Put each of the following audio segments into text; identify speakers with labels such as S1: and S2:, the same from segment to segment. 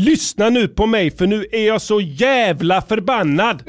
S1: Lyssna nu på mig för nu är jag så jävla förbannad!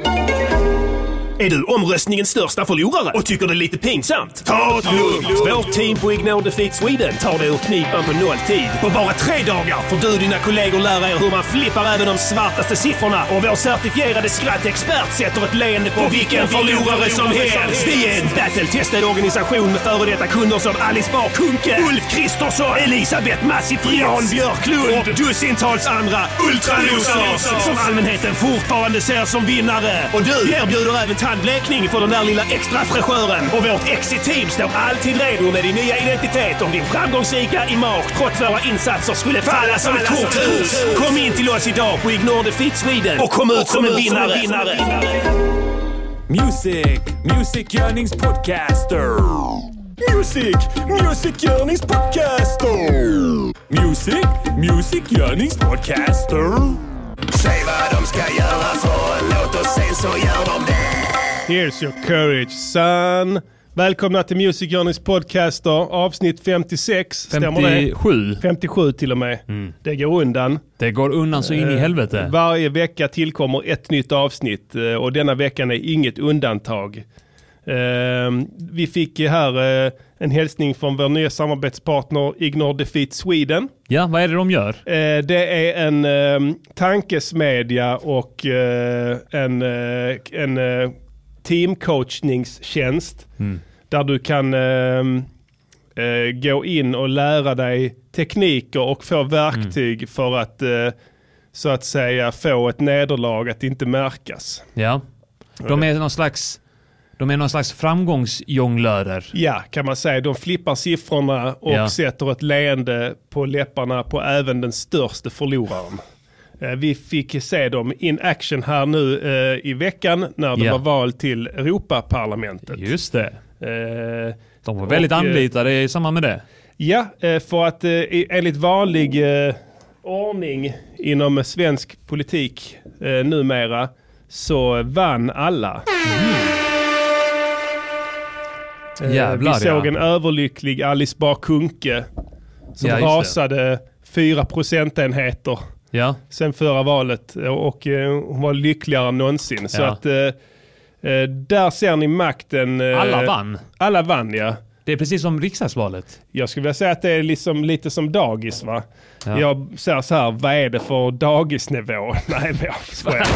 S2: Är du omröstningens största förlorare och tycker det är lite pinsamt? Ta det lugnt! Vårt team på Ignore Defeat Sweden tar dig ur knipan på nolltid. På bara tre dagar får du och dina kollegor lära er hur man flippar även de svartaste siffrorna och vår certifierade skrattexpert sätter ett leende på vilken förlorare som helst! Vi är en battle-testad organisation med före detta kunder som Alice Bah Kuhnke, Ulf Kristersson, Elisabeth Massi Friis, Jan Björklund och dussintals andra ultralosers som allmänheten fortfarande ser som vinnare. Och du erbjuder även tandblekning för den där lilla extra fräschören. Och vårt Exit-team står alltid redo med din nya identitet om din framgångsrika image trots våra insatser skulle falla som ett korthus. Kom in till oss idag på Ignore Defeat Sweden och kom ut som en vinnare.
S3: Music, Music Yearnings Podcaster. Music, Music Yearnings Podcaster. Music, Music Yearnings Podcaster.
S4: Säg vad de ska göra för en låt och sen så gör de det.
S1: Here's your courage son. Välkomna till Music Journeys podcaster, avsnitt 56. Stämmer det?
S5: 57.
S1: 57 till och med. Det går undan.
S5: Det går undan så
S1: Eh,
S5: in i helvete.
S1: Varje vecka tillkommer ett nytt avsnitt eh, och denna veckan är inget undantag. Eh, Vi fick ju här eh, en hälsning från vår nya samarbetspartner Ignore Defeat Sweden.
S5: Ja, vad är det de gör?
S1: Eh, Det är en eh, tankesmedja och eh, en, eh, en eh, teamcoachningstjänst där du kan eh, eh, gå in och lära dig tekniker och få verktyg för att eh, så att säga få ett nederlag att inte märkas.
S5: Ja. De är någon slags, de är någon slags framgångsjonglörer.
S1: Ja, kan man säga. De flippar siffrorna och
S5: Ja.
S1: sätter ett leende på läpparna på även den största förloraren. Eh, Vi fick se dem in action här nu eh, i veckan när det
S5: Ja.
S1: var val till Europaparlamentet.
S5: Just det.
S1: Eh,
S5: De var väldigt
S1: Och, eh,
S5: anlitade i samband med det.
S1: ja, eh, för att eh, i- enligt vanlig eh, ordning inom svensk politik eh, numera så vann alla.
S5: Jävlar
S1: eh, Vi såg
S5: ja.
S1: en överlycklig Alice Bah Kuhnke som
S5: Ja, just det.
S1: rasade 4 procentenheter
S5: ja.
S1: sen förra valet och eh, hon var lyckligare än någonsin. Så
S5: Ja.
S1: att eh, eh, där ser ni makten. eh,
S5: Alla vann.
S1: Alla vann ja.
S5: Det är precis som riksdagsvalet.
S1: Jag skulle vilja säga att det är liksom lite som dagis va?
S5: Ja.
S1: Jag säger så här, vad är det för dagisnivå? Nej men jag skojar.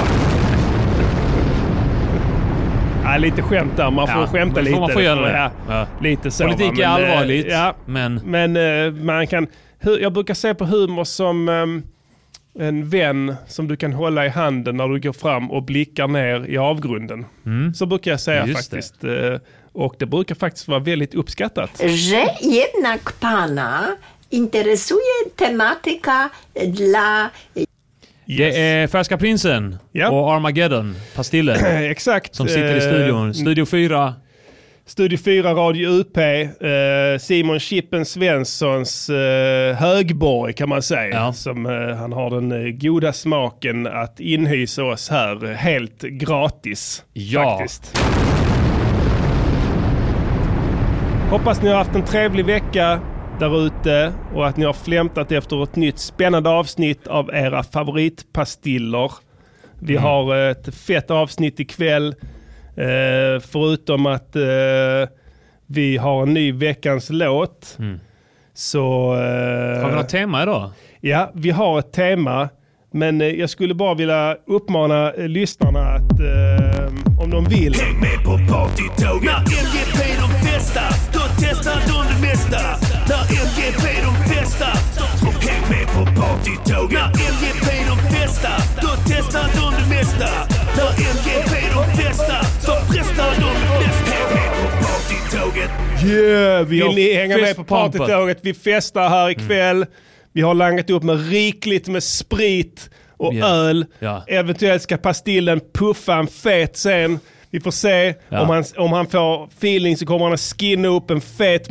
S1: Ja, lite skämt där, man får
S5: Ja,
S1: skämta
S5: det får
S1: lite.
S5: man få göra det.
S1: Ja,
S5: Ja.
S1: Lite så,
S5: Politik
S1: va,
S5: är
S1: men, eh,
S5: allvarligt,
S1: Ja,
S5: men
S1: men eh, man kan, hu- jag brukar se på humor som ehm, en vän som du kan hålla i handen när du går fram och blickar ner i avgrunden. Så brukar jag säga
S5: Mm. Just det.
S1: faktiskt. eh, Och det brukar faktiskt vara väldigt uppskattat.
S6: że jednak Pana interesuje tematyka dla
S1: Yes.
S5: det är Färska Prinsen
S1: Ja.
S5: och Armageddon, Pastillen,
S1: Eh, Exakt.
S5: som sitter i
S1: Eh,
S5: studion. Studio 4.
S1: Studio 4, Radio UP, eh, Simon Chippen Svenssons eh, högborg kan man säga.
S5: Ja.
S1: Som, eh, han har den eh, goda smaken att inhysa oss här eh, helt gratis.
S5: Ja.
S1: Faktiskt. Hoppas ni har haft en trevlig vecka där ute och att ni har flämtat efter ett nytt spännande avsnitt av era favoritpastiller. Vi har ett fett avsnitt ikväll. Eh, förutom att eh, vi har en ny veckans låt. Så... eh,
S5: Har vi något tema idag?
S1: Ja, vi har ett tema. Men eh, jag skulle bara vilja uppmana eh, lyssnarna att eh, om de vill.
S4: Häng med på partytåg När MGP de festar, då testar de det mesta När MGP de festar Häng med på partytåg När MGP de festar, då testar de det mesta När MGP de festar, så frestar de det flesta Häng med på partytåget
S1: Yeah, vill
S5: har
S1: ni hänga med på
S5: festpumpat.
S1: partytåget? Vi festar här
S5: Mm.
S1: ikväll. Vi har langat upp med rikligt med sprit och
S5: Ja.
S1: öl.
S5: Ja.
S1: Eventuellt ska Pastillen puffa en fet sen. Vi får se.
S5: Ja.
S1: Om, han, om han får feeling så kommer han att skinna upp en fet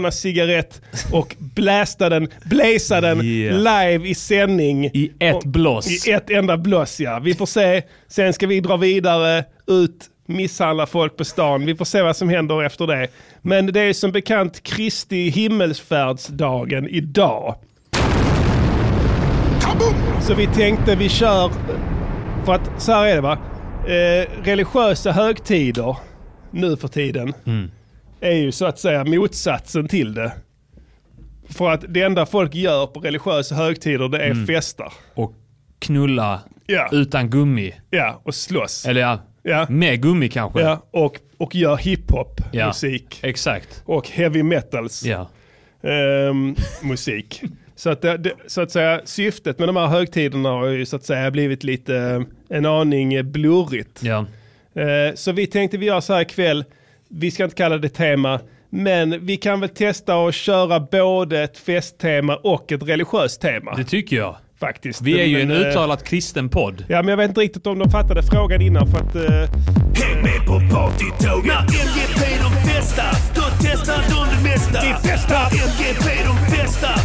S1: Mariana-cigarett och blästa den, bläsa den
S5: Yeah.
S1: live i sändning.
S5: I ett
S1: Och-
S5: blås.
S1: I ett enda blås ja. Vi får se. Sen ska vi dra vidare ut, misshandla folk på stan. Vi får se vad som händer efter det. Men det är som bekant Kristi himmelsfärdsdagen idag.
S4: Kom
S1: Så vi tänkte vi kör, för att så här är det va. Eh, religiösa högtider nu för tiden är ju så att säga motsatsen till det. För att det enda folk gör på religiösa högtider det är festar.
S5: Och knulla
S1: Ja.
S5: utan gummi.
S1: Ja, och slåss.
S5: Eller ja,
S1: Ja.
S5: med gummi kanske.
S1: Ja, och, och gör hiphop
S5: Ja.
S1: musik.
S5: Exakt.
S1: Och heavy metals.
S5: Ja.
S1: ehm, musik. Så att, det, det, så att säga, syftet med de här högtiderna har ju så att säga blivit lite eh, en aning eh, blurrigt.
S5: ja.
S1: Eh, Så vi tänkte vi gör så här ikväll, vi ska inte kalla det tema, men vi kan väl testa att köra både ett festtema och ett religiöst tema.
S5: Det tycker jag.
S1: faktiskt.
S5: Vi är ju en
S1: Men, eh,
S5: uttalat kristen podd.
S1: Ja, men jag vet inte riktigt om de fattade frågan innan för att... eh,
S4: Häng med på partytåg När MGP de festar Då testar de det mesta Vi festar! MGP de festar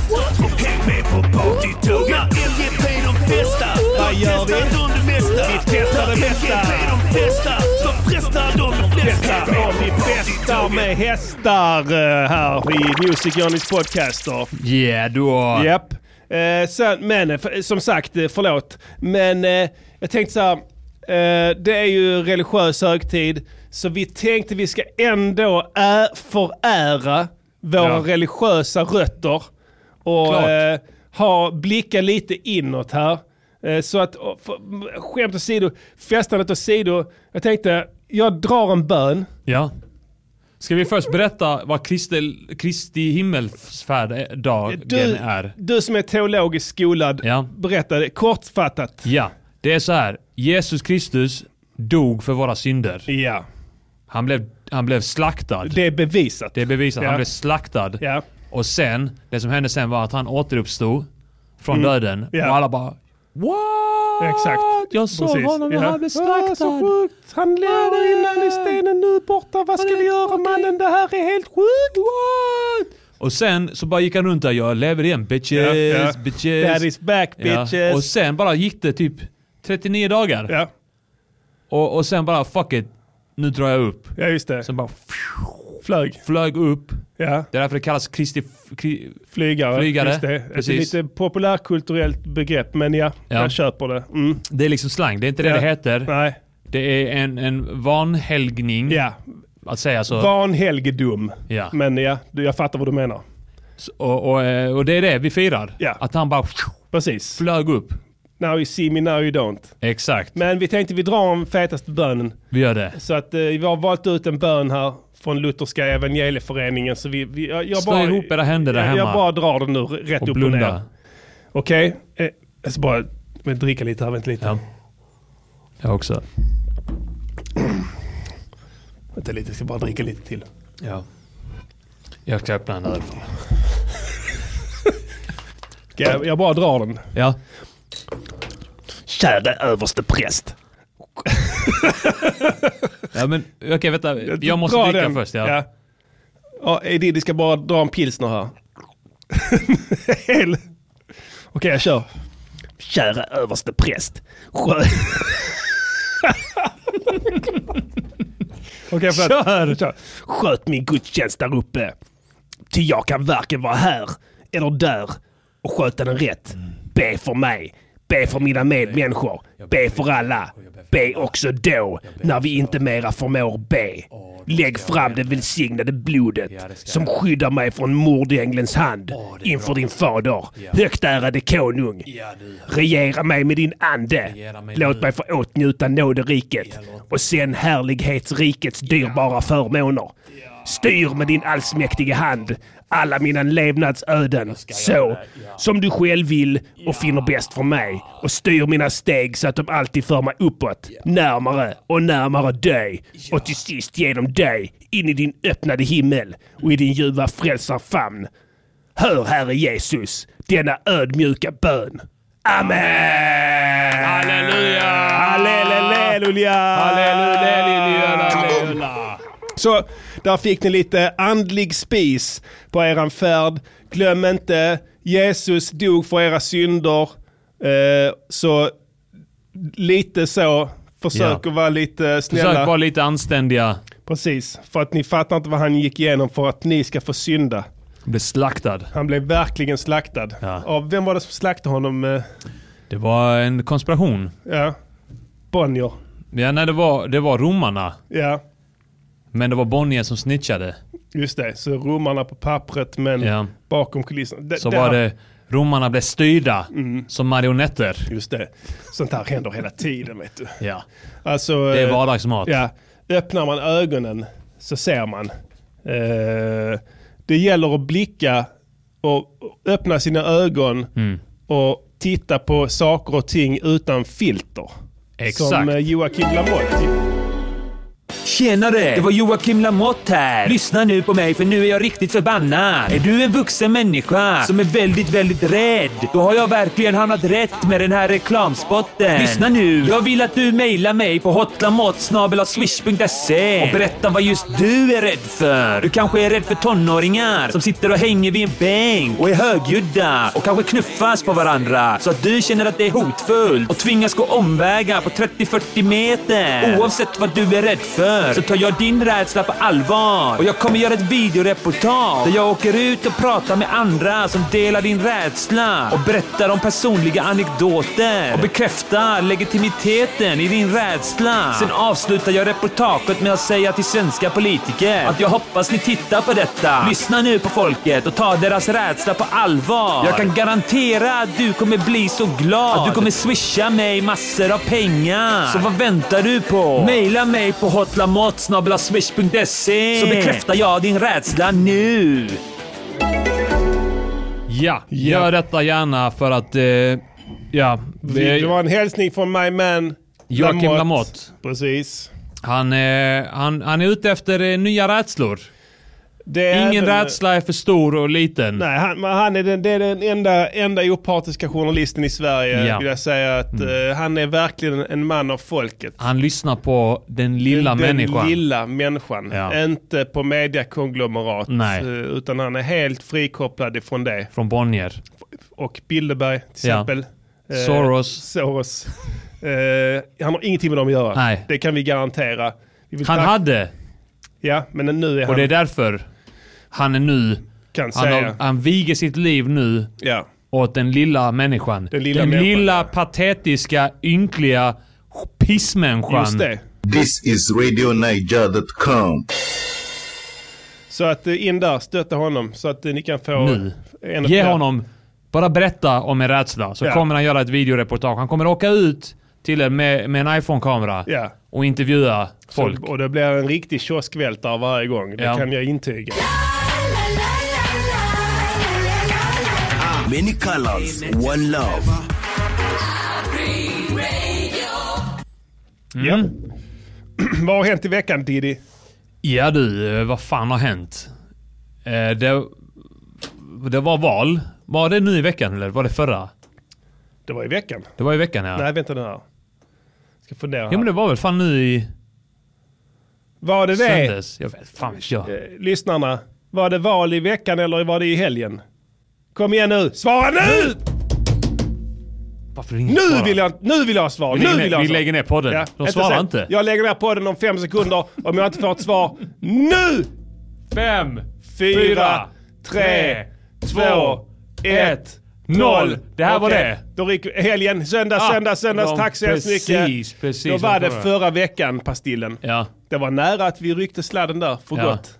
S4: Häng med på partytåg När MGP de festar
S1: Vad
S4: Då
S1: gör vi?
S4: testar de det mesta Vi
S1: testar det mesta.
S4: MGP de festar Så frestar de de flesta
S1: Ja, vi festar med hästar eh, här i Music Journeys podcaster.
S5: Ja då.
S1: Japp. Eh, sen, men eh, f- som sagt, eh, förlåt. Men eh, jag tänkte så här. Eh, det är ju religiös högtid. Så vi tänkte vi ska ändå ä- förära våra
S5: Ja.
S1: religiösa rötter. Och
S5: Klart.
S1: eh, ha, blicka lite inåt här. Eh, så att, och, för, m- skämt åsido, festandet åsido. Jag tänkte, jag drar en bön.
S5: Ja. Ska vi först berätta vad Kristi, Kristi himmelsfärddagen
S1: Du,
S5: är?
S1: du som är teologiskt skolad,
S5: Ja.
S1: berätta det kortfattat.
S5: Ja, det är så här. Jesus Kristus dog för våra synder.
S1: Ja.
S5: Han blev, han blev slaktad.
S1: Det är bevisat.
S5: Det är bevisat.
S1: Ja.
S5: Han blev slaktad.
S1: Ja.
S5: Och sen, det som hände sen var att han återuppstod från döden.
S1: Mm. Ja.
S5: Och alla bara What?
S1: Exakt.
S5: Jag såg
S1: Precis.
S5: honom när
S1: Ja.
S5: han blev slaktad.
S1: Ah, så sjukt. Han lever innan i stenen nu borta. Vad ska
S5: är
S1: vi göra mannen? Det här är helt sjukt. What?
S5: Och sen så bara gick han runt där. Jag lever igen bitches, bitches.
S1: That is back bitches.
S5: Ja. Och sen bara gick det typ 39 dagar.
S1: ja.
S5: Och, och sen bara fuck it. Nu drar jag upp.
S1: ja, just det.
S5: Sen bara
S1: Flög.
S5: flög upp.
S1: Ja,
S5: Det är därför det kallas Kristi... Kri,
S1: flygare.
S5: Flygare.
S1: Just det. Ett
S5: Precis.
S1: lite populärkulturellt begrepp, men ja,
S5: Ja.
S1: jag köper det. Mm.
S5: det är liksom slang. Det är inte det
S1: Ja.
S5: det heter.
S1: Nej,
S5: Det är en, en vanhelgning.
S1: ja.
S5: Att säga så.
S1: Vanhelgedom.
S5: Ja.
S1: Men ja, du, jag fattar vad du menar.
S5: Och, och, eh, och det är det vi firar.
S1: Ja.
S5: Att han bara
S1: Precis.
S5: flög upp.
S1: Now you see me, now you don't.
S5: Exakt.
S1: Men vi tänkte vi drar om fetaste bönen.
S5: Vi gör det.
S1: Så att eh, vi har valt ut en bön här från Lutherska evangelieföreningen. Så vi, vi, jag, jag
S5: Slå
S1: bara,
S5: ihop era händer där
S1: jag,
S5: hemma.
S1: Jag bara drar den nu r- rätt
S5: Och
S1: upp och ner.
S5: blunda.
S1: Okej, eh, jag ska bara men dricka lite här, vänta lite.
S5: Ja. Jag också.
S1: Vänta lite, jag ska bara dricka lite till.
S5: Ja. Jag ska öppna en öl.
S1: Ska jag, jag bara drar den.
S5: Ja.
S2: Kära överste präst.
S5: ja men okej vänta. Jag måste
S1: Dra
S5: dricka
S1: den.
S5: först. Ja.
S1: ja. Ja, Edidi ska bara dra en pilsner här. Hel- Okej, jag kör.
S2: Kära överste präst. Skö-
S1: Okej, förlåt.
S5: Kör!
S1: Kör.
S2: Sköt min gudstjänst där uppe. Ty jag kan varken vara här eller där och sköta den rätt. Be för mig. Be för mina medmänniskor. Be för alla. Be också då, när vi inte mera förmår be. Lägg fram det välsignade blodet som skyddar mig från mordänglens hand inför din fader, högt ärade konung. Regera mig med din ande.
S5: mig
S2: Låt mig få åtnjuta nåderiket och sen härlighetsrikets dyrbara förmåner. Styr med din allsmäktige hand alla mina levnadsöden så som du själv vill och finner bäst för mig. Och styr mina steg så att de alltid för mig uppåt, närmare och närmare dig. Och till sist genom dig in i din öppnade himmel och i din ljuva frälsarfamn. Hör Herre Jesus denna ödmjuka bön. Amen!
S5: Halleluja!
S1: Halleluja!
S5: Ah. Halleluja!
S1: Så där fick ni lite andlig spis på eran färd. Glöm inte, Jesus dog för era synder. Eh, så lite så, försök
S5: Ja.
S1: att vara lite snälla.
S5: Försök vara lite anständiga.
S1: Precis, för att ni fattar inte vad han gick igenom för att ni ska få synda.
S5: Bli slaktad.
S1: Han blev verkligen slaktad.
S5: Ja.
S1: Av vem var det som slaktade honom? Eh,
S5: Det var en konspiration.
S1: Ja. Bonnier.
S5: Ja, nej, det var, det var romarna.
S1: Ja,
S5: Men det var Bonnier som snitchade.
S1: just det. Så romarna på pappret men
S5: Ja.
S1: bakom kulisserna. Det-
S5: Så
S1: det
S5: var
S1: här- Mm.
S5: det... Romarna blev styrda som marionetter.
S1: Just det. Sånt här händer hela tiden vet du.
S5: Ja.
S1: Alltså,
S5: Det är
S1: eh,
S5: vardagsmat.
S1: Ja, öppnar man ögonen så ser man. Eh, det gäller att blicka och öppna sina ögon
S5: Mm.
S1: och titta på saker och ting utan filter. Som
S5: Exakt.
S1: eh, Joakim Lamotte.
S7: Tjenare! Det var Joakim Lamotte här. Lyssna nu på mig för nu är jag riktigt förbannad. Är du en vuxen människa som är väldigt, väldigt rädd? Då har jag verkligen hamnat rätt med den här reklamspotten. Lyssna nu! Jag vill att du mejlar mig på hotlamotsnabel.swish.se och berätta vad just du är rädd för. Du kanske är rädd för tonåringar som sitter och hänger vid en bänk och är högljudda och kanske knuffas på varandra så att du känner att det är hotfullt och tvingas gå omvägar på 30-40 meter. Oavsett vad du är rädd för så tar jag din rädsla på allvar och jag kommer göra ett videoreportage där jag åker ut och pratar med andra som delar din rädsla och berättar om personliga anekdoter och bekräftar legitimiteten i din rädsla. Sen avslutar jag reportaget med att säga till svenska politiker att jag hoppas ni tittar på detta. Lyssna nu på folket och ta deras rädsla på allvar. Jag kan garantera att du kommer bli så glad. Att du kommer swisha mig massor av pengar. Så vad väntar du på? Maila mig på hotlamotsnablaswish.se så bekräftar jag din rädsla nu.
S5: Ja, gör detta gärna för att... Eh, ja,
S1: Det
S5: det,
S1: var en hälsning från my man
S5: Joakim Lamotte.
S1: Precis.
S5: Han, eh, han, han är ute efter eh, nya rädslor.
S1: Det är
S5: Ingen
S1: även-
S5: rädsla är för stor och liten.
S1: Nej, han, men han är den, det är den enda, enda opartiska journalisten i Sverige
S5: Ja. Mm.
S1: vill jag säga. Att, eh, han är verkligen en man av folket.
S5: Han lyssnar på den lilla
S1: den
S5: människan.
S1: lilla människan.
S5: Ja.
S1: Inte på mediakonglomerat.
S5: Nej.
S1: eh, Utan han är helt frikopplad ifrån det.
S5: Från Bonnier.
S1: Och Bilderberg till
S5: Ja.
S1: exempel. Eh,
S5: Soros.
S1: Soros. Eh, han har ingenting med dem att göra.
S5: Nej.
S1: Det kan vi garantera. Vi vill
S5: Han
S1: tack-
S5: hade,
S1: Ja, men nu är han,
S5: och det är därför han är nu...
S1: kan
S5: Han,
S1: säga.
S5: har, han viger sitt liv nu
S1: Ja.
S5: åt den lilla människan. Den
S1: lilla människan,
S5: lilla, patetiska, ynkliga pissmänniskan.
S1: Just det.
S8: This is RadioNiger.com.
S1: Så att eh, in där, stötta honom så att eh, ni kan få...
S5: Nu.
S1: en och
S5: Ge
S1: flera-
S5: honom, bara berätta om er rädsla, så
S1: Ja.
S5: kommer han göra ett videoreportage. Han kommer åka ut till er med, med en iPhone-kamera
S1: Ja.
S5: och intervjua folk.
S1: Och det blir en riktig kioskvältare varje gång. Det
S5: Ja.
S1: kan jag intyga.
S9: Many colors, one love.
S5: Mm.
S1: Ja. Vad har hänt i veckan Diddy?
S5: Ja du, eh, vad fan har hänt? Eh, det, det var val. Var det nu i veckan eller var det förra?
S1: Det var i veckan.
S5: Det var i veckan ja.
S1: Nej, vänta nu här. Ska fundera
S5: Ja men
S1: här.
S5: det var väl fan nu i
S1: Var det det?
S5: söndags. Jag vet, fan vet jag.
S1: Lyssnarna, var det val i veckan eller var det i helgen? Kom igen nu, svara nu!
S5: Varför ingen
S1: Nu
S5: svarar?
S1: vill jag, nu vill jag ha svar!
S5: Vi
S1: Nu
S5: lägger
S1: vill
S5: ner-
S1: jag ha
S5: vi
S1: svar.
S5: lägger ner podden.
S1: Ja,
S5: De svarar
S1: sen.
S5: inte.
S1: Jag lägger ner podden om fem sekunder om jag inte får ett svar. Nu!
S5: Fem,
S1: Fyra, tre, två, ett, noll.
S5: Det här var
S1: Okej.
S5: det.
S1: Då gick helgen, söndag,
S5: Ah,
S1: söndag, söndags.
S5: de-
S1: Tack så hemskt
S5: precis,
S1: mycket.
S5: precis,
S1: Då var
S5: jag
S1: det
S5: förstår
S1: förra veckan, Pastillen.
S5: Ja.
S1: Det var nära att vi ryckte sladden där för
S5: Ja.
S1: gott.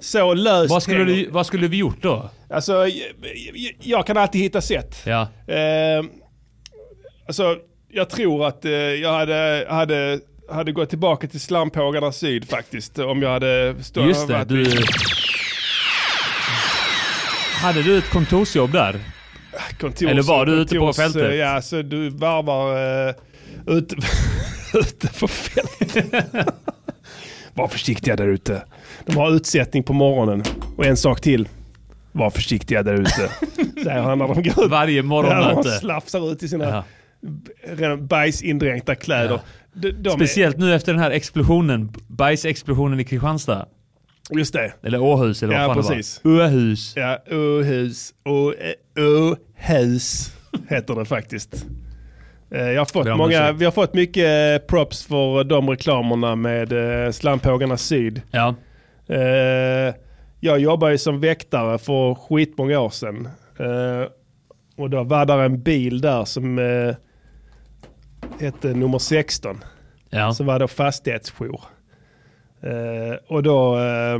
S1: Så löst.
S5: Vad skulle,
S1: hänger-
S5: du, vad skulle vi gjort då?
S1: Alltså, jag, jag- jag kan alltid hitta sätt.
S5: Ja.
S1: Eh, alltså, jag tror att eh, jag hade, hade, hade gått tillbaka till slampågarna syd faktiskt. Om jag hade stått
S5: Just det,
S1: varit
S5: du...
S1: i
S5: Hade du ett kontorsjobb där?
S1: kontors,
S5: eller var du ute på
S1: kontors-
S5: fältet?
S1: Ja, så du varvar eh, ute, ute på fältet. Var försiktiga där ute. De har utsättning på morgonen. Och en sak till. Var försiktiga där ute. Säger han när de går ut.
S5: Varje
S1: Ja, de
S5: morgonmöte.
S1: slafsar ut i sina
S5: Ja.
S1: redan bajsindränkta kläder.
S5: Ja.
S1: De, de
S5: Speciellt nu efter den här explosionen, bajsexplosionen i Kristianstad.
S1: Är, just det.
S5: Eller Åhus eller vad
S1: Ja,
S5: fan
S1: precis.
S5: det var. Åhus.
S1: Ja, Åhus. Å- eh, Åhus heter det faktiskt. Eh, Jag har fått
S5: Ber om
S1: många,
S5: ursäkt.
S1: vi har fått mycket eh, props för de reklamerna med eh, Slampågarna Syd.
S5: Ja.
S1: Eh, Jag jobbar ju som väktare för skitmånga år sedan. Eh, Och då var där en bil där som eh, hette nummer 16.
S5: Ja.
S1: Så var det fastighetsjour. Eh, och då eh,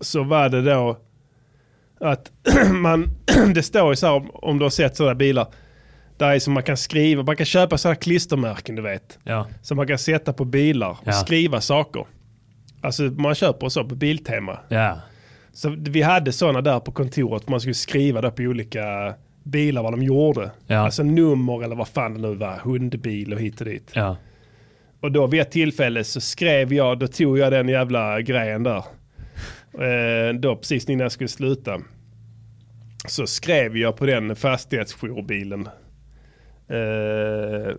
S1: så var det då att man, det står ju så här om, om du har sett sådana bilar. Där är som man kan skriva, man kan köpa sådana klistermärken du vet.
S5: Ja.
S1: Som man kan sätta på bilar och
S5: Ja.
S1: skriva saker. Alltså man köper så på Biltema.
S5: Ja.
S1: Så vi hade sådana där på kontoret. Man skulle skriva där på olika bilar vad de gjorde.
S5: Ja.
S1: Alltså nummer eller vad fan det nu var. Hundbil och hit och dit.
S5: Ja.
S1: Och då vid ett tillfälle så skrev jag, då tog jag den jävla grejen där. Eh, då precis innan jag skulle sluta. Så skrev jag på den fastighetsjourbilen. Eh,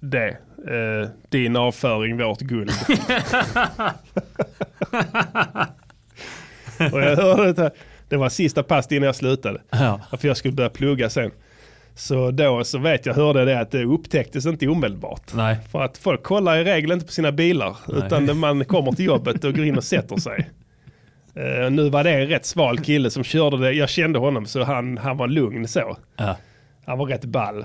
S1: det. Eh, din avföring, vårt guld. Och jag hörde det, här. det var sista pass innan jag slutade.
S5: Ja.
S1: För jag skulle börja plugga sen. Så då så vet jag, hörde det att det upptäcktes inte omedelbart.
S5: Nej.
S1: För att folk kollar i regel inte på sina bilar.
S5: Nej.
S1: Utan man kommer till jobbet och går in och sätter sig. Eh, nu var det en rätt sval kille som körde det. Jag kände honom så han, han var lugn så.
S5: Ja.
S1: Han var rätt ball.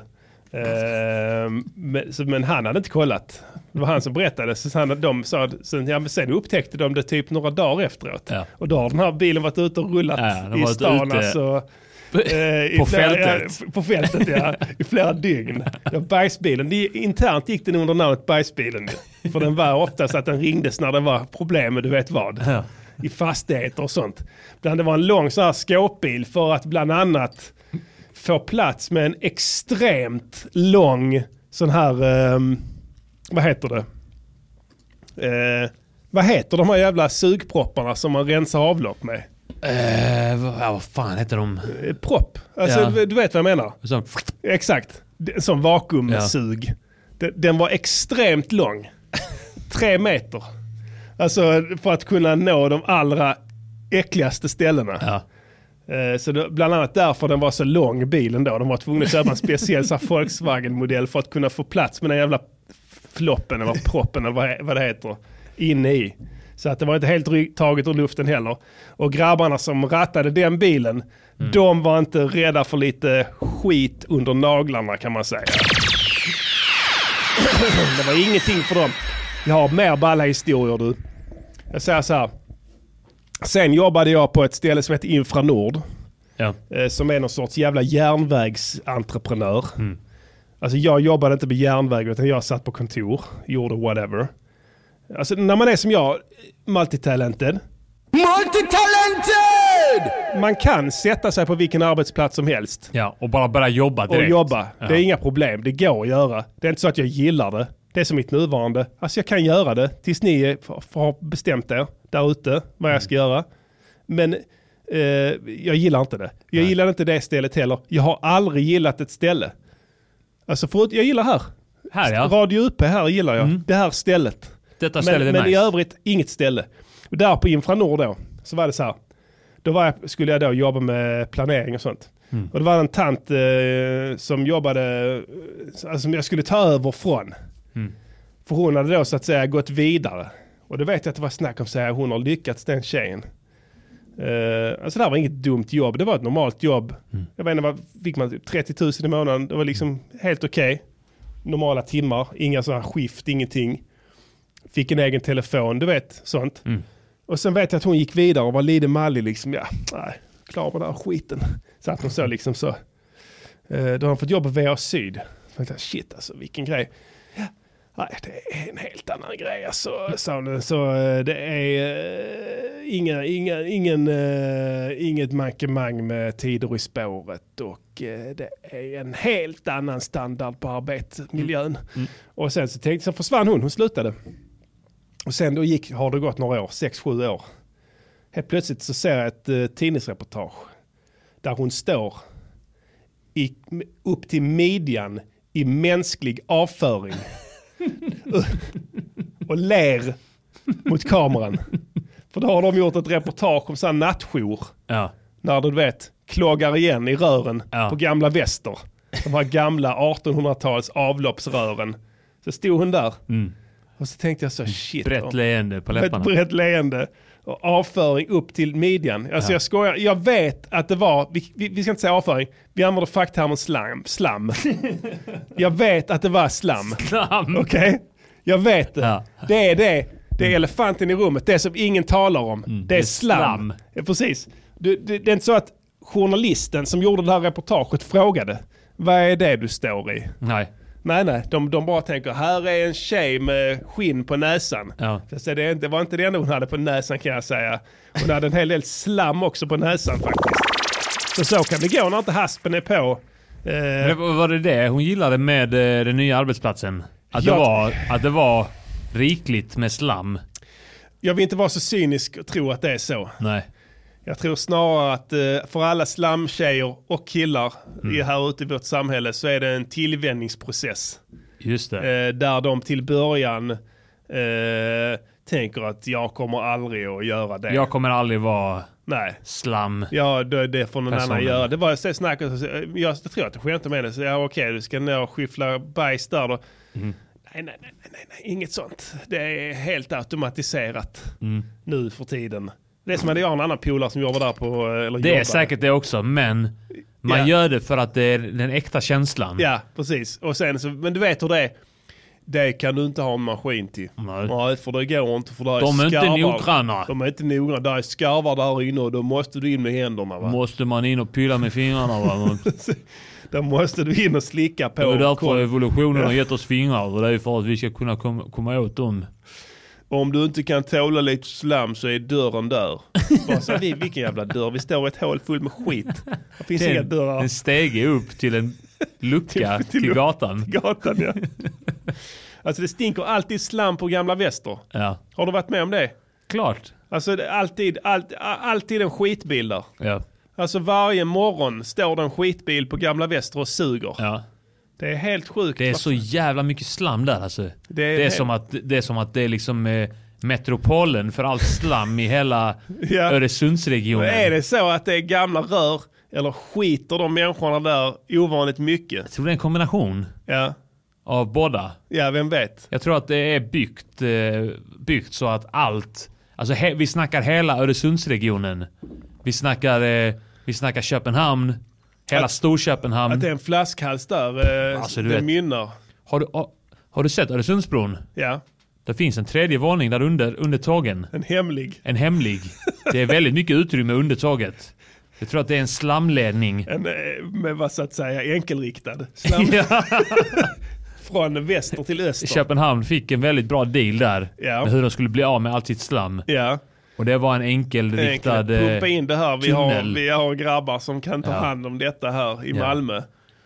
S1: Eh, men, så, men han hade inte kollat. Det var han som berättade. Så han, de sa, sen, ja, men sen upptäckte de det typ några dagar efteråt.
S5: Ja.
S1: och då har den här bilen varit ute och rullat
S5: Ja, den har
S1: i
S5: varit
S1: stan.
S5: ute
S1: Alltså, eh, i
S5: På
S1: flera-
S5: fältet.
S1: Ja, på fältet ja, i flera dygn. Ja, bajsbilen, det, internt gick den under namnet bajsbilen. ju. För den var oftast att den ringdes när det var problem med du vet vad.
S5: Ja.
S1: I fastigheter och sånt. Bland, det var en lång så här skåpbil för att bland annat få plats med en extremt lång sån här, ehm, vad heter det? Eh, vad heter de här jävla sugpropparna som man rensar avlopp med?
S5: Eh, vad, ja, vad fan heter de?
S1: Eh, propp, alltså
S5: Ja.
S1: du vet vad jag menar.
S5: Så,
S1: Exakt. Det- Som vakuumsug. Den, den var extremt lång. Tre meter. Alltså för att kunna nå de allra äckligaste ställena.
S5: ja.
S1: Eh, Så det, bland annat därför den var så lång bilen då. De var tvungna att köpa en speciell så här Volkswagen-modell för att kunna få plats med den jävla floppen eller proppen eller vad, vad det heter inne i. Så att det var inte helt ry- taget ur luften heller. Och grabbarna som rattade den bilen, de var inte rädda för lite skit under naglarna kan man säga. det var ingenting för dem. Jag har mer balla historier du. Jag säger så här. Sen jobbade jag på ett ställe som heter Infranord.
S5: Ja.
S1: eh, Som är någon sorts jävla järnvägsentreprenör. Alltså jag jobbade inte på järnväg utan jag satt på kontor, gjorde whatever. Alltså när man är som jag, multitalented. Multitalented! Man kan sätta sig på vilken arbetsplats som helst
S5: ja. Och bara börja jobba
S1: och
S5: direkt.
S1: jobba.
S5: Ja.
S1: Det är inga problem, det går att göra. Det är inte så att jag gillar det. Det är som mitt nuvarande. Alltså jag kan göra det tills ni är- f- f- har bestämt er där ute vad jag ska
S5: Mm.
S1: göra. Men eh, jag gillar inte det. Jag gillar inte det stället heller. Jag har aldrig gillat ett ställe. Alltså förut, jag gillar här.
S5: Här ja. Mm.
S1: Radio UP här gillar jag. Det här stället.
S5: Detta
S1: Men,
S5: stället är
S1: men i
S5: nice.
S1: övrigt inget ställe. Och där på Infranord då, så var det så här. Då var jag, skulle jag då jobba med planering och sånt. Och det var en tant eh, som jobbade, eh, alltså, som jag skulle ta över från. För hon hade då så att säga gått vidare. Och då vet jag att det var snack om så här, hon har lyckats den tjejen. Eh, alltså det här var inget dumt jobb, det var ett normalt jobb. Jag vet inte, vad, fick man typ 30 000 i månaden, det var liksom helt okej. Normala timmar, inga sådana här skift, ingenting. Fick en egen telefon, du vet, sånt. Och sen vet jag att hon gick vidare och var lite mallig liksom, ja, nej, klar med den här skiten. Så att hon så liksom så, eh, då har hon fått jobb på VA Syd. Så tänkte jag, shit alltså, vilken grej. Nej, det är en helt annan grej. Alltså, sa hon. Så eh, det är eh, inga, inga, ingen, eh, inget mankemang med tider i spåret och eh, det är en helt annan standard på arbetsmiljön. Och sen så tänkte så försvann hon, hon slutade. Och sen då gick, har det gått några år, sex sju år. Helt plötsligt så ser jag ett eh, tidningsreportage där hon står i, upp till midjan i mänsklig avföring och ler mot kameran. För då har de gjort ett reportage om sån här nattjour.
S5: Ja.
S1: När du vet, kloggar igen i rören
S5: Ja.
S1: på gamla väster. De här gamla 1800-tals avloppsrören. Så stod hon där. Och så tänkte jag så shit.
S5: Brett
S1: om-
S5: leende på
S1: ett
S5: läpparna.
S1: brett leende. och avföring upp till midjan. Alltså jag skojar, jag vet att det var, vi, vi, vi ska inte säga avföring, vi använder facktermen slam. slam. jag vet att det var slam.
S5: Slam.
S1: Okej? Jag vet det.
S5: Ja.
S1: Det är det. Det är elefanten i rummet. Det som ingen talar om. Det är
S5: är
S1: slam.
S5: slam.
S1: Ja, precis. Du, det, det är inte så att journalisten som gjorde det här reportaget frågade vad är det du står i?
S5: Nej.
S1: Nej, nej. De, de bara tänker här är en tjej med skinn på näsan.
S5: Ja.
S1: Fast det, är inte- det var inte det enda hon hade på näsan kan jag säga. Hon hade en hel del slam också på näsan faktiskt. Så så kan det gå när inte haspen är på. Eh,
S5: Det var var det det hon gillade med eh, den nya arbetsplatsen? Att det,
S1: Ja.
S5: var, att det var rikligt med slam?
S1: jag vill inte vara så cynisk och tro att det är så.
S5: Nej.
S1: Jag tror snarare att eh, för alla slamtjejer och killar
S5: Mm.
S1: i, här ute i vårt samhälle så är det en tillvänjningsprocess.
S5: Just det.
S1: Eh, där de till början eh, tänker att jag kommer aldrig att göra det.
S5: Jag kommer aldrig vara
S1: Nej.
S5: slam.
S1: Ja, det, det får någon
S5: Personen.
S1: annan göra. Det var så snack, och så- så- jag tror att det skämtade med det. Så, ja, okej, du ska nå och skyffla bajs där då.
S5: Mhm.
S1: Nej, nej, nej, nej, nej, inget sånt. Det är helt automatiserat
S5: Mm.
S1: nu för tiden. Det är som att jag har en annan polare som jobbar där på... eh, Eller
S5: Det är
S1: jobbar.
S5: säkert det också, men man
S1: Ja.
S5: gör det för att det är den äkta känslan.
S1: Ja, precis. Och sen så, men du vet hur det är. Det kan du inte ha en maskin till.
S5: Nej.
S1: för det går inte för där är
S5: De är inte
S1: skarvar.
S5: noggranna.
S1: De är inte noggranna. Där är skarvar där inne och då måste du in med händerna va.
S5: Måste man in och pilla med fingrarna va?
S1: Då måste du in och slicka på.
S5: Det är därför
S1: koll.
S5: evolutionen har gett oss fingrar. Och det är för att vi ska kunna kom, komma åt dem.
S1: Om du inte kan tåla lite slam så är dörren där. Bara så, här, vi, vilken jävla dörr? Vi står i ett hål fullt med skit. Det finns inga
S5: En,
S1: dörrar.
S5: en stege upp till en lucka till,
S1: till luck-
S5: gatan.
S1: Gatan ja. Alltså det stinker alltid slam på gamla väster.
S5: Ja,
S1: Har du varit med om det?
S5: klart.
S1: Alltså det är alltid, allt, a- alltid en skitbil där.
S5: Ja,
S1: Alltså varje morgon står det en skitbil på gamla väster och suger.
S5: ja.
S1: Det är helt sjukt.
S5: Det är så jävla mycket slam där alltså. Det är,
S1: är helt-
S5: som, att, det är som att det är liksom eh, metropolen för allt slam i hela
S1: Ja.
S5: Öresundsregionen.
S1: är det så att det är gamla rör eller skiter de människorna där ovanligt mycket?
S5: Jag tror det är en kombination
S1: Ja,
S5: av båda.
S1: ja vem vet.
S5: Jag tror att det är byggt, eh, byggt så att allt... Alltså he, vi snackar hela Öresundsregionen. Vi snackar, eh, vi snackar Köpenhamn. Hela
S1: Att-
S5: Storköpenhamn.
S1: Att det är en flaskhals där. Eh,
S5: Alltså, du
S1: det
S5: vet.
S1: mynnar.
S5: har, du, har, har du sett Öresundsbron?
S1: Ja,
S5: Det finns en tredje våning där under, under tågen.
S1: en hemlig.
S5: En hemlig. Det är väldigt mycket utrymme under tåget. Jag tror att det är en slamledning.
S1: En, eh, med vad så att säga enkelriktad. Slam
S5: Ja.
S1: från väster till öster.
S5: Köpenhamn fick en väldigt bra deal där.
S1: Ja.
S5: Med hur de skulle bli av med allt sitt slam.
S1: Ja,
S5: Och det var en enkelriktad...
S1: enkel. Pumpa
S5: eh,
S1: in det här. Vi har,
S5: tunnel.
S1: vi har grabbar som kan ta
S5: Ja.
S1: hand om detta här i
S5: Ja.
S1: Malmö.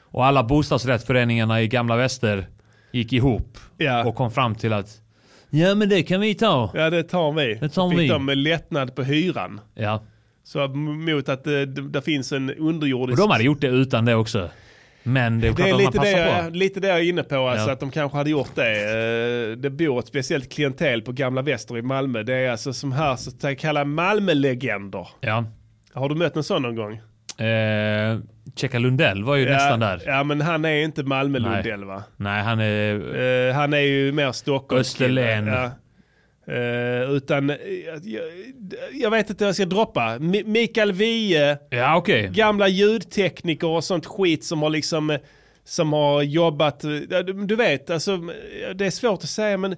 S5: Och alla bostadsrättsföreningarna i Gamla Väster gick ihop
S1: Ja.
S5: och kom fram till att ja men det kan vi ta.
S1: Ja, det tar vi.
S5: Det tar
S1: Fick
S5: vi.
S1: de lättnad på hyran.
S5: Ja.
S1: Så mot att det, det finns en underjordisk...
S5: Och de hade gjort det utan det också. Men det är
S1: Det
S5: klart
S1: är
S5: att man
S1: lite det,
S5: passar
S1: jag,
S5: på.
S1: lite det jag är inne på, alltså
S5: Ja.
S1: att de kanske hade gjort det. Eh, Det bor ett speciellt klientel på Gamla Väster i Malmö. Det är alltså som här så att kalla Malmölegender.
S5: Ja.
S1: Har du mött en sån någon gång?
S5: Eh, Checka Lundell var ju nästan där.
S1: Ja, men han är inte Malmö-Lundell va?
S5: Nej han är...
S1: Eh, han är ju mer Stockholm.
S5: Österlen.
S1: Ja. Eh, utan, eh, jag, jag vet inte vad jag ska droppa. Mi- Mikael Wiehe,
S5: Ja okej.
S1: gamla ljudtekniker och sånt skit som har liksom eh, som har jobbat, eh, ja, du du vet, alltså, eh, det är svårt att säga men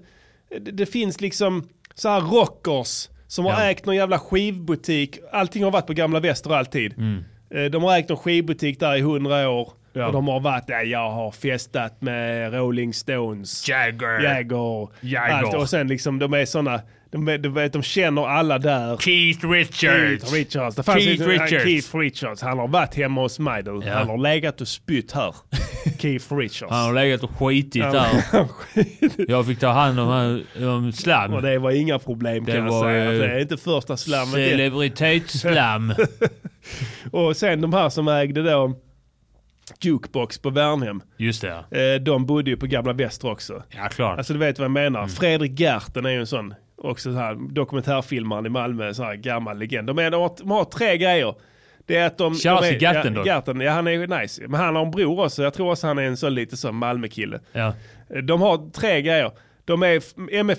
S1: det, det finns liksom så här rockers som har
S5: Ja.
S1: ägt någon jävla skivbutik. Allting har varit på gamla väster alltid.
S5: Mm.
S1: Eh, De har ägt någon skivbutik där i hundra år. Och de har varit, ja, jag har festat med Rolling Stones.
S5: Jagger.
S1: Jagger.
S5: Jagger.
S1: Allt. Och sen liksom, de är sådana, de, är- du vet, de känner alla där.
S5: Keith Richards.
S1: Keith Richards. Det fanns
S5: Keith
S1: inte- han-
S5: Richards.
S1: Keith Richards. Han har varit hemma hos mig då.
S5: Ja.
S1: Han har legat och spytt här. Keith Richards.
S5: Han har legat och skitit där.
S1: där.
S5: Jag fick ta hand om, han- om
S1: och
S5: slam.
S1: det var inga problem kan jag
S5: var,
S1: säga. Alltså,
S5: eh,
S1: Det är inte första slammet. Det-
S5: Celebritetsslam.
S1: Och sen de här som ägde då jukebox på Värnhem.
S5: Just det ja.
S1: eh, De bodde ju på Gamla Väster också.
S5: Ja klart.
S1: Alltså du vet vad jag menar. Fredrik Gerten är ju en sån också så här, dokumentärfilmaren i Malmö, så här gammal legend. De, är, de, har, de har tre grejer. Det är att de...
S5: Shoutout
S1: de är,
S5: till Gerten dock.
S1: ja, Gerten, ja han är ju nice. Men han har en bror också. Jag tror också han är en sån lite sån Malmökille.
S5: ja.
S1: De har tre grejer. De är f-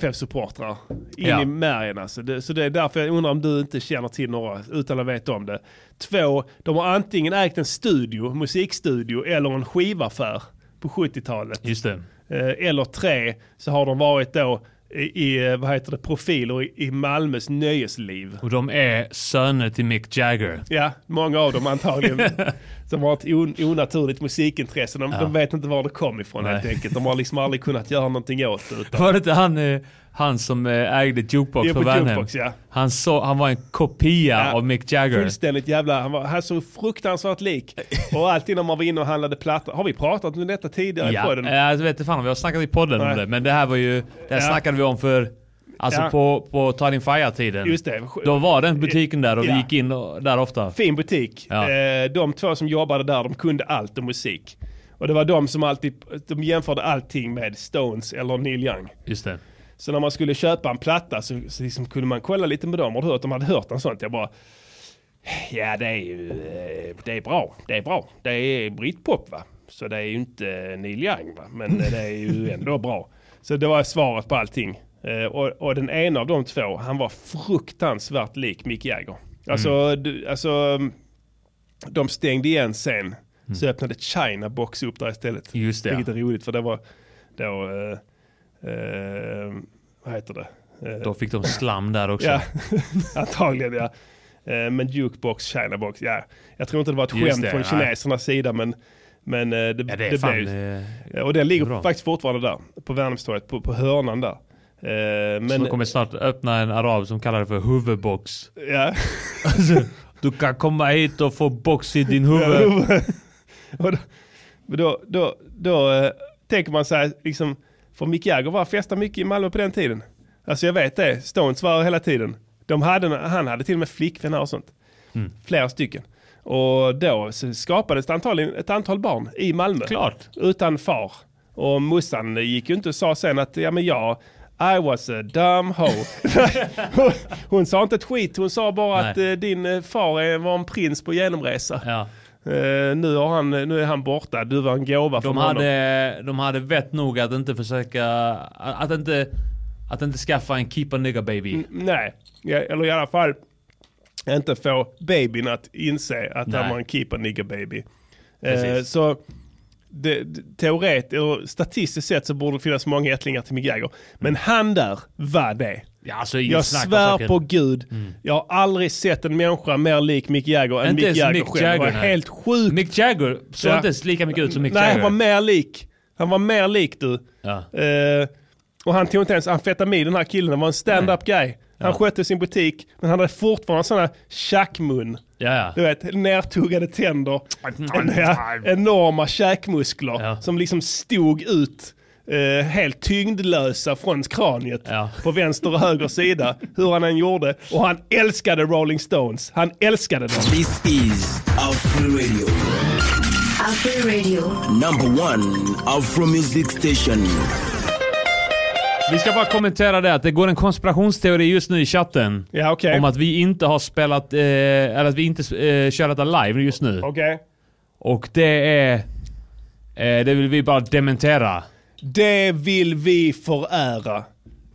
S1: MFF-supportrar in
S5: Ja.
S1: i märgen alltså. Det, så det är därför jag undrar om du inte känner till några utan att veta om det. Två, de har antingen ägt en studio, musikstudio eller en skivaffär på 70-talet.
S5: Just det.
S1: Eh, eller tre, så har de varit då i, i eh, vad heter det, profiler i, i Malmös nöjesliv.
S5: Och de är söner till Mick Jagger.
S1: Ja, många av dem antagligen. som har ett on- onaturligt musikintresse. De, de vet inte var det kom ifrån helt enkelt. De har liksom aldrig kunnat göra någonting åt det. Utan,
S5: Var det inte han, eh, han som eh, ägde Jukebox
S1: Jo,
S5: på
S1: på
S5: Värnhem?
S1: Jukebox, ja.
S5: han, så, han var en kopia
S1: Ja,
S5: av Mick Jagger.
S1: Fullständigt jävla, han, var, han såg fruktansvärt lik. Och alltid när man var inne och handlade plattor. Har vi pratat om detta tidigare i
S5: Ja,
S1: podden?
S5: eh, jag vet inte fan om vi har snackat i podden
S1: Nej.
S5: om det, men det här var ju... Det
S1: Ja.
S5: här snackade vi om för... Alltså
S1: Ja.
S5: på, på Ta din Fire-tiden.
S1: Just det.
S5: Då var den butiken där och
S1: Ja.
S5: vi gick in och, där ofta.
S1: Fin butik.
S5: Ja.
S1: Eh, De två som jobbade där, de kunde allt om musik. Och det var de som alltid, de jämförde allting med Stones eller Neil Young.
S5: Just det.
S1: Så när man skulle köpa en platta så, så liksom kunde man kolla lite med dem. Har du hört? De hade hört en sånt. Jag bara... Ja, det är ju... eh, Det är bra. Det är bra. Det är britpop va? Så det är ju inte Neil Young va? Men det är ju ändå bra. Så det var svaret på allting. Eh, Och, och den ena av de två, han var fruktansvärt lik Mick
S5: Mm.
S1: Jagger. Alltså, du, alltså... De stängde igen sen. Så öppnade China Box upp där istället.
S5: Mm. Just det, ja.
S1: Vilket är roligt för det var då... eh, eh, vad heter det? Eh,
S5: Då fick de slam där också.
S1: ja, antagligen ja. Eh, men jukebox, Chinabox, ja. Jag tror inte det var ett
S5: Just
S1: skämt
S5: det,
S1: från
S5: nej.
S1: kinesernas sida men, men eh, det,
S5: Ja,
S1: det,
S5: det är fan...
S1: blev
S5: eh,
S1: Eh, Och den ligger
S5: bra.
S1: faktiskt fortfarande där, på Värnhemstorget, på, på hörnan där. Eh,
S5: Men,
S1: men,
S5: de kommer snart öppna en arab som kallar det för huvudbox. Alltså,
S1: ja.
S5: Du kan komma hit och få box i din huvud.
S1: och då, men då, då, då eh, tänker man så här, liksom, för Mick Jagger var festa mycket i Malmö på den tiden. Alltså jag vet det, Stones var hela tiden. De hade, han hade till och med flickvänner och sånt.
S5: Mm.
S1: Flera stycken. Och då så skapades det antagligen ett antal barn i Malmö.
S5: Klart.
S1: Utan far. Och morsan gick ju inte och sa sen att, ja men jag, I was a dumb hoe. Hon- hon sa inte ett skit, hon sa bara
S5: Nej.
S1: att eh, din eh, far är- var en prins på genomresa.
S5: Ja.
S1: Eh, nu, har han, nu är han borta, du var en gåva från
S5: De
S1: honom.
S5: hade, de hade vett nog att inte försöka... Att inte, att inte skaffa en keep a nigga
S1: Mm.
S5: baby.
S1: Nej, ja, eller i alla fall inte få babyn att inse att
S5: Nej.
S1: han var en keep a nigga baby. Eh,
S5: Precis.
S1: så det, det, teoret, eller statistiskt sett så borde det finnas många ättlingar till Mick Jagger. Men han där var det.
S5: Ja, alltså, inget
S1: Jag
S5: snack om
S1: svär
S5: Mm. saken. Mm.
S1: på gud, jag har aldrig sett en människa mer lik Mick Jagger än
S5: Inte
S1: Mick
S5: ens
S1: Jagger
S5: Mick
S1: själv. det var
S5: Jagger, nej.
S1: helt sjukt.
S5: Mick Jagger såg
S1: Ja.
S5: inte ens lika mycket ut som Mick
S1: Nej,
S5: Jagger.
S1: han var mer lik. Han var mer lik du.
S5: Ja.
S1: Eh, och han tog inte ens amfetamin den här killen, han var en stand-up guy. Han skötte sin butik, men han hade fortfarande sån här tjackmun.
S5: Ja,
S1: Du
S5: ja.
S1: vet, nertuggade tänder, en, ja, enorma käkmuskler
S5: Ja.
S1: som liksom stod ut eh, helt tyngdlösa från kraniet
S5: Ja.
S1: på vänster och höger sida, hur han än gjorde. Och han älskade Rolling Stones. Han älskade dem.
S10: This is Afro Radio,
S6: After Radio.
S10: number one Afro music station.
S5: Vi ska bara kommentera det att det går en konspirationsteori just nu i chatten.
S1: Ja, okej.
S5: Om att vi inte har spelat, eh, eller att vi inte eh, kör detta live just nu.
S1: Okej.
S5: Och det är... Eh, det vill vi bara dementera.
S1: Det vill vi förära.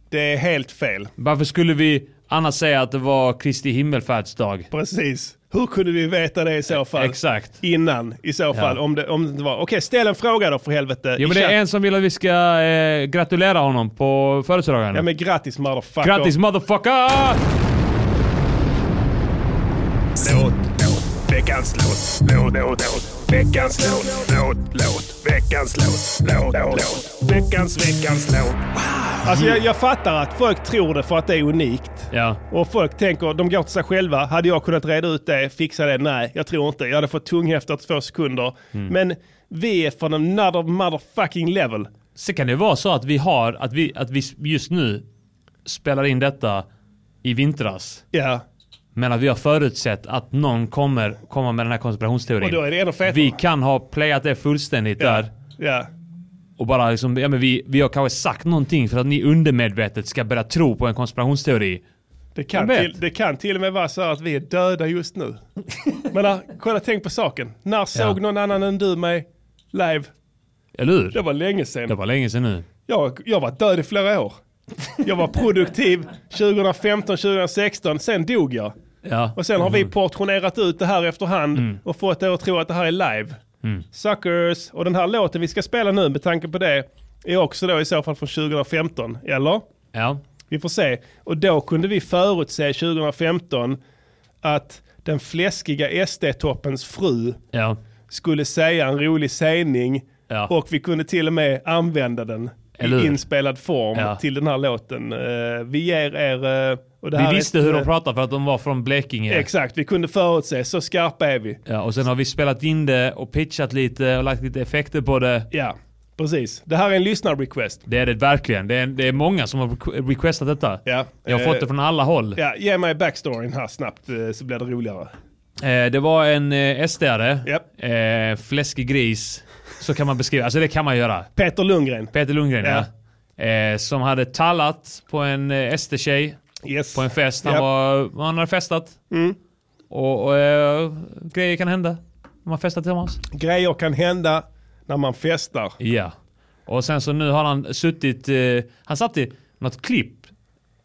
S1: Det är helt fel.
S5: Varför skulle vi annars säga att det var Kristi himmelfärdsdag?
S1: Precis. Hur kunde vi veta det i så fall?
S5: E- Exakt.
S1: Innan i så fall. Om, det, om det inte var. Okej, ställ en fråga då för helvete.
S5: Jo
S1: I
S5: men det
S1: chatt-
S5: är en som vill att vi ska eh, gratulera honom på födelsedagen.
S1: Ja men grattis motherfucker.
S5: Grattis motherfucker!
S2: Låt, låt, veckans låt, låt, låt, låt, veckans låt, låt, låt, veckans låt, låt, låt, låt, veckans, veckans låt.
S1: Alltså jag, jag fattar att folk tror det för att det är unikt.
S5: Ja.
S1: Och folk tänker, de går till sig själva. Hade jag kunnat reda ut det, fixa det? Nej, jag tror inte. Jag hade fått tunghäfta efter två sekunder.
S5: Mm.
S1: Men vi är från another motherfucking level.
S5: Så kan det vara så att vi har, att vi, att vi just nu spelar in detta i vintras.
S1: Ja.
S5: Men att vi har förutsett att någon kommer komma med den här konspirationsteorin.
S1: Och då är det ännu fetare.
S5: vi kan ha playat det fullständigt där.
S1: Ja.
S5: Och bara liksom, ja men vi, vi har kanske sagt någonting för att ni undermedvetet ska börja tro på en konspirationsteori.
S1: Det kan,
S5: Jag vet.
S1: till, det kan till och med vara så här att vi är döda just nu. Men äh, kolla, tänk på saken. När såg någon annan än du mig live?
S5: Eller hur?
S1: Det var länge sedan.
S5: Det var länge sedan nu.
S1: Jag, jag var död i flera år. Jag var produktiv 2015, 2016, sen dog jag.
S5: Ja.
S1: Och sen har vi portionerat ut det här efterhand och fått er att tro att det här är live. Suckers! Och den här låten vi ska spela nu med tanke på det är också då i så fall från 2015, eller?
S5: Ja.
S1: Vi får se. Och då kunde vi förutse 2015 att den fläskiga SD-toppens fru
S5: Ja.
S1: skulle säga en rolig sägning
S5: Ja.
S1: och vi kunde till och med använda den
S5: Eller
S1: i
S5: hur?
S1: inspelad form
S5: Ja.
S1: till den här låten. Eh, vi ger er... eh, och det här är
S5: Vi visste
S1: ett,
S5: hur
S1: eh,
S5: de pratade för att de var från Blekinge.
S1: Exakt, vi kunde förutse, så skarpa är vi.
S5: Ja, och sen har vi spelat in det och pitchat lite och lagt lite effekter på det.
S1: Ja, precis. Det här är en lyssnarrequest.
S5: Det är det verkligen. Det är, det är många som har requ- requestat detta.
S1: Ja,
S5: Jag har
S1: eh,
S5: fått det från alla håll.
S1: Ja, ge mig backstoryn här snabbt eh, så blir det roligare.
S5: Eh, det var en eh, SD-are.
S1: Japp.
S5: Eh, fläskig gris. Så kan man beskriva. Alltså det kan man göra.
S1: Peter Lundgren.
S5: Peter Lundgren ja. Eh, som hade tallat på en eh, SD-tjej
S1: Yes.
S5: på en fest. Han,
S1: Japp.
S5: var, han hade festat.
S1: Mm.
S5: Och, och eh, grejer kan hända. När man festar tillsammans.
S1: Grejer kan hända när man festar.
S5: Ja. Och sen så nu har han suttit, eh, han satt i något klipp.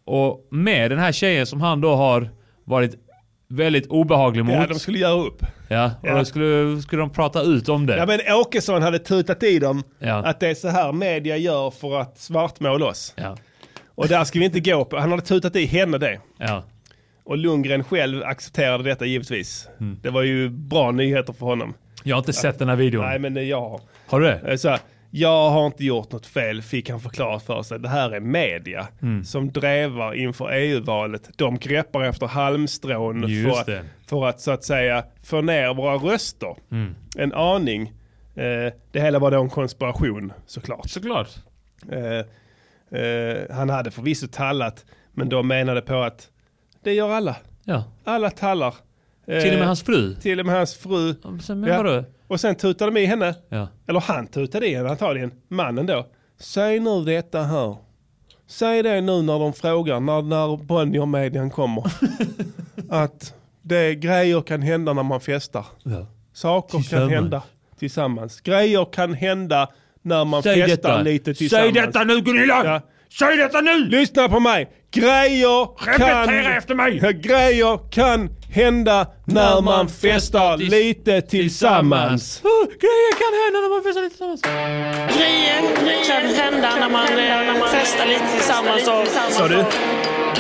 S5: Och med den här tjejen som han då har varit väldigt obehaglig mot.
S1: Ja, de skulle göra upp.
S5: Ja, och
S1: Ja.
S5: då skulle, skulle de prata ut om det.
S1: Ja, men Åkesson hade tutat i dem
S5: Ja.
S1: att det är så här media gör för att svartmåla oss.
S5: Ja.
S1: Och där ska vi inte gå på. Han hade tutat i henne det.
S5: Ja.
S1: Och Lundgren själv accepterade detta givetvis.
S5: Mm.
S1: Det var ju bra nyheter för honom.
S5: Jag har inte sett den här videon.
S1: Nej, men eh, det är jag.
S5: Har du det?
S1: Eh, Så här, jag har inte gjort något fel, fick han förklarat för sig. Det här är media
S5: Mm.
S1: som drevar inför EU-valet. De greppar efter halmstrån
S5: Just
S1: för,
S5: det.
S1: för att så att säga få ner våra röster.
S5: Mm.
S1: En aning. Eh, det hela var då en konspiration såklart.
S5: Såklart.
S1: Eh, eh, han hade förvisso tallat, men de menade på att det gör alla.
S5: Ja.
S1: Alla tallar. Eh,
S5: Till och med hans fru.
S1: till och med hans fru.
S5: Sen, men
S1: Ja.
S5: vadå?
S1: Och sen tutade de i henne.
S5: Ja.
S1: Eller han tutade i henne antagligen. Mannen då. Säg nu detta här. Säg det nu när de frågar, när, när Bonnier-median kommer. att det grejer kan hända när man festar.
S5: Ja.
S1: Saker kan
S5: Tillsammans.
S1: hända tillsammans. Grejer kan hända när man
S5: Säg
S1: festar
S5: detta.
S1: lite
S5: Säg
S1: tillsammans.
S5: detta nu Gunilla!
S1: Ja.
S5: Säg detta nu!
S1: Lyssna på mig! Grejer kan...
S5: Repetera efter mig.
S1: Ja, Grejer kan hända när, man, festar
S5: tis-
S1: lite tillsammans.
S5: Oh, grejer kan hända när man festar lite tillsammans.
S11: Grejer kan hända när man eh, festar lite tillsammans. och-
S1: Sa du?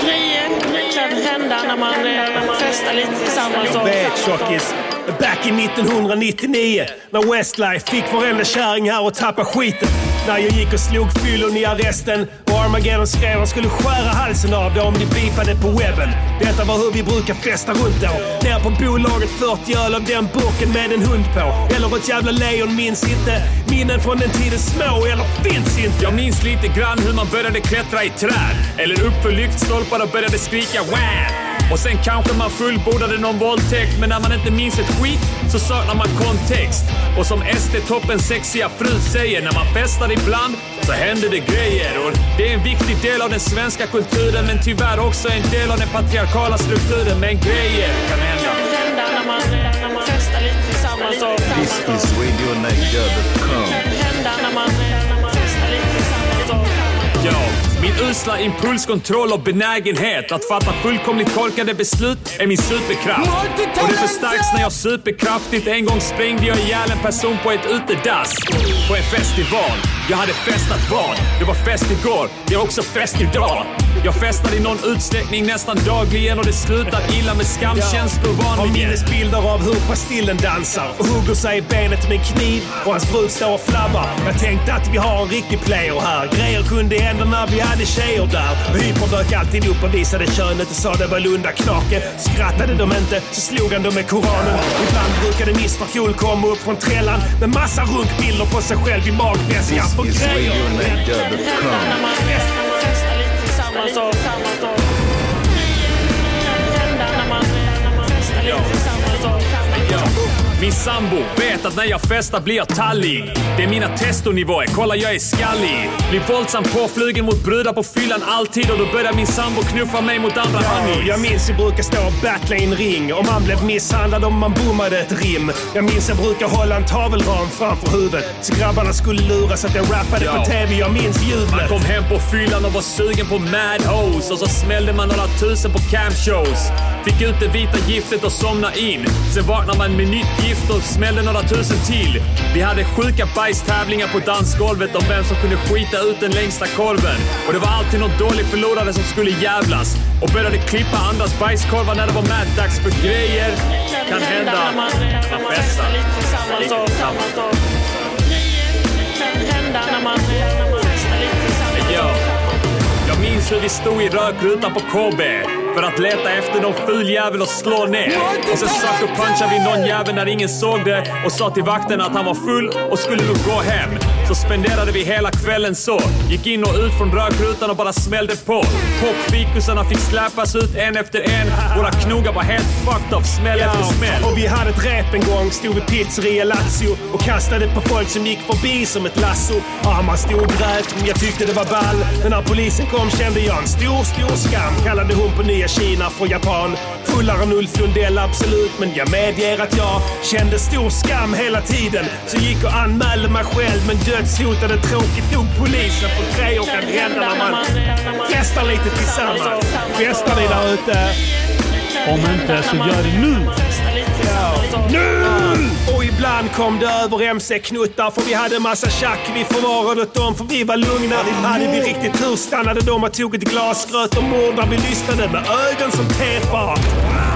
S11: Grejer kan hända när man eh, festar lite tillsammans. och-
S2: Vet tjockis, back i 1999 när Westlife fick varenda kärring här och tappa skiten. När jag gick och slog fyllon i arresten och Armageddon skrev han skulle skära halsen av det om de beefade på webben. Detta var hur vi brukar festa runt då. Ner på bolaget 40 öl av den burken med en hund på. Eller ett jävla lejon minns inte. Minnen från den tiden små eller finns inte.
S3: Jag minns lite grann hur man började klättra i träd. Eller upp för lyktstolpar och började skrika wah! Och sen kanske man fullbordade någon våldtäkt, men när man inte minns ett skit så saknar man kontext. Och som SD-toppen sexiga fru säger, när man festar ibland så händer det grejer. Och det är en viktig del av den svenska kulturen, men tyvärr också en del av den patriarkala strukturen. Men grejer kan hända.
S11: Hända när man eh, när man festar lite tillsammans. och-
S8: This is RadioNiger.com.
S11: Hända när man eh, när man festar lite tillsammans. och-
S3: Ja, min usla impulskontroll och benägenhet att fatta fullkomligt korkade beslut är min superkraft. Och det förstärks när jag superkraftigt en gång sprängde jag ihjäl en person på ett utedass. På en festival. Jag hade festat vad? Det var fest igår, det är också fest idag. Jag festar i någon utsträckning nästan dagligen och det slutar illa med skamkänslor
S2: Har
S3: vanligen.
S2: minnesbilder av hur Pastillen dansar och hugger sig i benet med en kniv och hans brud står och flammar. Jag tänkte att vi har en riktig player här. Grejer kunde hända när vi hade tjejer där. Hypern dök alltid upp och visade könet och sa det var lundaknake. Skrattade de inte så slog han dem med koranen. Ibland brukade Mr Cool komma upp från trällan med massa runkbilder på sig själv i magväskan. För
S8: This is
S2: grejer
S11: Hända
S8: RadioNiger.com.
S11: när man eh, när man festar lite tillsammans. och- Grejer kan hända när man eh, när man festar lite tillsammans. och-
S3: Ja. Min sambo vet att när jag festar blir jag tallig. Det är mina testonivåer, kolla jag är skallig. Blir våldsamt påflugen mot brudar på fyllan alltid och då börjar min sambo knuffa mig mot andra honeys.
S2: Jag minns jag brukar stå och battla i en ring Om man blev misshandlad om man bommade ett rim Jag minns jag brukar hålla en tavelram framför huvudet Så grabbarna skulle luras att jag rappade
S3: Ja.
S2: på TV Jag minns
S3: Man
S2: jublet
S3: kom hem på fyllan och var sugen på Mad Hose och så smällde man några tusen på camp-shows. Fick ut det vita giftet och somna in. Sen vaknade man med nytt gift och smällde några tusen till. Vi hade sjuka bajstävlingar på dansgolvet om vem som kunde skita ut den längsta korven. Och det var alltid någon dålig förlorare som skulle jävlas och började klippa andras bajskorvar när det var mätdags för grejer kan hända
S11: när man, när man festar lite tillsammans och tillsammans och kan hända när man, när man festar lite tillsammans.
S3: Ja. Jag minns hur vi stod i rökrutan på KB för att leta efter någon ful jävel och slå ner. Och sen sucker punchade vi någon jävel när ingen såg det och sa till vakten att han var full och skulle nog gå hem. Så spenderade vi hela kvällen så. Gick in och ut från rökrutan och bara smällde på. Popfikusarna fick släpas ut en efter en. Våra knogar var helt fucked up, smäll efter smäll.
S2: Och vi hade ett rep en gång, stod vid pizzeria Lazio och kastade på folk som gick förbi som ett lasso. Ja, man stod och grät, men jag tyckte det var ball. Men när polisen kom kände jag en stor, stor skam. Kallade hon på nya Kina från Japan. Fullare än Ulf Lundell, absolut, men jag medger att jag kände stor skam hela tiden. Så gick och anmälde mig själv, men dödshotade tråkigt nog polisen för grejer kan hända när man festar lite tillsammans. Festar ni där ute?
S5: Om inte så gör det nu!
S2: Nu! Och ibland kom det över MC-knuttar för vi hade massa tjack. Vi förvarade åt dem för vi var lugna. Hade vi riktigt tur stannade de och tog ett glas gröt och mord där vi lyssnade med ögon som tefat.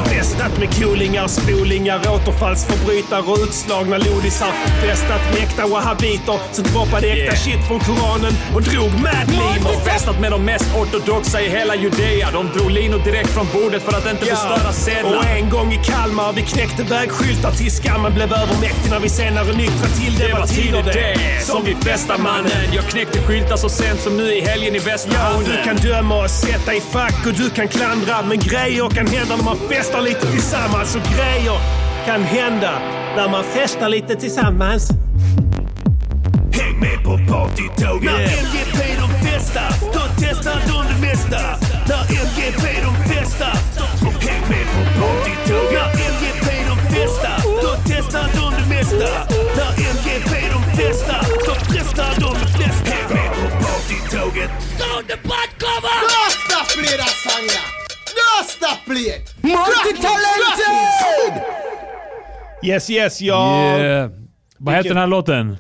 S2: Festat med coolingar, spolingar, återfallsförbrytare och utslagna lodisar. Festat med äkta wahhabiter som droppade äkta
S3: Yeah.
S2: shit från Koranen och drog mad
S3: muslimer.
S2: limor.
S3: Festat med de mest ortodoxa i hela Judea. De drog linor direkt från bordet för att inte förstöra
S2: Och
S3: sedlar.
S2: en gång i Kalmar vi knäckte vägskyltar till skammen blev övermäktig när vi senare nyktrade till det,
S3: Det var tider det som vi festar
S2: festar
S3: mannen. Jag knäckte skyltar så sent som nu i helgen i
S2: Ja,
S3: Västerhamnen.
S2: du kan döma och sätta i fack och du kan klandra men grejer kan hända när man festar lite tillsammans och grejer kan hända när man festar lite tillsammans.
S4: Häng med på partytåget! När MGP de festar, då testar de det mesta. När MGP de festar, häng med på partytåget! När MGP de festar, då testar de det mesta. När MGP de festar, då festar de det flesta. Häng med på partytåget!
S1: Yes, yes, ja.
S5: Yeah. Vad heter den här låten?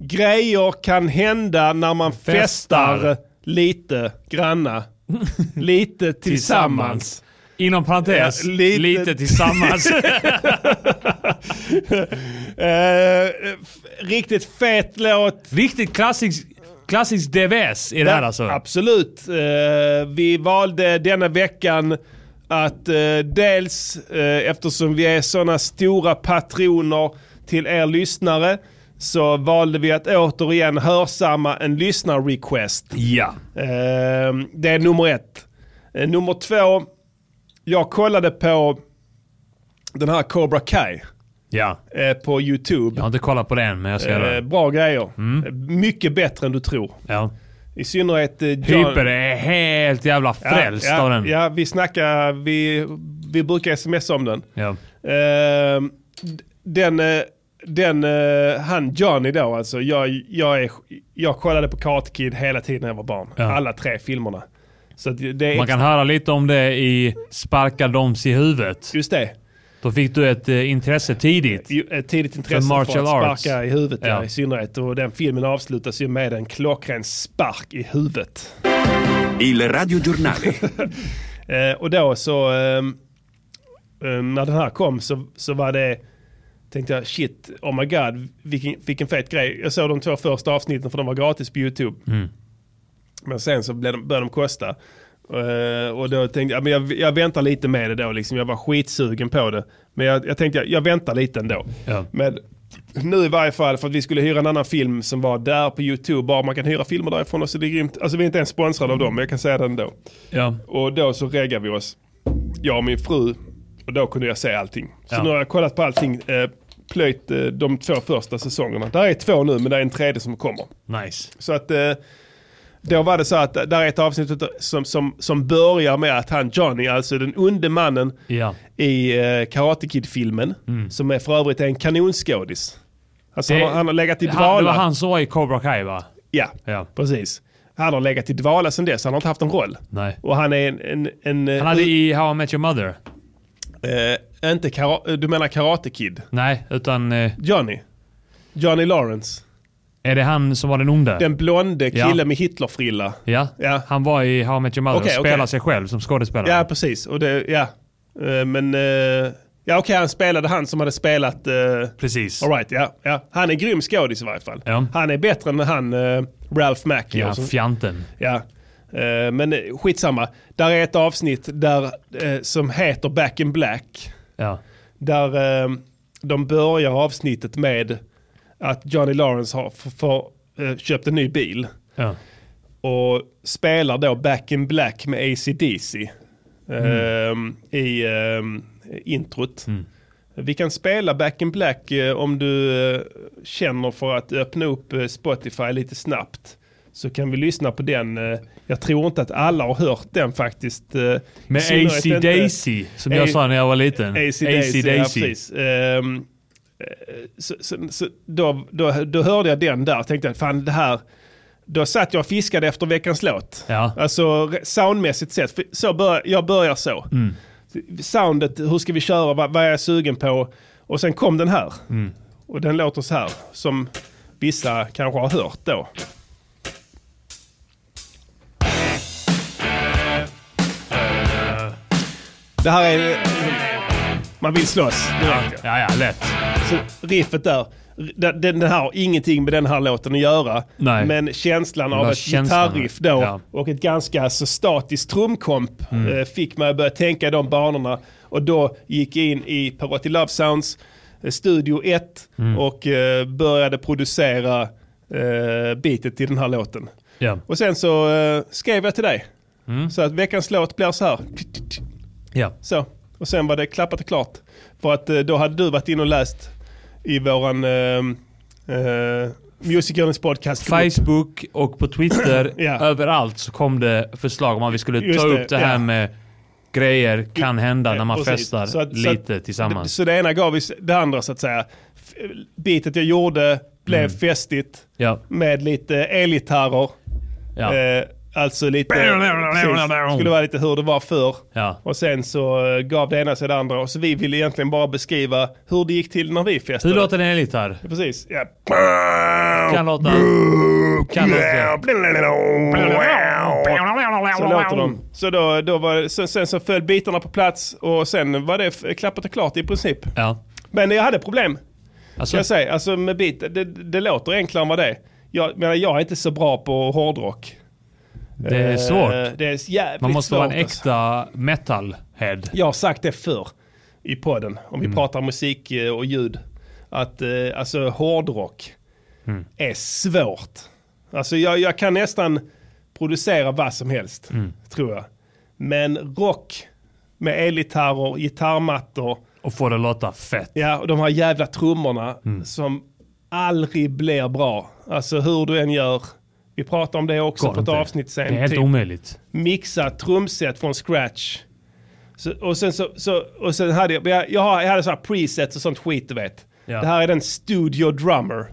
S1: Grejer kan hända när man festar,
S5: Festar.
S1: lite granna. Lite tillsammans.
S5: Inom parentes,
S1: Ja,
S5: lite.
S1: lite-
S5: tillsammans.
S1: Eh, f- riktigt fet låt.
S5: Riktigt klassisk, klassisk DVS i det här alltså.
S1: Absolut. Eh, vi valde denna veckan att eh, dels eh, eftersom vi är sådana stora patroner till er lyssnare så valde vi att återigen hörsamma en lyssnarrequest.
S5: Ja.
S1: Eh, det är nummer ett. Eh, nummer två, jag kollade på den här Cobra Kai
S5: ja.
S1: eh, på YouTube.
S5: Jag har inte kollat på den, men jag ska göra
S1: eh,
S5: det. Mm.
S1: bra grejer. Mycket bättre än du tror.
S5: Ja.
S1: I synnerhet eh, John...
S5: Hyper är helt jävla frälst
S1: ja,
S5: av den.
S1: Ja, vi snackar, vi, vi brukar smsa om den.
S5: Ja.
S1: Ehm, d- den, eh, den, eh, han Johnny då alltså, jag, jag, är, jag kollade på Karate Kid hela tiden när jag var barn.
S5: Ja.
S1: Alla tre filmerna. Så att det är
S5: Man kan höra lite om det i Sparka doms i huvudet.
S1: just det.
S5: Då fick du ett eh, intresse tidigt.
S1: Ju- Ett tidigt intresse
S5: För
S1: för,
S5: martial
S1: att
S5: arts.
S1: sparka i huvudet
S5: Ja.
S1: ja. i synnerhet. Och den filmen avslutas ju med en klockren spark i huvudet.
S10: Il radiogiornale.
S1: Eh, och då så, ehm, eh, när den här kom så, så var det, tänkte jag shit, oh my god, vilken, vilken fet grej. Jag såg de två första avsnitten för de var gratis på YouTube. Men sen så blev de, började de kosta. Eh, och då tänkte jag, men jag, jag väntar lite med det då liksom. Jag var skitsugen på det. Men jag, jag tänkte, jag, jag väntar lite ändå.
S5: Ja.
S1: Men nu i varje fall, för att vi skulle hyra en annan film som var där på YouTube. Bara man kan hyra filmer därifrån och så är det grymt. Alltså vi är inte ens sponsrade av dem, men jag kan säga det ändå.
S5: Ja.
S1: Och då så reggade vi oss, jag och min fru. Och då kunde jag se allting. Så
S5: Ja.
S1: nu har jag kollat på allting eh, plöjt eh, de två första säsongerna. Där är två nu, men det är en tredje som kommer.
S5: Nice.
S1: Så att eh, då var det så att där är ett avsnitt som, som, som börjar med att han Johnny, alltså den onde mannen
S5: Ja.
S1: i eh, Karate Kid-filmen,
S5: Mm.
S1: som är för övrigt är en kanonskådis. Alltså han, har, han har legat i
S5: han, Det var
S1: dvala.
S5: han som var i Cobra Kai va?
S1: Ja,
S5: Ja.
S1: precis. Han har legat i dvala sedan dess, han har inte haft en roll.
S5: Nej.
S1: Och han är en... en, en eh,
S5: Han hade i How I Met Your Mother.
S1: eh, inte kara- du menar Karate Kid?
S5: Nej, utan... eh,
S1: Johnny? Johnny Lawrence?
S5: Är det han som var den onda?
S1: Den blonde killen
S5: Ja.
S1: med Hitlerfrilla?
S5: Ja.
S1: Ja.
S5: Han var i How I Met Your Mother
S1: Okej,
S5: och spelar
S1: okej.
S5: sig själv som skådespelare.
S1: Ja, precis. Och det, ja. Eh, Men... eh, Ja, okej, han spelade han som hade spelat... eh,
S5: Precis.
S1: All right, ja, ja. Han är grym skådis i varje fall.
S5: Ja.
S1: Han är bättre än han eh, Ralph Macchio.
S5: Ja,
S1: som-
S5: fjanten.
S1: Ja. Eh, men eh, skitsamma. Där är ett avsnitt där, eh, som heter Back in Black.
S5: Ja.
S1: Där eh, de börjar avsnittet med att Johnny Lawrence har f- får, eh, köpt en ny bil.
S5: Ja.
S1: Och spelar då Back in Black med AC/DC eh, i eh, introt. Vi kan spela Back in Black eh, om du eh, känner för att öppna upp eh, Spotify lite snabbt. Så kan vi lyssna på den. eh, jag tror inte att alla har hört den faktiskt. eh, i
S5: Med
S1: synnerhet
S5: AC
S1: inte-
S5: Daisy, som jag
S1: A-
S5: sa när jag var liten.
S1: AC
S5: AC
S1: Daisy. Ja,
S5: Daisy.
S1: precis. Ehm, eh, så, så, så, då, då, då hörde jag den där och tänkte att fan det här, då satt jag och fiskade efter veckans låt.
S5: Ja.
S1: Alltså re- soundmässigt sett, för så bör, jag börjar så. Soundet, hur ska vi köra, vad, vad är jag sugen på? Och sen kom den här. Och den låter så här, som vissa kanske har hört då. Det här är... Man vill slåss direkt.
S5: Ja, ja, lätt.
S1: Så riffet där. Den, den här har ingenting med den här låten att göra.
S5: Nej.
S1: Men känslan av
S5: var
S1: ett
S5: känslan,
S1: gitarriff då
S5: ja. Mm.
S1: och ett ganska så statiskt trumkomp eh, fick mig att börja tänka i de banorna. Och då gick jag in i Perotti Love Sounds eh, Studio 1
S5: Mm.
S1: och eh, började producera eh, beatet till den här låten.
S5: Ja.
S1: Och sen så eh, skrev jag till dig.
S5: Mm.
S1: Så att veckans låt blir så här.
S5: Ja.
S1: Så. Och sen var det klappat och klart. För att eh, då hade du varit in och läst i våran eh, eh, Music Journeys podcast.
S5: Facebook och på Twitter,
S1: Ja.
S5: överallt så kom det förslag om att vi skulle
S1: Just
S5: ta
S1: det,
S5: upp det här
S1: ja.
S5: med grejer kan hända när man
S1: Precis.
S5: festar
S1: Så att- så att-
S5: lite tillsammans.
S1: Så det ena gav oss det andra så att säga. F- Bitet jag gjorde blev festigt
S5: Mm. Ja,
S1: med lite elgitarrer.
S5: ja,
S1: Eh, alltså lite, precis, skulle vara lite hur det var förr.
S5: ja.
S1: Och sen så eh, gav det ena sig det andra. Och så vi ville egentligen bara beskriva hur det gick till när vi festade.
S5: Hur låter en elgitarr?
S1: Precis, ja.
S5: Kan låta... Kan låta...
S1: Så låter de. Så då, då var, sen, sen så föll bitarna på plats och sen var det f- klappat och klart i princip.
S5: Ja.
S1: Men jag hade problem,
S5: Alltså,
S1: kan jag säga. Alltså med bit, det, det låter enklare än vad det är. Jag menar, jag är inte så bra på hårdrock.
S5: det är svårt.
S1: Eh, Det är jävligt
S5: Man måste
S1: svårt.
S5: vara en
S1: alltså.
S5: äkta metalhead.
S1: Jag har sagt det förr i podden, om vi
S5: Mm.
S1: pratar musik eh, och ljud, att eh, alltså hårdrock
S5: Mm.
S1: är svårt. Alltså jag, jag kan nästan producera vad som helst,
S5: Mm.
S1: tror jag. Men rock med elgitarrer, gitarrmattor,
S5: Och få det att låta fett.
S1: ja, och de här jävla trummorna
S5: Mm.
S1: som aldrig blir bra. Alltså hur du än gör. Vi pratar om det också
S5: Går
S1: på ett
S5: inte.
S1: avsnitt sen.
S5: Det är helt
S1: typ
S5: omöjligt.
S1: mixa trumset från scratch. Så, och, sen så, så, och sen hade jag, jag, jag har- jag hade så här presets och sånt skit du vet.
S5: Ja. Mm.
S1: Det här är den Studio Drummer.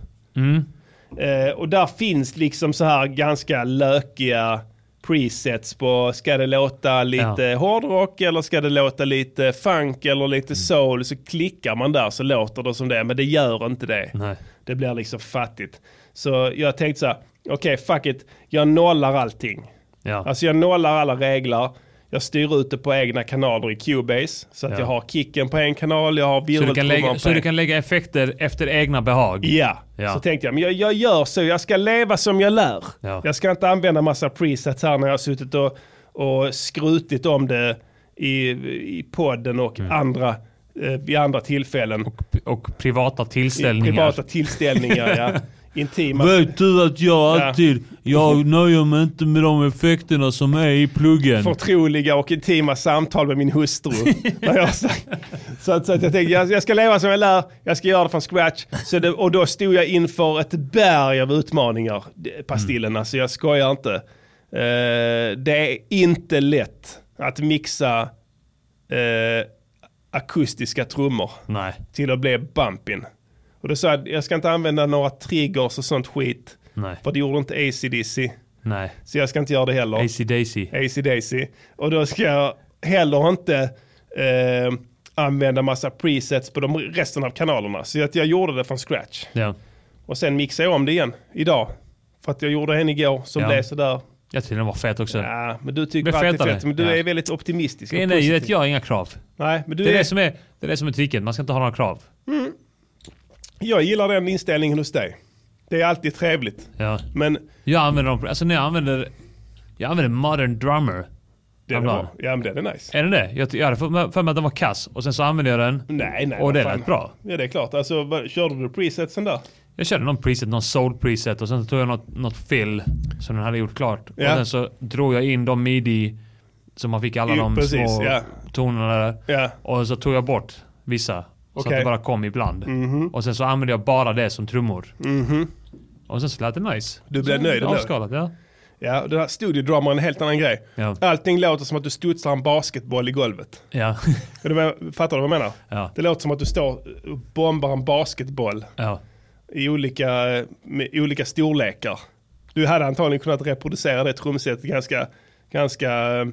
S1: Eh, och där finns liksom så här ganska lökiga presets på, ska det låta lite hårdrock eller ska det låta lite funk eller
S5: Mm.
S1: lite soul? Så klickar man där så låter det som det, men det gör inte det.
S5: Nej.
S1: Det blir liksom fattigt. Så jag tänkte så här, okej fuck it, jag nollar allting.
S5: Ja.
S1: Alltså jag nollar alla regler. Jag styr ut det på egna kanaler i Cubase. Så att
S5: Ja.
S1: jag har kicken på en kanal, jag har
S5: Så du, kan
S1: virveltrumman på
S5: lägga,
S1: en.
S5: så du kan lägga effekter efter egna behag.
S1: Ja.
S5: Ja.
S1: så tänkte jag, men jag, jag gör så, jag ska leva som jag lär.
S5: Ja.
S1: Jag ska inte använda massa presets här när jag har suttit och, och skrutit om det i, i podden och
S5: Mm.
S1: andra, eh, vid andra tillfällen.
S5: Och privata tillställningar.
S1: I privata tillställningar, ja. intima...
S5: Vet du att jag
S1: Ja.
S5: alltid, jag nöjer mig inte med de effekterna som är i pluggen.
S1: förtroliga och intima samtal med min hustru. Vad jag har sagt. så att, så att jag tänkte, jag, jag ska leva som jag lär, jag ska göra det från scratch. Så det, och då stod jag inför ett berg av utmaningar, det-
S5: Mm.
S1: pastillerna, så jag skojar inte. Eh, det är inte lätt att mixa eh, akustiska trummor
S5: Nej.
S1: till att bli bumpin. Och då sa jag, jag ska inte använda några triggers och sånt skit.
S5: Nej.
S1: För det gjorde inte AC/DC.
S5: Nej.
S1: Så jag ska inte göra det heller.
S5: AC Daisy.
S1: AC Daisy. Och då ska jag heller inte eh, använda massa presets på de resten av kanalerna. Så att jag gjorde det från scratch.
S5: Ja.
S1: Och sen mixade jag om det igen idag. För att jag gjorde en igår som
S5: Ja.
S1: blev sådär.
S5: Jag tyckte den var fet också.
S1: Ja, men du
S5: Blev
S1: tycker alltid
S5: fetare.
S1: fett. Men du
S5: Ja.
S1: är väldigt optimistisk. och
S5: Grejen är ju att
S1: positiv.
S5: jag har inga krav.
S1: Nej, men du
S5: Det är
S1: är,
S5: det som är, det är, det som är tricket. Man ska inte ha några krav.
S1: jag gillar den inställningen hos dig. Det är alltid trevligt.
S5: Ja.
S1: Men
S5: Jag använder dem, alltså när jag använder, jag använder modern drummer.
S1: den,
S5: Ibland.
S1: var, ja, men den är nice.
S5: Är den det? Jag, jag hade för för mig att den var kass och sen så använde jag den.
S1: Nej, nej.
S5: Och
S1: vad
S5: det
S1: fan.
S5: lät bra.
S1: Ja, det är klart. Alltså, vad- körde du presetsen där?
S5: Jag körde någon preset, någon soul preset och sen så tog jag något, något fill som den hade gjort klart.
S1: Ja.
S5: Och sen så drog jag in de midi som man fick alla
S1: Jo,
S5: de
S1: precis,
S5: små
S1: ja.
S5: tonerna där.
S1: Ja.
S5: Och så tog jag bort vissa. Så
S1: Okej. Mhm.
S5: att det bara kom ibland. Och sen så använde jag bara det som trummor. Och sen så lät det nice.
S1: Du blev
S5: Så
S1: nöjd ändå?
S5: Avskalat, ja.
S1: Ja, och den här studiodrama är en helt annan grej.
S5: Ja.
S1: Allting låter som att du studsar en basketboll i golvet.
S5: Ja.
S1: Är du med- Fattar du vad jag menar?
S5: Ja.
S1: Det låter som att du står och bombar en basketboll
S5: ja.
S1: i olika, med olika storlekar. Du hade antagligen kunnat reproducera det trumsetet ganska, ganska eh,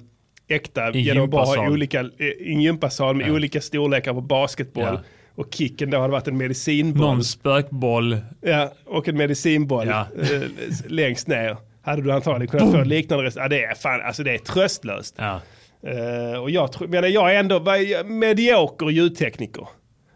S1: äkta
S5: I
S1: genom att bara ha
S5: gympasal.
S1: olika, eh, i en gympasal med olika storlekar på basketboll.
S5: Ja.
S1: Och kicken då hade varit en medicinboll.
S5: Någon spökboll.
S1: Ja, och en medicinboll
S5: Ja.
S1: eh, längst ner. Hade du antagligen kunnat få liknande rest. Ja, det är fan, alltså det är tröstlöst.
S5: Ja.
S1: Eh, och jag tror, men jag är ändå vad är jag? medioker ljudtekniker.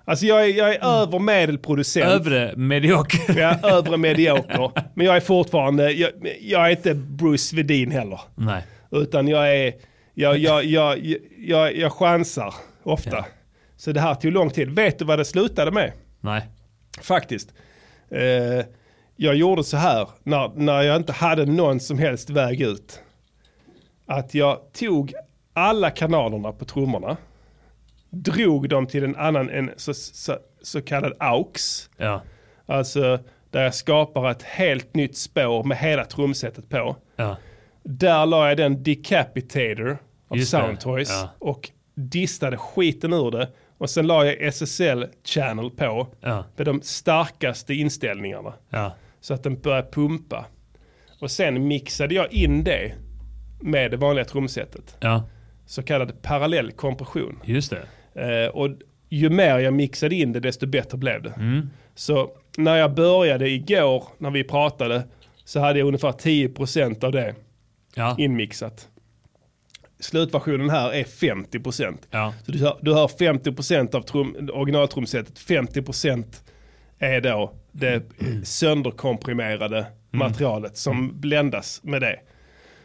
S1: Alltså jag är, jag är över medelproducent.
S5: Mm. Övre medioker.
S1: Ja, övre medioker. Men jag är fortfarande, jag, jag är inte Bruce Vedin heller.
S5: Nej.
S1: Utan jag är, jag, jag, jag, jag, jag, jag chansar ofta.
S5: Ja.
S1: Så det här tog lång tid. Vet du vad det slutade med?
S5: Nej.
S1: Faktiskt. Eh, jag gjorde så här när, när jag inte hade någon som helst väg ut. Att jag tog alla kanalerna på trummorna. Drog dem till en annan, en så, så, så kallad aux.
S5: Ja.
S1: Alltså där jag skapar ett helt nytt spår med hela trumsetet på.
S5: Ja.
S1: Där la jag den decapitator av
S5: Just det,
S1: Soundtoys
S5: ja.
S1: och distade skiten ur det. Och sen la jag SSL channel på
S5: Ja.
S1: med de starkaste inställningarna.
S5: Ja.
S1: Så att den började pumpa. Och sen mixade jag in det med det vanliga trumsetet.
S5: Ja.
S1: Så kallad parallell kompression.
S5: Just det.
S1: Eh, och ju mer jag mixade in det, desto bättre blev det.
S5: Mm.
S1: Så när jag började igår, när vi pratade, så hade jag ungefär 10% av det
S5: Ja.
S1: inmixat. Slutversionen här är 50%.
S5: Ja.
S1: Så du hör, du hör 50% av trum, originaltrumsetet, 50% är då det sönderkomprimerade materialet som bländas med det.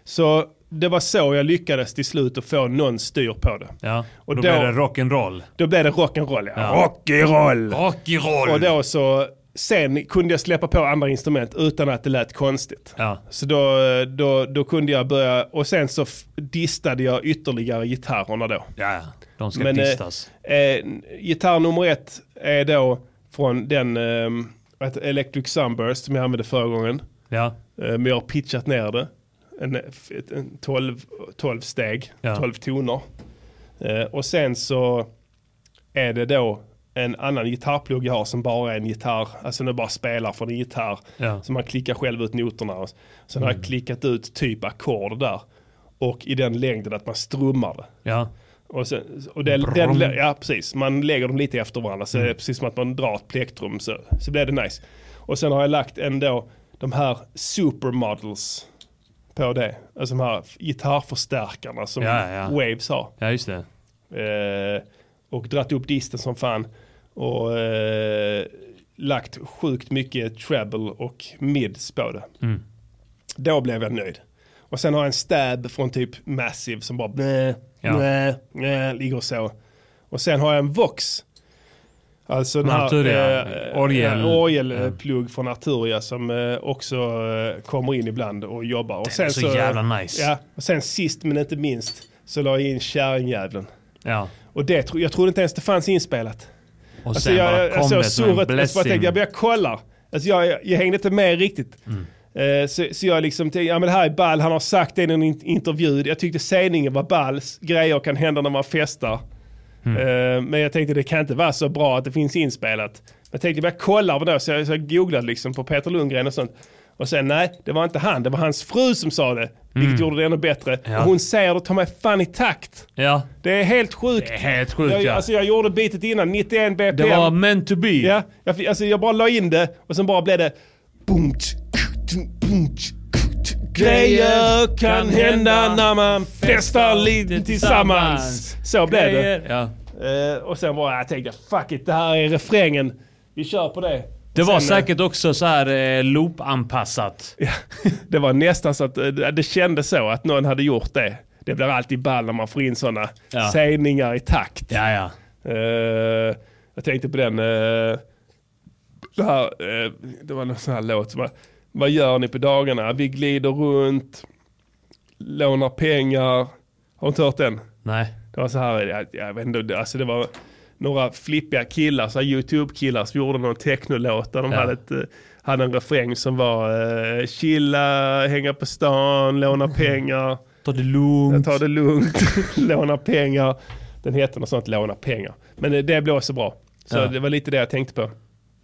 S1: Så det var så jag lyckades till slut att få någon styr på det.
S5: Ja.
S1: Och
S5: Och
S1: då-
S5: då, blir det rock'n'roll.
S1: Då blev det rock'n'roll. Ja. Rock'n'roll!
S5: Rock'n'roll!
S1: Och då så, sen kunde jag släppa på andra instrument utan att det lät konstigt.
S5: Ja.
S1: Så då, då, då kunde jag börja, och sen så f- distade jag ytterligare gitarrerna då.
S5: Ja, ja. De ska
S1: Men, eh,
S5: distas.
S1: Eh, gitarr nummer ett är då från den eh, ett Electric Sunburst som jag använde förra gången.
S5: ja.
S1: Eh, men jag har pitchat ner det. En, ett- en 12, 12 steg,
S5: Ja.
S1: 12 toner. Eh, och sen så är det då en annan gitarrplugg jag har som bara är en gitarr, alltså den bara spelar från en gitarr.
S5: Ja. Mm.
S1: Så man klickar själv ut noterna. Och sen har jag klickat ut typ ackord där. Och i den längden att man strummar det.
S5: Ja.
S1: Och, sen, och det, den, ja, precis. Man lägger dem lite efter varandra. Så det
S5: Mm.
S1: är precis som att man drar ett plektrum. Så, så blir det nice. Och sen har jag lagt ändå de här supermodels på det. Alltså de här gitarrförstärkarna som
S5: Ja, ja.
S1: Waves har.
S5: Ja, just det.
S1: Eh, och dratt upp disten som fan. Och eh, lagt sjukt mycket treble och mids på det.
S5: Mm.
S1: Då blev jag nöjd. Och sen har jag en stab från typ Massive som bara eh, blä,
S5: Ja.
S1: blä, blä, ligger så. Och sen har jag en Vox Alltså den
S5: Med
S1: här
S5: Arturia,
S1: eh,
S5: orgel.
S1: eh, orgelplugg från Arturia som eh, också eh, kommer in ibland och jobbar. och
S5: Den är så jävla nice.
S1: Ja, och sen sist men inte minst så la jag in Kärringjävlen.
S5: Ja.
S1: Och det, tro- jag trodde inte ens det fanns inspelat.
S5: Och sen bara kom det som
S1: surret,
S5: en
S1: Alltså, jag alltså, bara
S5: blessing.
S1: tänkte, jag, bara, jag kollar. Alltså jag, jag, jag hängde inte med riktigt.
S5: Mm.
S1: Eh, Så, så jag liksom tänkte, ja men det här är ball, han har sagt det i en in- intervju, jag tyckte sägningen var ball, S- grejer kan hända när man festar.
S5: Mm.
S1: Eh, Men jag tänkte det kan inte vara så bra att det finns inspelat. Jag tänkte jag kollar på det, så jag, så jag googlade liksom på Peter Lundgren och sånt. Och sen nej, det var inte han, det var hans fru som sa det. Vilket gjorde det ännu bättre.
S5: Mm. Ja.
S1: Och hon säger det ta mig fan i takt.
S5: Ja.
S1: Det är helt sjukt.
S5: Det är helt sjukt
S1: jag,
S5: ja.
S1: Alltså jag gjorde bitet innan, 91 BPM.
S5: det var meant to be.
S1: Ja, jag, fick- alltså jag bara la in det och sen bara blev det boom, tsch, boom, tsch, Grejer kan hända när man festar lite tillsammans. Så blev det.
S5: Grejer. Ja.
S1: Eh, och sen bara jag tänkte fuck it, det här är refrängen. Vi kör på det.
S5: Det var
S1: Sen, eh,
S5: säkert också så här eh, loop-anpassat.
S1: Det var nästan så att eh, det det kändes så att någon hade gjort det. Det blir alltid ball när man får in sådana
S5: Ja.
S1: sägningar i takt.
S5: Ja, ja.
S1: Eh, jag tänkte på den, eh, det, här, eh, det var någon sån här låt som var, vad gör ni på dagarna? Vi glider runt, lånar pengar. Har du inte hört den?
S5: Nej.
S1: Det var så här, jag, jag vet inte, det- alltså det var några flippiga killar, så här YouTube-killar som gjorde någon technolåt där de
S5: Ja.
S1: hade, ett, eh, hade en refräng som var eh, chilla, hänga på stan, låna pengar.
S5: Ta det lugnt.
S1: Ta det lugnt, låna pengar. Den heter något sånt, låna pengar. Men eh, det blev också bra. Så
S5: Ja.
S1: det var lite det jag tänkte på.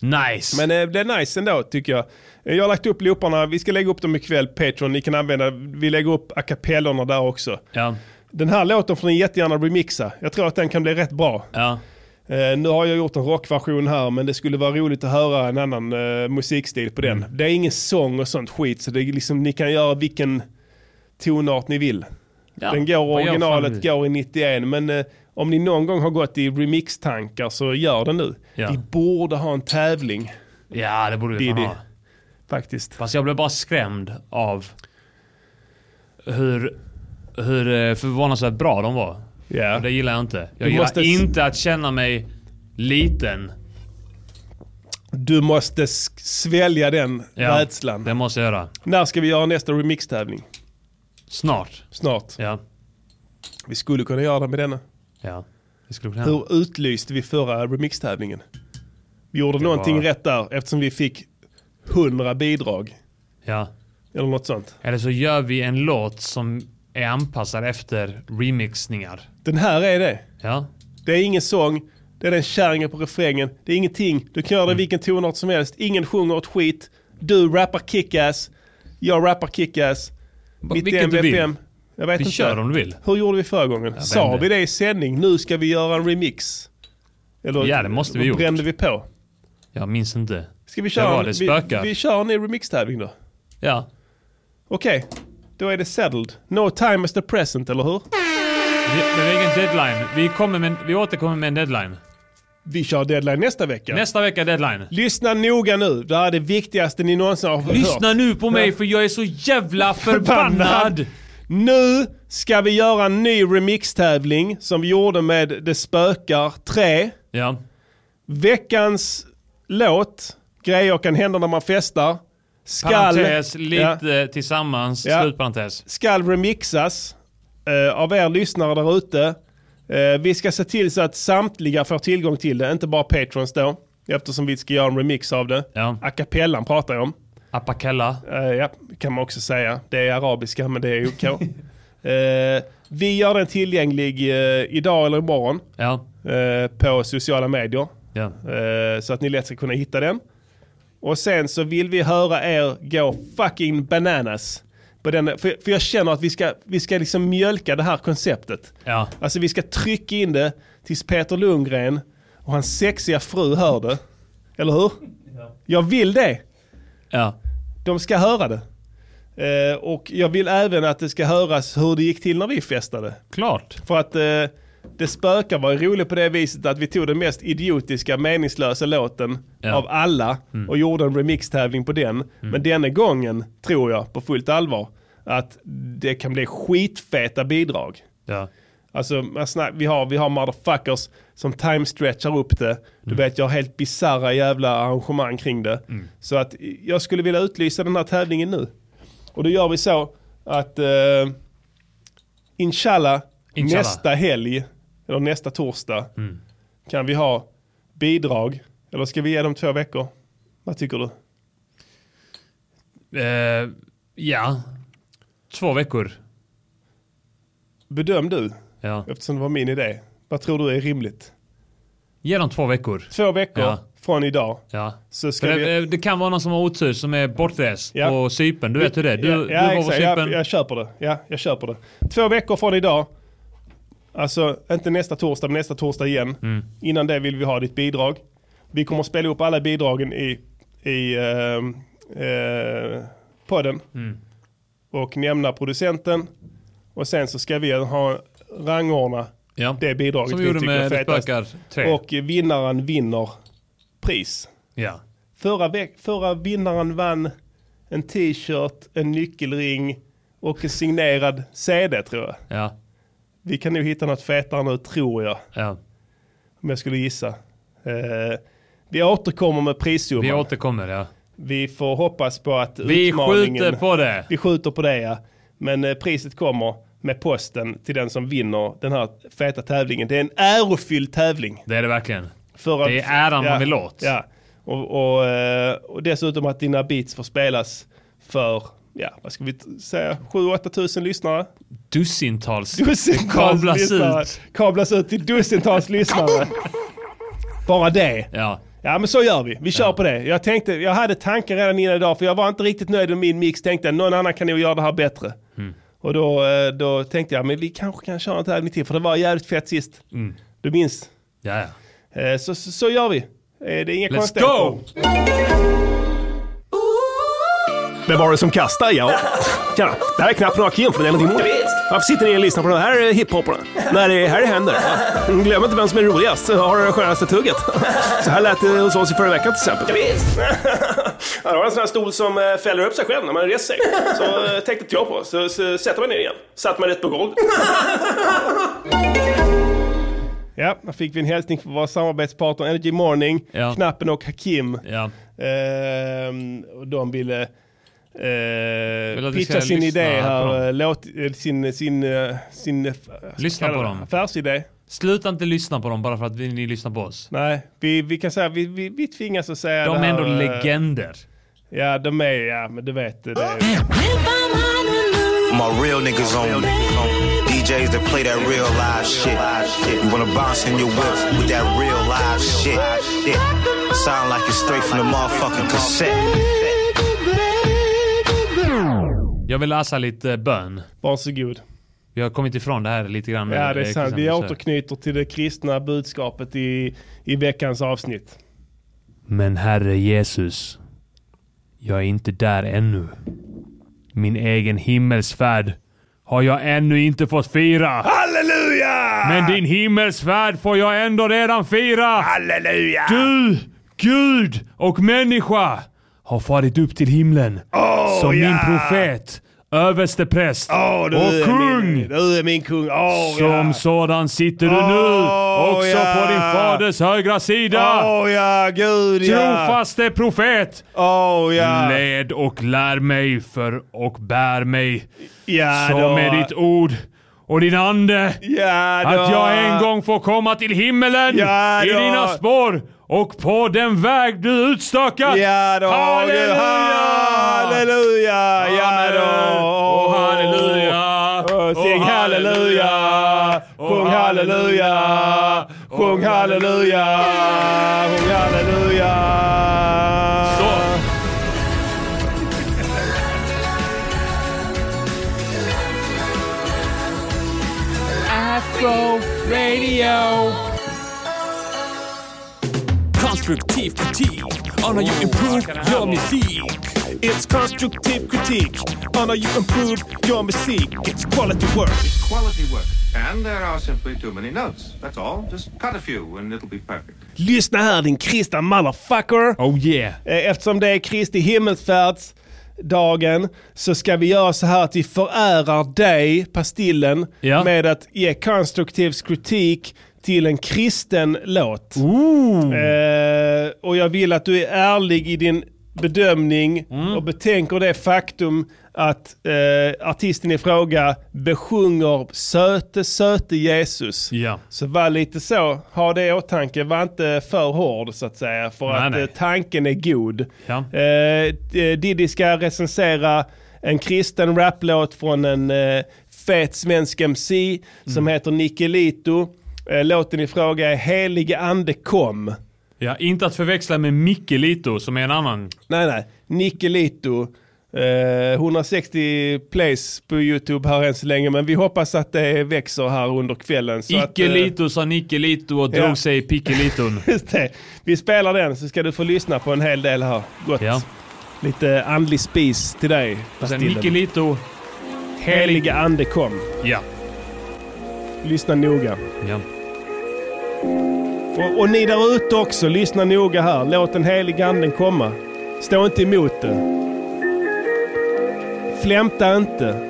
S5: Nice.
S1: Men eh, det är nice ändå tycker jag. Eh, Jag har lagt upp looparna, vi ska lägga upp dem ikväll, Patreon. Ni kan använda, vi lägger upp a cappellorna där också.
S5: ja.
S1: Den här låten får ni jättegärna remixa. Jag tror att den kan bli rätt bra.
S5: Ja.
S1: Eh, nu har jag gjort en rockversion här men det skulle vara roligt att höra en annan eh, musikstil på den. Det är ingen sång och sånt skit så det är liksom, ni kan göra vilken tonart ni vill.
S5: ja.
S1: Den går,
S5: Vad gör
S1: originalet
S5: fan
S1: går i 91 men eh, om ni någon gång har gått i remix-tankar så gör det nu.
S5: Ja.
S1: Vi borde ha en tävling
S5: vi? Ja, det borde vi fan
S1: Didi.
S5: ha.
S1: faktiskt.
S5: Fast jag blev bara skrämd av hur, hur eh, förvånansvärt bra de var.
S1: Ja.
S5: Och det gillar jag inte. Jag
S1: Du
S5: gillar
S1: måste s-
S5: inte att känna mig liten.
S1: Du måste sk- svälja den
S5: Ja,
S1: rädslan.
S5: Det måste jag göra.
S1: När ska vi göra nästa remix-tävling?
S5: Snart.
S1: Snart.
S5: Ja.
S1: Vi skulle kunna göra det med denna.
S5: Ja. Det skulle kunna hända.
S1: Hur utlyste vi förra remixtävlingen? Vi gjorde någonting
S5: var-
S1: rätt där eftersom vi fick 100 bidrag.
S5: Ja.
S1: Eller något sånt.
S5: Eller så gör vi en låt som är anpassad efter remixningar.
S1: Den här är det.
S5: Ja.
S1: Det är ingen sång, det är den kärringen på refrängen. Det är ingenting. Du kan
S5: Mm.
S1: göra det i vilken tonart som helst. Ingen sjunger ett skit. Du rappar kickass. Jag rappar kickass. Mitt
S5: vilket du vill.
S1: BPM. Jag vet
S5: Vi
S1: inte.
S5: kör om du vill.
S1: Hur gjorde vi förra gången? Sa
S5: vände.
S1: vi det i sändning? Nu ska vi göra en remix. Eller
S5: Ja, det måste vi gjort.
S1: brände vi på?
S5: Jag minns inte.
S1: Ska vi
S5: Det
S1: köra
S5: var
S1: en,
S5: det
S1: vi,
S5: spökar.
S1: vi kör en ny remix-tävling då?
S5: Ja.
S1: Okej, då är det settled. No time is the present, eller hur?
S5: Vi, det är ingen deadline. Vi, kommer med, vi återkommer med en deadline.
S1: Vi kör deadline nästa vecka.
S5: Nästa vecka är deadline.
S1: Lyssna noga nu. Det här är det viktigaste ni någonsin har
S5: Lyssna
S1: hört.
S5: nu på mig för jag är så jävla förbannad!
S1: Nu ska vi göra en ny remix-tävling som vi gjorde med Det spökar 3.
S5: Ja.
S1: Veckans låt, Grejer kan hända när man festar, skall,
S5: Parentes,
S1: Ja.
S5: lite tillsammans,
S1: Ja.
S5: slutparentes.
S1: skall remixas eh, av er lyssnare där ute. Eh, vi ska se till så att samtliga får tillgång till det, inte bara patrons då. Eftersom vi ska göra en remix av det.
S5: Ja.
S1: A cappellan pratar jag om.
S5: Apakella.
S1: Eh, ja, kan man också säga. Det är arabiska men det är OK. eh, vi gör den tillgänglig eh, idag eller imorgon
S5: Ja.
S1: eh, på sociala medier.
S5: ja.
S1: Eh, så att ni lätt ska kunna hitta den. Och sen så vill vi höra er gå fucking bananas. På den, för, för jag känner att vi ska, vi ska liksom mjölka det här konceptet.
S5: Ja.
S1: Alltså vi ska trycka in det tills Peter Lundgren och hans sexiga fru hör det. Eller hur? Jag vill det.
S5: Ja.
S1: De ska höra det. Eh, och jag vill även att det ska höras hur det gick till när vi festade.
S5: Klart.
S1: För att eh, det spökar var ju roligt på det viset att vi tog den mest idiotiska, meningslösa låten
S5: Ja.
S1: av alla och gjorde en remixtävling på den. Men denna gången tror jag på fullt allvar att det kan bli skitfeta bidrag.
S5: Ja.
S1: Alltså, man snack, vi, har, vi har motherfuckers som time-stretchar upp det.
S5: Mm.
S1: Du vet, jag har helt bizarra jävla arrangemang kring det. Så att eh, jag skulle vilja utlysa den här tävlingen nu. Och då gör vi så att eh, inshallah,
S5: Inshallah. Mm.
S1: nästa helg, eller nästa torsdag, kan vi ha bidrag. Eller ska vi ge dem två veckor? Vad tycker du?
S5: Eh, ja. Två veckor.
S1: Bedöm du,
S5: Ja.
S1: eftersom det var min idé. Vad tror du är rimligt?
S5: Ge dem två veckor.
S1: Två veckor
S5: Ja.
S1: från idag.
S5: Ja.
S1: Så ska
S5: För
S1: vi...
S5: det, det kan vara någon som har otur som är bortrest
S1: Ja.
S5: på Cypern. Du vet hur det är. Du,
S1: ja,
S5: du
S1: ja,
S5: var på
S1: exakt. Jag,
S5: Cypern.
S1: jag köper det. Ja, jag köper det. Två veckor från idag. Alltså inte nästa torsdag, men nästa torsdag igen.
S5: Mm.
S1: Innan det vill vi ha ditt bidrag. Vi kommer att spela upp alla bidragen i, i ehm, eh, podden.
S5: Mm.
S1: Och nämna producenten. Och sen så ska vi ha rangordna
S5: Ja.
S1: det bidraget
S5: Som
S1: vi
S5: vi gjorde
S1: tycker är
S5: med
S1: fetast.
S5: Spökar 3.
S1: Och vinnaren vinner pris.
S5: Ja.
S1: Förra, veck- förra vinnaren vann en t-shirt, en nyckelring och en signerad CD tror jag.
S5: Ja.
S1: Vi kan nog hitta något fetare nu tror jag,
S5: ja.
S1: om jag skulle gissa. Eh, vi återkommer med prissumman.
S5: Vi
S1: Vi,
S5: återkommer ja.
S1: får hoppas på att
S5: Vi
S1: utmaningen...
S5: skjuter på det.
S1: Vi skjuter på det ja. Men eh, priset kommer med posten till den som vinner den här feta tävlingen. Det är en ärofylld tävling.
S5: Det är det verkligen.
S1: För
S5: Det är äran man vill åt.
S1: Ja. Och, och, eh, och dessutom att dina beats får spelas för, ja vad ska vi t- säga, 7-8 tusen lyssnare.
S5: Dussintals.
S1: Dussintals
S5: kablas
S1: lyssnare.
S5: ut.
S1: Kablas ut till dussintals lyssnare. Bara det.
S5: Ja.
S1: Ja men så gör vi, vi kör på det. Jag tänkte, jag hade tankar redan innan idag för jag var inte riktigt nöjd med min mix. Tänkte någon annan kan nog göra det här bättre.
S5: Mm.
S1: Och då, eh, då tänkte jag, men vi kanske kan köra en tävling till för det var jävligt fett sist.
S5: Mm.
S1: Du minns?
S5: Ja, ja.
S1: Eh, Så, så, så gör vi. Eh, Det är inga
S5: Let's
S1: konstigheter.
S5: go!
S2: Vem var det som kastade? Ja. Tjena, det här är knappt några kim för det är någonting emot. Varför sitter ni och lyssnar på det här eh, hiphopparna? När det är här det händer. Glöm inte vem som är roligast och har det skönaste tugget. Så här lät det hos oss i förra veckan till exempel.
S1: Jag har en sån här stol som eh, fäller upp sig själv när man reser sig. Så eh, tänkte inte jag på. Så, så sätter man ner igen. Satt man rätt på golvet. Ja, då fick vi en hälsning från vår samarbetspartner Energy Morning,
S5: Ja.
S1: Knappen och Hakim.
S5: Ja.
S1: Ehm, och de ville eh,
S5: Vill att vi
S1: pitcha
S5: ska
S1: sin
S5: lyssna
S1: idé
S5: här på
S1: här,
S5: dem.
S1: eh, låt, eh, sin, sin, eh, sin eh,
S5: Lyssna
S1: vad kallar
S5: på
S1: man det?
S5: dem.
S1: affärsidé.
S5: Sluta inte lyssna på dem bara för att vi- ni lyssnar på oss.
S1: Nej, vi, vi kan säga, vi, vi, vi tvingas att säga
S5: De
S1: det
S5: är
S1: här,
S5: ändå
S1: eh,
S5: legender.
S1: Ja, de är, ja men du vet det. är-
S4: My
S8: real niggas only. DJs that play that real live shit. You wanna bounce in your whip with that real live shit. Sound like it's straight from the motherfucking cassette.
S5: Jag vill läsa lite bön.
S1: Varsågod.
S5: Vi har kommit ifrån det här lite grann.
S1: Ja, det är
S5: eh,
S1: sant. Vi
S5: Christian, så-
S1: återknyter till det kristna budskapet i, i veckans avsnitt.
S5: Men Herre Jesus, jag är inte där ännu. Min egen himmelsfärd har jag ännu inte fått fira.
S2: Halleluja!
S5: Men din himmelsfärd får jag ändå redan fira.
S2: Halleluja!
S5: Du, Gud och människa har farit upp till himlen som min
S1: ja.
S5: profet, överste präst
S1: Åh, Oh, du är
S5: och kung.
S1: Min, Oh, du är min kung. Åh,
S5: Som
S1: ja.
S5: sådan sitter du nu
S1: Åh,
S5: också
S1: ja.
S5: på din faders högra sida.
S1: Åh ja, gud ja.
S5: Trofaste profet,
S1: Åh ja.
S5: led och lär mig för och bär mig
S1: ja
S5: så
S1: då.
S5: med ditt ord och din ande
S1: Ja då.
S5: att jag en gång får komma till himmelen
S1: Ja
S5: i
S1: då.
S5: dina spår och på den väg du utstakat.
S1: Ja då.
S5: Halleluja!
S1: Halleluja. Ja då.
S5: Och halleluja!
S1: Åh, Sing
S5: och
S1: halleluja. Sjung halleluja. Sjung halleluja. Sjung halleluja.
S5: Så. Afro Radio.
S4: Konstruktiv kritik on how you improve your musik.
S2: It's constructive critique on how you improve your music. It's quality work.
S12: quality work. And there are simply too many notes. That's all. Just cut a few and it'll be perfect.
S1: Lyssna här din kristna motherfucker.
S5: Oh yeah.
S1: Eh, Eftersom det är Kristi himmelsfärds dagen så ska vi göra så här att vi förärar dig, Pastillen,
S5: Ja.
S1: med att ge konstruktiv kritik till en kristen låt. Eh, och jag vill att du är ärlig i din bedömning
S5: Mm.
S1: och betänker det faktum att eh, artisten i fråga besjunger söte, söte Jesus.
S5: Ja.
S1: Så var lite så, ha det i åtanke, var inte för hård så att säga. För
S5: Nej,
S1: att
S5: nej.
S1: eh, tanken är god.
S5: Ja.
S1: Eh, d- Diddy ska recensera en kristen raplåt från en eh, fet svensk MC som
S5: Mm.
S1: heter Nikkelito. Eh, låten i fråga är Helige Ande kom.
S5: Ja, inte att förväxla med Mikkelito som är en annan.
S1: Nej, nej. Nikkelito. Eh, 160 plays på YouTube här än så länge, men vi hoppas att det växer här under kvällen. Så att, eh,
S5: Icke-lito sa Nickelito och
S1: Ja.
S5: drog sig i pickeliton.
S1: Just det. Vi spelar den så ska du få lyssna på en hel del här. Gott.
S5: Ja.
S1: Lite andlig spis till dig.
S5: Och sen
S1: Pastillen.
S5: Nickelito.
S1: Heliga ande kom.
S5: Ja.
S1: Lyssna noga.
S5: ja.
S1: Och, och ni där ute också, lyssna noga här. Låt den heliga anden komma. Stå inte emot det. Flämta inte.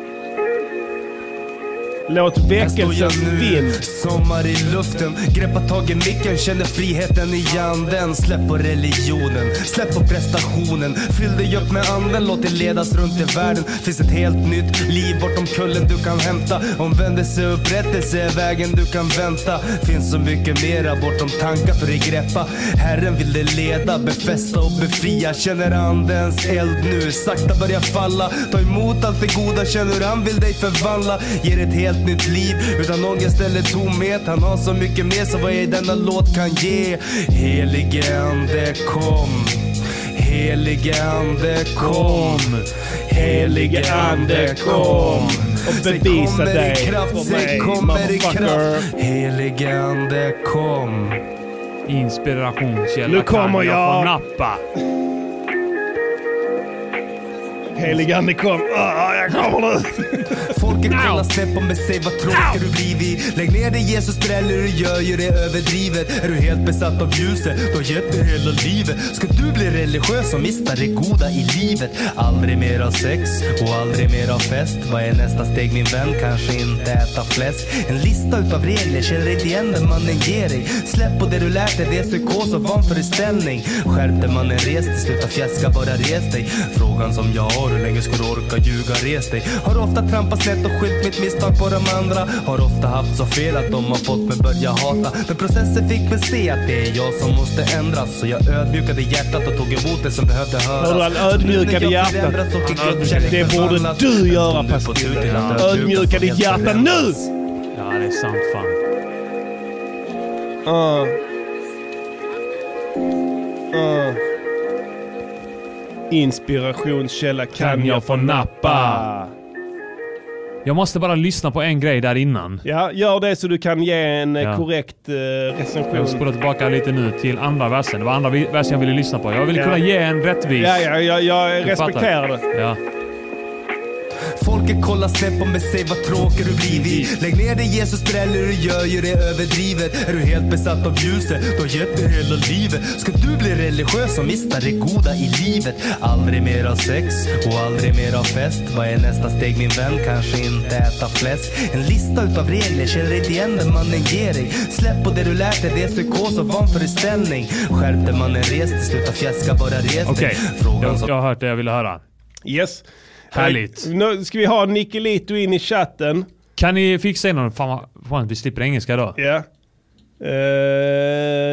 S1: Låt
S7: Här står jag
S1: väckelsens
S7: nu,
S1: vind
S7: sommar i luften Greppa tag i micken, känner friheten i anden Släpp på religionen, släpp på prestationen Fyll dig upp med anden, låt dig ledas runt i världen Finns ett helt nytt liv bortom kullen du kan hämta Omvändelse och upprättelse är vägen du kan vänta Finns så mycket mera bortom tankar för dig greppa Herren vill dig leda, befästa och befria Känner andens eld nu, sakta börjar falla Ta emot allt det goda, känner hur han vill dig förvandla Ger ett helt nytt liv utan ångest eller tomhet Han har så mycket mer så vad är denna låt kan ge Helige Ande kom Helige Ande kom Helige Ande kom
S1: och
S7: Sen
S1: bevisa
S7: kommer i
S1: dig
S7: kraft,
S1: för mig,
S7: sen kommer i
S1: motherfucker.
S7: kraft Helige Ande kom
S5: Inspirationskälla
S1: Nu kommer
S5: kan jag
S1: jag.
S5: få nappa.
S1: Helige ande kom. Ah, jag kommer nu.
S7: Folket kollar snett på mig, säg vad tråkig du blivit. Lägg ner dig Jesus, dräller du gör ju det överdrivet. Är du helt besatt av ljuset, då har gett dig hela livet. Ska du bli religiös och mista det goda i livet? Aldrig mer av sex och aldrig mer av fest. Vad är nästa steg min vän? Kanske inte äta fläsk. En lista utav regler, känner inte igen den mannen ger dig. Släpp på det du lärt dig, det är psykos och vanföreställning. Skärp dig mannen, res dig, sluta fjäska, bara res dig. Frågan som jag har, hur länge ska du orka ljuga, res dig. Har ofta trampat snett och skyllt mitt misstag på de andra. Har ofta haft så fel att de har fått mig börja hata. Men processen fick mig se att det är jag som måste ändras. Så jag ödmjukade hjärtat och tog emot det som behövde höras.
S1: Hör du, han ödmjukade hjärtat. Det borde du göra, Pastillen. Ödmjuka ditt hjärta nu!
S5: Ja, det är sant fan.
S1: Ah. Ah. Inspirationskälla kan,
S5: Kan jag få nappa? Jag måste bara lyssna på en grej där innan.
S1: Ja, gör det så du kan ge en eh,
S5: Ja.
S1: korrekt eh,
S5: Jag
S1: recension.
S5: spolar tillbaka lite nu till andra versen. Det var andra vi- versen jag ville lyssna på. Jag ville
S1: Ja.
S5: kunna ge en rättvis.
S1: Ja, ja, jag, jag
S5: Du fattar.
S1: respekterar det.
S5: Ja.
S7: Folket kollar snett på mig, säg vad tråkig du blivit. Lägg ner dig Jesus, dräller du gör ju det överdrivet. Är du helt besatt av ljuset, då har gett dig hela livet. Ska du bli religiös och mista det goda i livet? Aldrig mer av sex och aldrig mer av fest. Vad är nästa steg min vän? Kanske inte äta fläsk. En lista utav regler, känner inte igen den mannen ger dig. Släpp på det du lärt dig, det är psykos och vanföreställning. Skärp dig mannen, res dig, sluta fjäska, bara res dig.
S5: Okej,
S7: Frågan
S5: jag,
S7: som
S5: jag har hört det jag ville höra.
S1: Yes.
S5: Härligt.
S1: Eh, Nu ska vi ha Nicolito in i chatten.
S5: Kan ni fixa in honom? Fan vad skönt, vi slipper engelska då.
S1: Ja. Eh,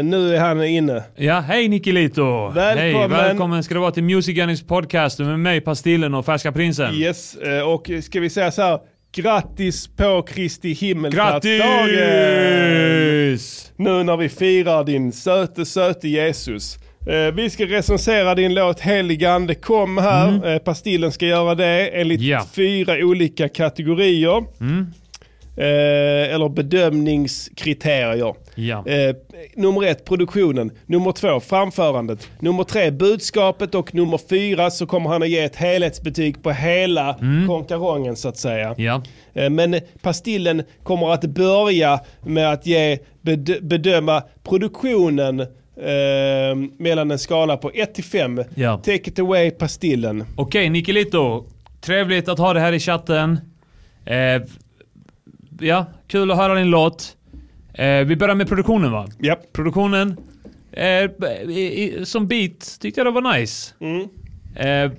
S1: nu är han inne.
S5: Ja, hej Nikilito! Hej,
S1: Välkommen.
S5: välkommen ska du vara till Music Gunnings podcast med mig, Pastillen och Färska Prinsen.
S1: Yes, eh, och ska vi säga så här. Grattis på Kristi himmelfärdsdagen!
S5: Grattis!
S1: Nu när vi firar din söte, söte Jesus. Eh, vi ska recensera din låt Helig Ande kom här. Eh, Pastillen ska göra det enligt
S5: Mm. Ja.
S1: fyra olika kategorier.
S5: Mm.
S1: Eh, eller bedömningskriterier.
S5: Ja.
S1: Eh, nummer ett, produktionen. Nummer två, framförandet. Nummer tre, budskapet. Och nummer fyra så kommer han att ge ett helhetsbetyg på hela konkarongen så att säga.
S5: Mm. Ja.
S1: Eh, Men Pastillen kommer att börja med att ge, bed, bedöma produktionen eh, mellan en skala på 1 till 5.
S5: Ja.
S1: Take it away Pastillen.
S5: Okej, Nicolito. Trevligt att ha det här i chatten. Eh, ja, kul att höra din låt. Eh, vi börjar med produktionen va?
S1: Japp.
S5: Produktionen. Eh, b- i, i, som beat tyckte jag det var nice.
S1: Mm.
S5: Eh,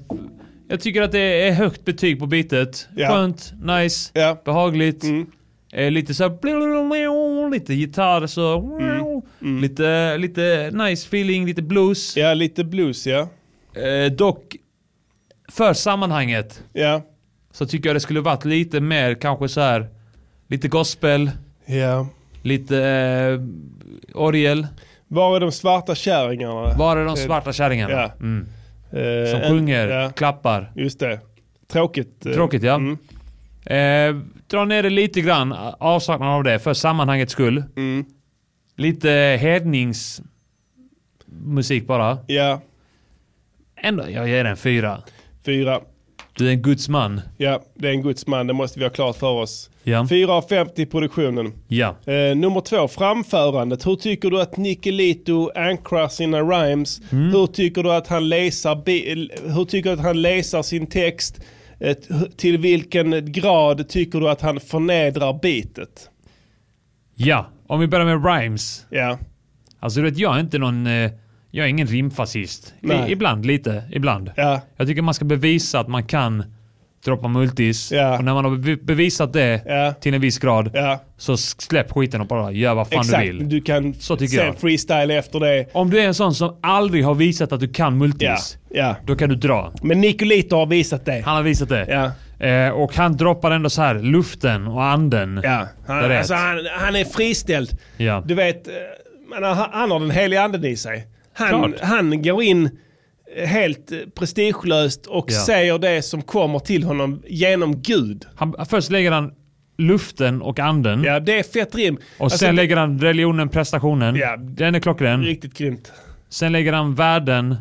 S5: jag tycker att det är högt betyg på beatet.
S1: Ja. Mm.
S5: Skönt, nice, behagligt. Eh, lite så här, lite gitarr så.
S1: Mm.
S5: Lite, lite nice feeling, lite blues.
S1: Ja, lite blues ja.
S5: Eh, dock, för sammanhanget.
S1: Ja.
S5: Så tycker jag det skulle varit lite mer kanske så här. Lite gospel.
S1: Ja.
S5: Lite eh, orgel.
S1: Var är de svarta kärringarna?
S5: Var är de svarta kärringarna?
S1: Eh, Ja.
S5: Mm.
S1: Eh,
S5: Som
S1: en-
S5: sjunger,
S1: ja. Eh,
S5: klappar.
S1: Just det. Tråkigt. eh.
S5: Tråkigt ja. Eh, dra ner det lite grann, avsaknad av det, för sammanhangets skull.
S1: Mm.
S5: Lite hedningsmusik bara.
S1: Ja.
S5: Ändå, jag ger den fyra.
S1: Fyra.
S5: Du är en Guds man.
S1: Ja, det är en gudsman. Det måste vi ha klart för oss.
S5: Ja.
S1: 4 av 50 i produktionen.
S5: Ja.
S1: Eh, nummer två, framförandet. Hur tycker du att Nicolito ankrar sina rhymes?
S5: Mm.
S1: Hur tycker du att han läser, bi- hur tycker du att han läser sin text? Eh, t- till vilken grad tycker du att han förnedrar beatet?
S5: Ja, om vi börjar med rhymes.
S1: Ja.
S5: Alltså du vet, jag är inte någon... eh, Jag är ingen rimfascist.
S1: Nej.
S5: I, ibland lite, ibland.
S1: Ja.
S5: Jag tycker man ska bevisa att man kan droppa multis.
S1: Ja.
S5: Och när man har bevi- bevisat det till en viss grad så s- släpp skiten och bara gör vad fan
S1: Exakt,
S5: du vill.
S1: du kan
S5: så tycker
S1: sen
S5: jag.
S1: freestyle efter det.
S5: Om du är en sån som aldrig har visat att du kan multis,
S1: Ja, ja.
S5: då kan du dra.
S1: Men Nicolito har visat det.
S5: Han har visat det. Eh, och han droppar ändå så här luften och anden.
S1: Ja,
S5: Det är
S1: Han,
S5: rätt.
S1: alltså, han, han är friställd.
S5: Ja.
S1: Du vet, eh, men han, han har den heliga anden i sig. Han,
S5: Klart.
S1: han går in eh, helt eh, prestigelöst och
S5: Ja.
S1: säger det som kommer till honom genom Gud.
S5: Han, först lägger han luften och anden.
S1: Ja, det är fett rim.
S5: Och
S1: Alltså,
S5: sen
S1: det-
S5: lägger han religionen, prestationen. Den är klockren.
S1: Riktigt grymt.
S5: Sen lägger han världen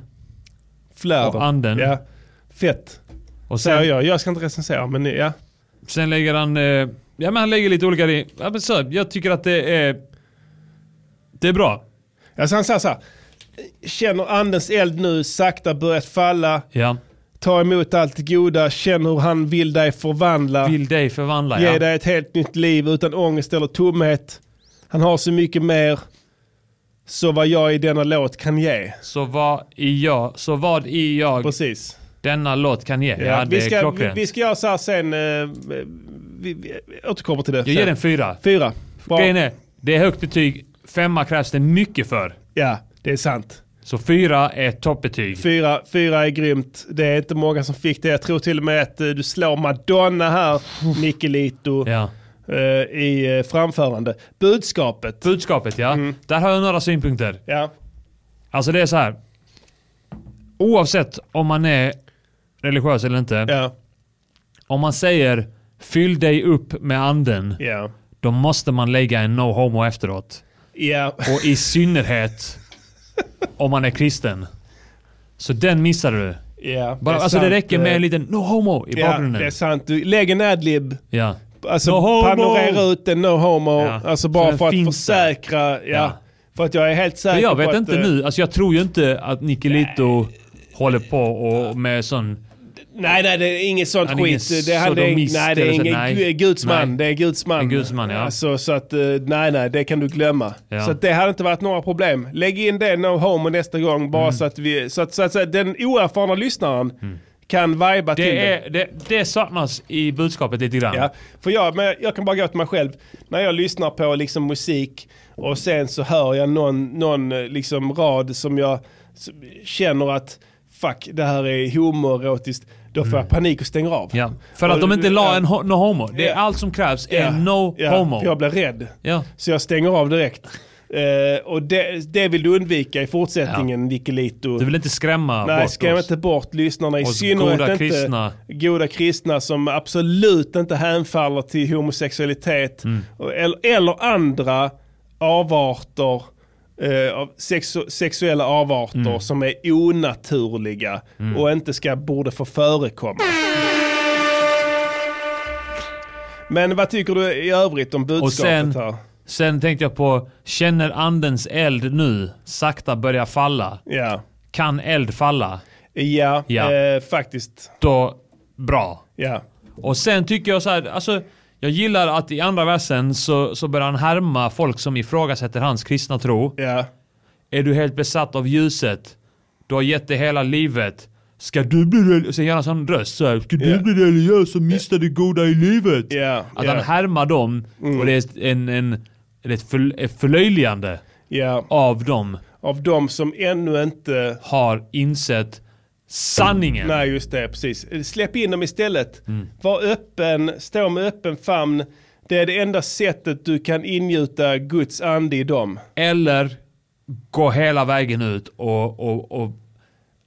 S1: Flöden.
S5: och anden.
S1: Ja. Fett.
S5: Och
S1: Säger
S5: sen,
S1: jag. Jag ska inte recensera, men eh, ja.
S5: sen lägger han... Eh, ja men han lägger lite olika... ri- Ja, men så, jag tycker att det är... Det är bra.
S1: Alltså han säger så här. Känner andens eld nu sakta börjat falla.
S5: Ja.
S1: Ta emot allt det goda, känn hur han vill dig förvandla.
S5: Vill dig förvandla,
S1: Ge
S5: ja.
S1: dig ett helt nytt liv utan ångest eller tomhet. Han har så mycket mer. Så vad jag i denna låt kan ge.
S5: Så vad i jag... Så vad i jag...
S1: Precis.
S5: Denna låt kan ge. Ja, det
S1: vi,
S5: är
S1: ska, vi,
S5: klockrent.
S1: vi ska göra så här sen. eh, vi, vi återkommer till det.
S5: jag ger den fyra.
S1: Fyra. Bra.
S5: Grejen är, det är högt betyg. Femma krävs det mycket för.
S1: Ja, det är sant.
S5: Så fyra är toppbetyg.
S1: Fyra, fyra är grymt. Det är inte många som fick det. Jag tror till och med att eh, du slår Madonna här, Nicolito, eh, i eh, framförande. Budskapet.
S5: Budskapet ja.
S1: Mm.
S5: Där har jag några synpunkter.
S1: Ja.
S5: Alltså det är så här. Oavsett om man är religiös eller inte. Om man säger fyll dig upp med anden.
S1: Ja.
S5: Då måste man lägga en no homo efteråt.
S1: Ja.
S5: Och i synnerhet om man är kristen. Så den missar du.
S1: Ja,
S5: Bara,
S1: är
S5: alltså det
S1: sant. eh,
S5: räcker med en liten no homo i
S1: Ja,
S5: bakgrunden.
S1: det är sant. Du, lägg en adlib.
S5: Ja.
S1: Alltså
S5: No homo!
S1: panorera ut en no homo.
S5: Ja.
S1: Alltså
S5: Så
S1: bara
S5: den
S1: för att
S5: finns där.
S1: försäkra. Ja. För att jag är helt säker
S5: Men jag
S1: på
S5: vet
S1: att,
S5: inte
S1: eh,
S5: nu. Alltså jag tror ju inte att Nicolito håller på och med sån...
S1: Nej, nej, det är inget sånt
S5: Han är ingen
S1: skit. det, han, det, är-
S5: sodomist
S1: nej, det är
S5: eller så,
S1: ingen
S5: nej.
S1: gu- gudsman.
S5: Nej.
S1: Det är gudsman.
S5: En gudsman, ja.
S1: Alltså, så att, eh, nej, nej, det kan du glömma.
S5: Ja.
S1: Så att det hade inte varit några problem. Lägg in det, no homo, nästa gång.
S5: Mm.
S1: Bara så, att vi, så, att, så, att, så att den oerfarna lyssnaren kan vibea till
S5: Det,
S1: det.
S5: är, det, det saknas i budskapet lite grann.
S1: Ja, för jag, men jag kan bara gå till mig själv. När jag lyssnar på liksom musik och sen så hör jag någon, någon eh, liksom rad som jag s- känner att fuck, det här är homoerotiskt. Då får jag panik och stänger av.
S5: Mm. Ja. För att
S1: Och-
S5: de inte la en ho- no homo. Det är
S1: Ja.
S5: allt som krävs
S1: Ja,
S5: är no
S1: ja,
S5: homo.
S1: för Jag blir rädd.
S5: Ja.
S1: Så jag stänger av direkt. Eh, och det, det vill du undvika i fortsättningen, Nicolito.
S5: Du vill inte skrämma
S1: Nej,
S5: bort
S1: skräm
S5: oss.
S1: inte bort lyssnarna. I
S5: Oss
S1: synnerhet
S5: goda
S1: inte
S5: kristna.
S1: goda kristna som absolut inte hänfaller till homosexualitet
S5: Mm.
S1: och- eller, eller andra avarter eh, av sexu- sexuella avarter
S5: Mm.
S1: som är onaturliga
S5: Mm.
S1: och inte ska, borde få förekomma. Men vad tycker du i övrigt om budskapet
S5: Och sen
S1: här?
S5: Sen tänkte jag på, känner andens eld nu sakta börja falla?
S1: Ja.
S5: Kan eld falla?
S1: Ja,
S5: Ja.
S1: Eh, faktiskt.
S5: Då, bra.
S1: Ja.
S5: Och sen tycker jag så här, alltså jag gillar att i andra versen så, så börjar han härma folk som ifrågasätter hans kristna tro. Är du helt besatt av ljuset? Du har gett det hela livet. Ska du bli religiös? Sen gör han en sån röst så här. Ska du
S1: Ja.
S5: bli religiös och mista det goda i livet? Att
S1: ja.
S5: han härmar dem och
S1: Mm.
S5: det är en, en, det är ett förl- ett förlöjligande
S1: Ja.
S5: av dem.
S1: Av dem som ännu inte
S5: har insett sanningen.
S1: Nej, just det. Precis. Släpp in dem istället.
S5: Mm.
S1: Var öppen, stå med öppen famn. Det är det enda sättet du kan ingjuta Guds ande i dem.
S5: Eller gå hela vägen ut och, och, och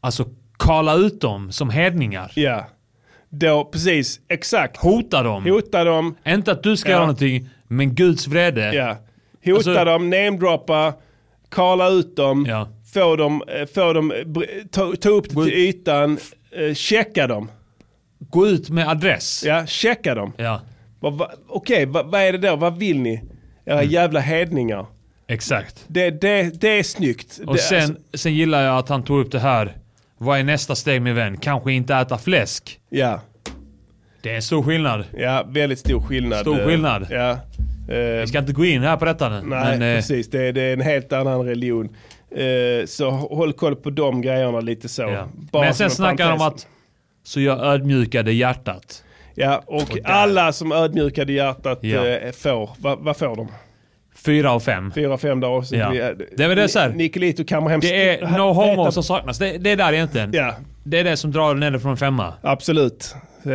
S5: alltså kala ut dem som hedningar.
S1: Ja. Då, precis, exakt.
S5: Hota dem.
S1: Hota dem.
S5: Inte att du ska
S1: Ja.
S5: göra någonting, men Guds vrede.
S1: Ja. Hota
S5: Alltså-
S1: dem, namedroppa, kala ut dem,
S5: Ja.
S1: få dem, eh, få dem eh, br- ta, ta upp det till ytan, eh, checka dem.
S5: Gå ut med adress.
S1: Ja, checka dem.
S5: Ja.
S1: Vad- vad- Okej, vad- vad är det då? Vad vill ni? Era
S5: Mm.
S1: jävla hedningar.
S5: Exakt.
S1: Det, det, det är snyggt.
S5: Och
S1: det,
S5: sen,
S1: alltså-
S5: sen gillar jag att han tog upp det här. Vad är nästa steg min vän? Kanske inte äta fläsk.
S1: ja.
S5: Det är en stor skillnad.
S1: ja, väldigt stor skillnad.
S5: Stor
S1: Eh,
S5: skillnad.
S1: Ja. Eh,
S5: Vi ska inte gå in här på detta nu.
S1: Nej,
S5: men, eh,
S1: precis. Det är, det är en helt annan religion. Eh, så håll koll på de grejerna lite så. Bara
S5: men
S1: som en
S5: sen snackar han om
S1: parentes.
S5: att så jag ödmjukade hjärtat.
S1: Ja, och, alla som ödmjukade hjärtat
S5: Ja.
S1: eh, får, vad vad får de?
S5: Fyra av fem.
S1: Fyra, fem dagar avsnitt.
S5: Ja.
S1: Vi-
S5: Det är väl det så här.
S1: Ni- Nicolito kammar hem...
S5: Det är no homo som saknas. Det, det är där egentligen.
S1: Ja.
S5: Det är det som drar ner det från femma.
S1: Absolut. Eh,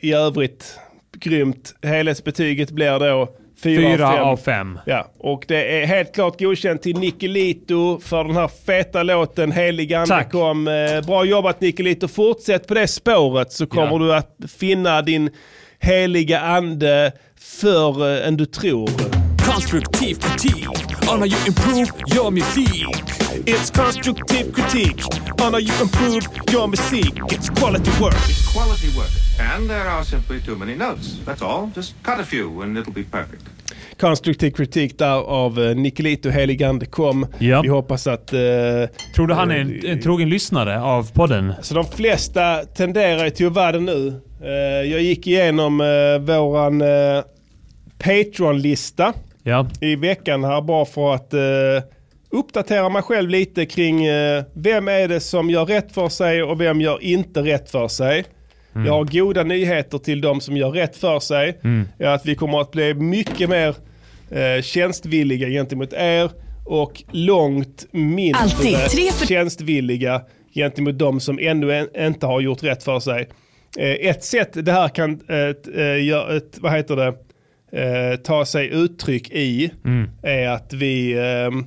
S1: I övrigt, grymt. Helhetsbetyget blir då fyra,
S5: Fyra av
S1: av fem.
S5: fem.
S1: Ja, och det är helt klart godkänt till Nicolito för den här feta låten Helig Ande
S5: Tack.
S1: kom. Eh, Bra jobbat Nicolito. Fortsätt på det spåret så kommer
S5: Ja.
S1: du att finna din heliga ande förr eh, än du tror.
S13: Konstruktiv kritik on how you improve your music.
S2: It's constructive critique on how you improve your music. It's quality work.
S12: Quality work. And there are simply too many notes. That's all. Just cut a few and it'll be perfect.
S1: Konstruktiv kritik där av eh, Nicolito Helig Ande kom.
S5: Ja.
S1: Vi hoppas att... Eh,
S5: Tror du han är en, en trogen lyssnare av podden?
S1: Så de flesta tenderar ju till att vara det nu. Eh, Jag gick igenom eh, våran eh, Patreon-lista
S5: Ja.
S1: i veckan här bara för att eh, uppdatera mig själv lite kring eh, vem är det som gör rätt för sig och vem gör inte rätt för sig. Jag har goda nyheter till de som gör rätt för sig.
S5: Mm.
S1: Är Att vi kommer att bli mycket mer eh, tjänstvilliga gentemot er och långt mindre
S14: Alltid tre för-
S1: tjänstvilliga gentemot de som ännu en, inte har gjort rätt för sig. Eh, ett sätt det här kan eh, t- eh, gör, ett, vad heter det, eh, ta sig uttryck i
S5: Mm.
S1: är att vi ehm,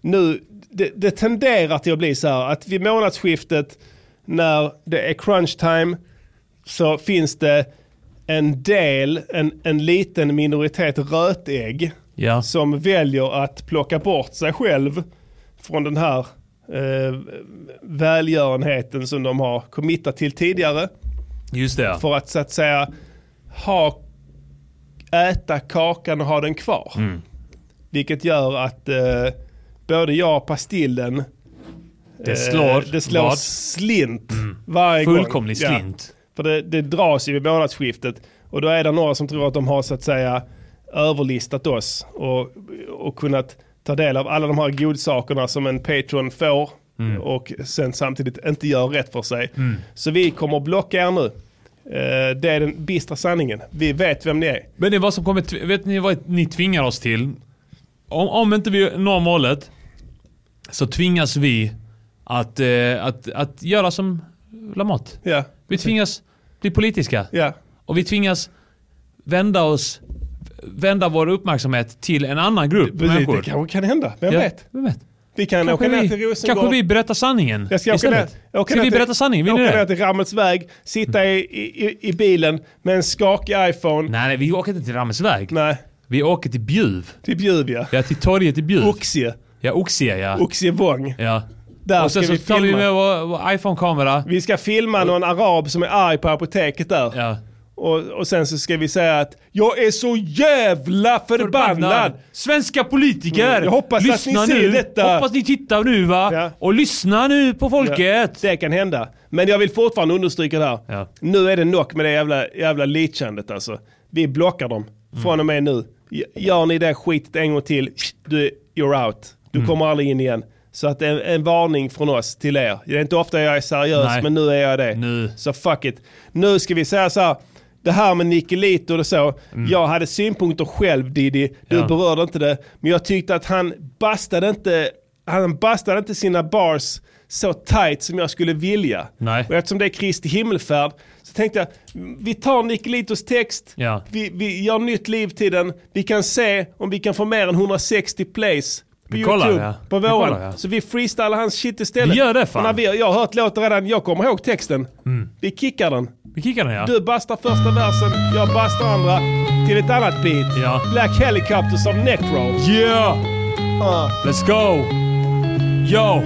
S1: nu, det, det tenderar till att bli så här att vid månadsskiftet när det är crunch time så finns det en del, en, en liten minoritet rötägg
S5: Ja.
S1: som väljer att plocka bort sig själv från den här eh, välgörenheten som de har committat till tidigare.
S5: Just det ja.
S1: För att så att säga ha, äta kakan och ha den kvar.
S5: Mm.
S1: Vilket gör att eh, både jag och Pastillen
S5: Det slår
S1: Eh, det slår
S5: vad? Mm.
S1: slint varje gång.
S5: Fullkomlig
S1: Ja.
S5: slint.
S1: För det, det dras ju vid månadsskiftet och då är det några som tror att de har så att säga överlistat oss och, och kunnat ta del av alla de här godsakerna som en Patreon får
S5: Mm.
S1: och sen samtidigt inte gör rätt för sig.
S5: Mm.
S1: Så vi kommer att blocka er nu. Eh, Det är den bistra sanningen. Vi vet vem ni är.
S5: Men det är vad som kommer... tv- Vet ni vad ni tvingar oss till? Om, om inte vi når målet så tvingas vi att, eh, att, att göra som Lamotte.
S1: Ja.
S5: Vi tvingas bli politiska.
S1: Ja.
S5: Och vi tvingas vända oss... Vända vår uppmärksamhet till en annan grupp
S1: Precis,
S5: människor.
S1: det kanske kan hända. Vem
S5: Ja,
S1: vet?
S5: Vem vet?
S1: Vi kan
S5: Kanske
S1: åka ner
S5: vi-
S1: till Rosengård.
S5: Kanske vi berättar sanningen
S1: Jag ska åka ner,
S5: istället.
S1: jag åker
S5: Ska
S1: ner
S5: vi
S1: till-
S5: berätta sanningen? Vill
S1: jag
S5: ni
S1: åker ner
S5: det?
S1: till Rammels väg, sitta i, i, i bilen med en skakig iPhone.
S5: Nej, nej, vi åker inte till Rammersväg.
S1: Nej.
S5: Vi åker till Bjuv.
S1: Till Bjuv ja.
S5: Ja, till torget i Bjuv.
S1: Oxie.
S5: Ja, Oxie ja.
S1: Oxie Wång.
S5: Ja.
S1: Där
S5: och sen
S1: ska
S5: så
S1: vi
S5: tar vi
S1: filma.
S5: med vår, vår iPhone-kamera.
S1: Vi ska filma någon arab som är arg på apoteket där.
S5: Ja.
S1: Och, och sen så ska vi säga att jag är så jävla förbannad!
S5: Svenska politiker!
S1: Mm, jag hoppas att
S5: lyssna
S1: ni ser
S5: nu.
S1: detta.
S5: Hoppas ni tittar nu va? Och lyssna nu på folket!
S1: Ja, det kan hända. Men jag vill fortfarande understryka det här. Nu är det nog med det jävla, jävla leachandet alltså. Vi blockar dem från och med nu. G- Gör ni det skitet en gång till, du, you're out. Du kommer aldrig in igen. Så att en, en varning från oss till er. Det är inte ofta jag är seriös,
S5: Nej.
S1: men nu är jag det. Så fuck it. Nu ska vi säga så här. Det här med Nicolito och så. Jag hade synpunkter själv Diddy. Du
S5: Mm. Ja.
S1: berörde inte det. Men jag tyckte att han bastade inte, han bastade inte sina bars så tight som jag skulle vilja.
S5: Nej.
S1: Och eftersom det är Kristi himmelfärd så tänkte jag, vi tar Nicolitos text,
S5: Ja.
S1: vi, vi gör nytt liv till den, vi kan se om vi kan få mer än 160 plays på
S5: Vi kollar,
S1: YouTube
S5: ja.
S1: på
S5: Vi
S1: våren.
S5: kollar, ja.
S1: Så vi freestylar hans shit istället.
S5: Vi gör det, fan. Mm.
S1: Och När vi, jag har hört låten redan, jag kommer ihåg texten. Vi kickar den.
S5: Vi kickar den ja.
S1: Du bastar första versen, jag bastar andra till ett annat beat. Black Helicopter som Necro.
S5: Yeah!
S1: Ah.
S5: Let's go! Yo!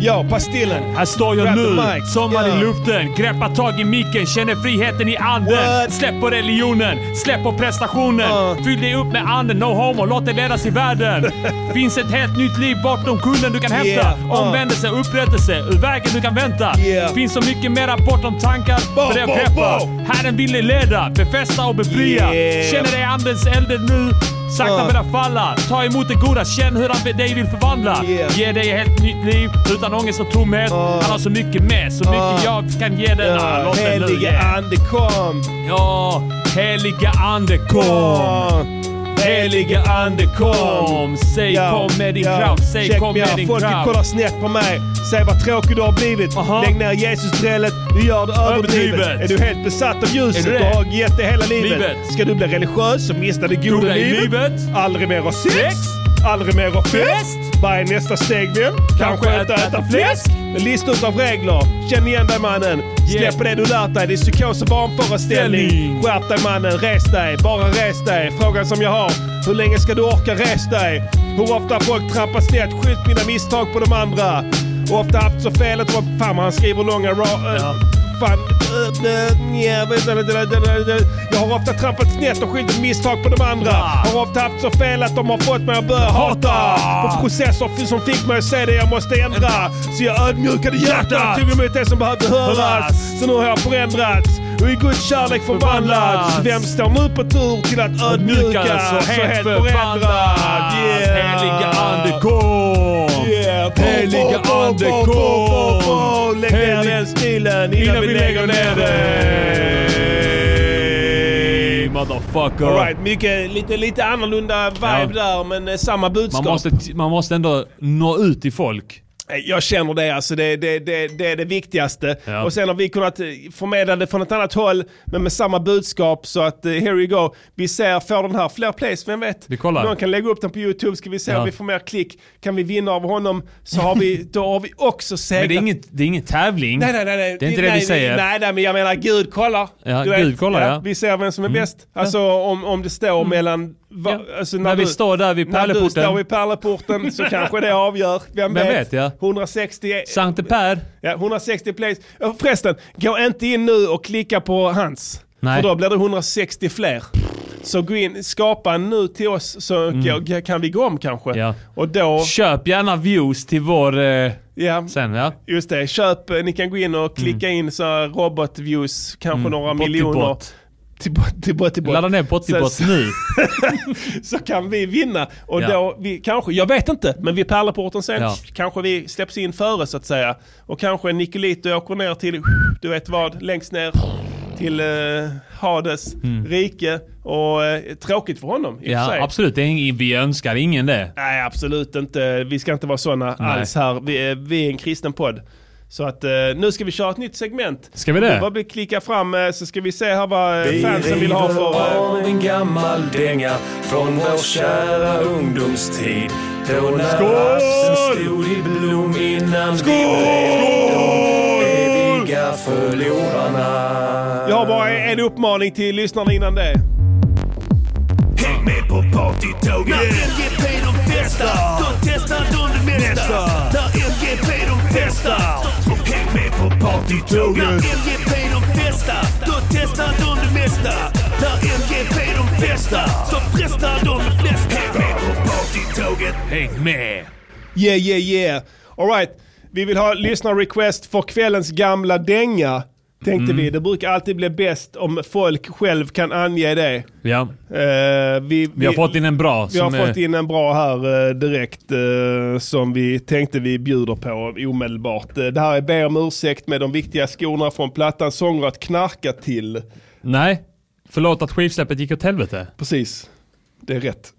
S1: Yo, Pastillen!
S5: Här står jag
S1: Grab the
S5: nu,
S1: mic.
S5: sommar
S1: Yeah.
S5: i luften. Greppa tag i micken, känner friheten i anden. Släpp på religionen, släpp på prestationen.
S14: Uh.
S5: Fyll dig upp med anden, no homo, låt dig ledas i världen. Finns ett helt nytt liv bortom kullen du kan hämta.
S14: Yeah. Uh.
S5: Omvändelse, upprättelse, ur vägen du kan vänta.
S14: Yeah.
S5: Finns så mycket mera bortom tankar,
S14: Bo,
S5: för det jag
S14: bo,
S5: peppar.
S14: bo.
S5: Herren vill dig leda, befästa och befria.
S14: Yeah.
S5: Känner dig andens elden nu, sakta
S14: Uh.
S5: börja falla. Ta emot det goda, känn hur han dig vill förvandla.
S14: Yeah.
S5: Ge dig ett helt nytt liv utan ångest och tomhet.
S1: Ah.
S5: Han har så mycket med, så mycket
S14: Uh.
S5: jag kan ge denna
S14: Ja,
S5: låten nu.
S14: heliga
S1: ande kom.
S5: Ja, heliga ande
S1: Ah.
S5: kom. Heliga ande kom. Säg
S1: Ja,
S5: kom med din
S1: ja.
S5: kraft, säg
S1: Check
S5: kom
S1: me
S5: med
S1: out.
S5: din
S1: Folket
S5: kraft.
S1: kollar snett på mig. Säg vad tråkig du har blivit. Lägg ner Jesus-drället. Du gör det överdrivet.
S5: Överdrivet.
S1: Är du helt besatt av ljuset
S5: Är du
S1: och
S5: det?
S1: har gett det hela livet?
S5: Livet.
S1: Ska du bli religiös och mista det goda
S5: Goda i
S1: livet? Aldrig mer ha sex?
S5: Sex.
S1: Aldrig mer ha fest? Vad är nästa steg vän? Kanske äta, äta fläsk? En lista utav regler. Känn igen dig mannen. Släpp på det du lärt dig. Det är psykos och vanföreställning. Skärp dig mannen. Res dig. Bara res dig. Frågan som jag har. Hur länge ska du orka res dig? Hur ofta folk trampar snett. Skyll mina misstag på de andra. Och ofta haft så fel att... Fan vad han skriver långa ra- ja. Fan. äh, Jag har ofta trampat snett och skyllt misstag på de andra. Har ofta haft så fel att de har fått mig att börja hata. På processer f- som fick mig att se det jag måste ändra. Så jag ödmjukade hjärtat, tog emot det som behövde höras. Så nu har jag förändrats och i Guds kärlek förvandlats. Vem står nu på tur till att ödmjukas och helt förändrad? Yeah. Oh,
S5: Heliga ande kom.
S1: Yeah.
S5: Heliga
S1: oh,
S5: ande kom.
S1: Lägg ner den stilen innan vi lägger ner den.
S5: Motherfucker.
S1: All right, mycket, lite, lite annorlunda vibe där men eh, samma budskap.
S5: Man måste, man måste ändå nå ut till folk.
S1: Jag känner det, alltså det, det, det, det är det viktigaste. Och sen har vi kunnat eh, förmedla det från ett annat håll, men med samma budskap. Så att eh, here we go. Vi ser, får den här fler plays, vem vet? Vi
S5: kollar.
S1: Någon kan lägga upp den på YouTube, ska vi se
S5: Ja.
S1: om vi får mer klick. Kan vi vinna av honom så har vi, då har vi också segrat.
S5: Men det är, inget, det är ingen tävling.
S1: Nej, nej, nej, nej.
S5: Det är inte det
S1: nej,
S5: vi säger.
S1: Nej, nej, men jag menar Gud kollar.
S5: Ja,
S1: Du
S5: Gud kollar, ja. Mm.
S1: Vi ser vem som är bäst. Alltså om, om det står mellan... Va, alltså, när
S5: När vi
S1: du,
S5: står där vid
S1: När du
S5: pärleporten.
S1: står vid pärleporten så kanske det avgör. Vem,
S5: Vem vet, ja.
S1: 160...
S5: Sankte Per.
S1: Ja, 160 plays. Ja, Förresten, gå inte in nu och klicka på hans.
S5: Nej.
S1: För då blir det 160 fler. Så gå in, skapa en nu till oss så g- kan vi gå om kanske.
S5: Mm. Ja.
S1: Och då...
S5: Köp gärna views till vår... Eh,
S1: Ja.
S5: Sen ja.
S1: Just det, köp, eh, ni kan gå in och klicka in så här robotviews, kanske
S5: Mm,
S1: några
S5: bot till
S1: miljoner.
S5: bot.
S1: Till bot, till bot, till bot.
S5: Ladda ner Bottibot
S1: Så-
S5: nu.
S1: så kan vi vinna. Och
S5: Ja.
S1: då, vi, kanske, jag vet inte, men vid pärleporten sen
S5: Ja.
S1: kanske vi släpps in före så att säga. Och kanske Nicolito åker ner till, du vet vad, längst ner till eh, Hades rike. Och eh, tråkigt för honom i och för
S5: Mm. Ja,
S1: sig.
S5: absolut. Det är ingen, vi önskar ingen det.
S1: Nej, absolut inte. Vi ska inte vara sådana
S5: Nej.
S1: alls här. Vi är, vi är en kristen podd. Så att eh, nu ska vi köra ett nytt segment.
S5: Ska vi det?
S1: Bara vi klickar fram eh, så ska vi se här vad eh,
S15: Vi
S1: fansen vill ha för...
S15: river
S1: eh,
S15: av en gammal dänga från vår kära ungdomstid. Då när rapsen stod i blom innan Skål! vi blev de eviga förlorarna.
S1: Jag har bara en uppmaning till lyssnarna innan det.
S4: Häng med på partytåget! När MGP de festar, då testar de det mesta. När MGP de festar, häng med på partytåget! När MGP de festar,
S16: bästa, då testar de det mesta. När MGP de festar, så frestar de de flesta. Häng med på partytåget.
S17: Häng med!
S1: Yeah, yeah, yeah. Alright, vi vill ha lyssnarrequest för kvällens gamla dänga. Tänkte
S18: Mm.
S1: vi. Det brukar alltid bli bäst om folk själv kan ange det.
S18: Ja.
S1: Eh, vi,
S18: Vi har fått in en bra
S1: Vi har
S18: som är-
S1: fått in en bra här eh, direkt eh, som vi tänkte vi bjuder på omedelbart. Eh, det här är Be om ursäkt med de viktiga skorna från plattan Sånger att knarka till.
S18: Nej, förlåt att skivsläppet gick åt helvete.
S1: Precis, det är rätt.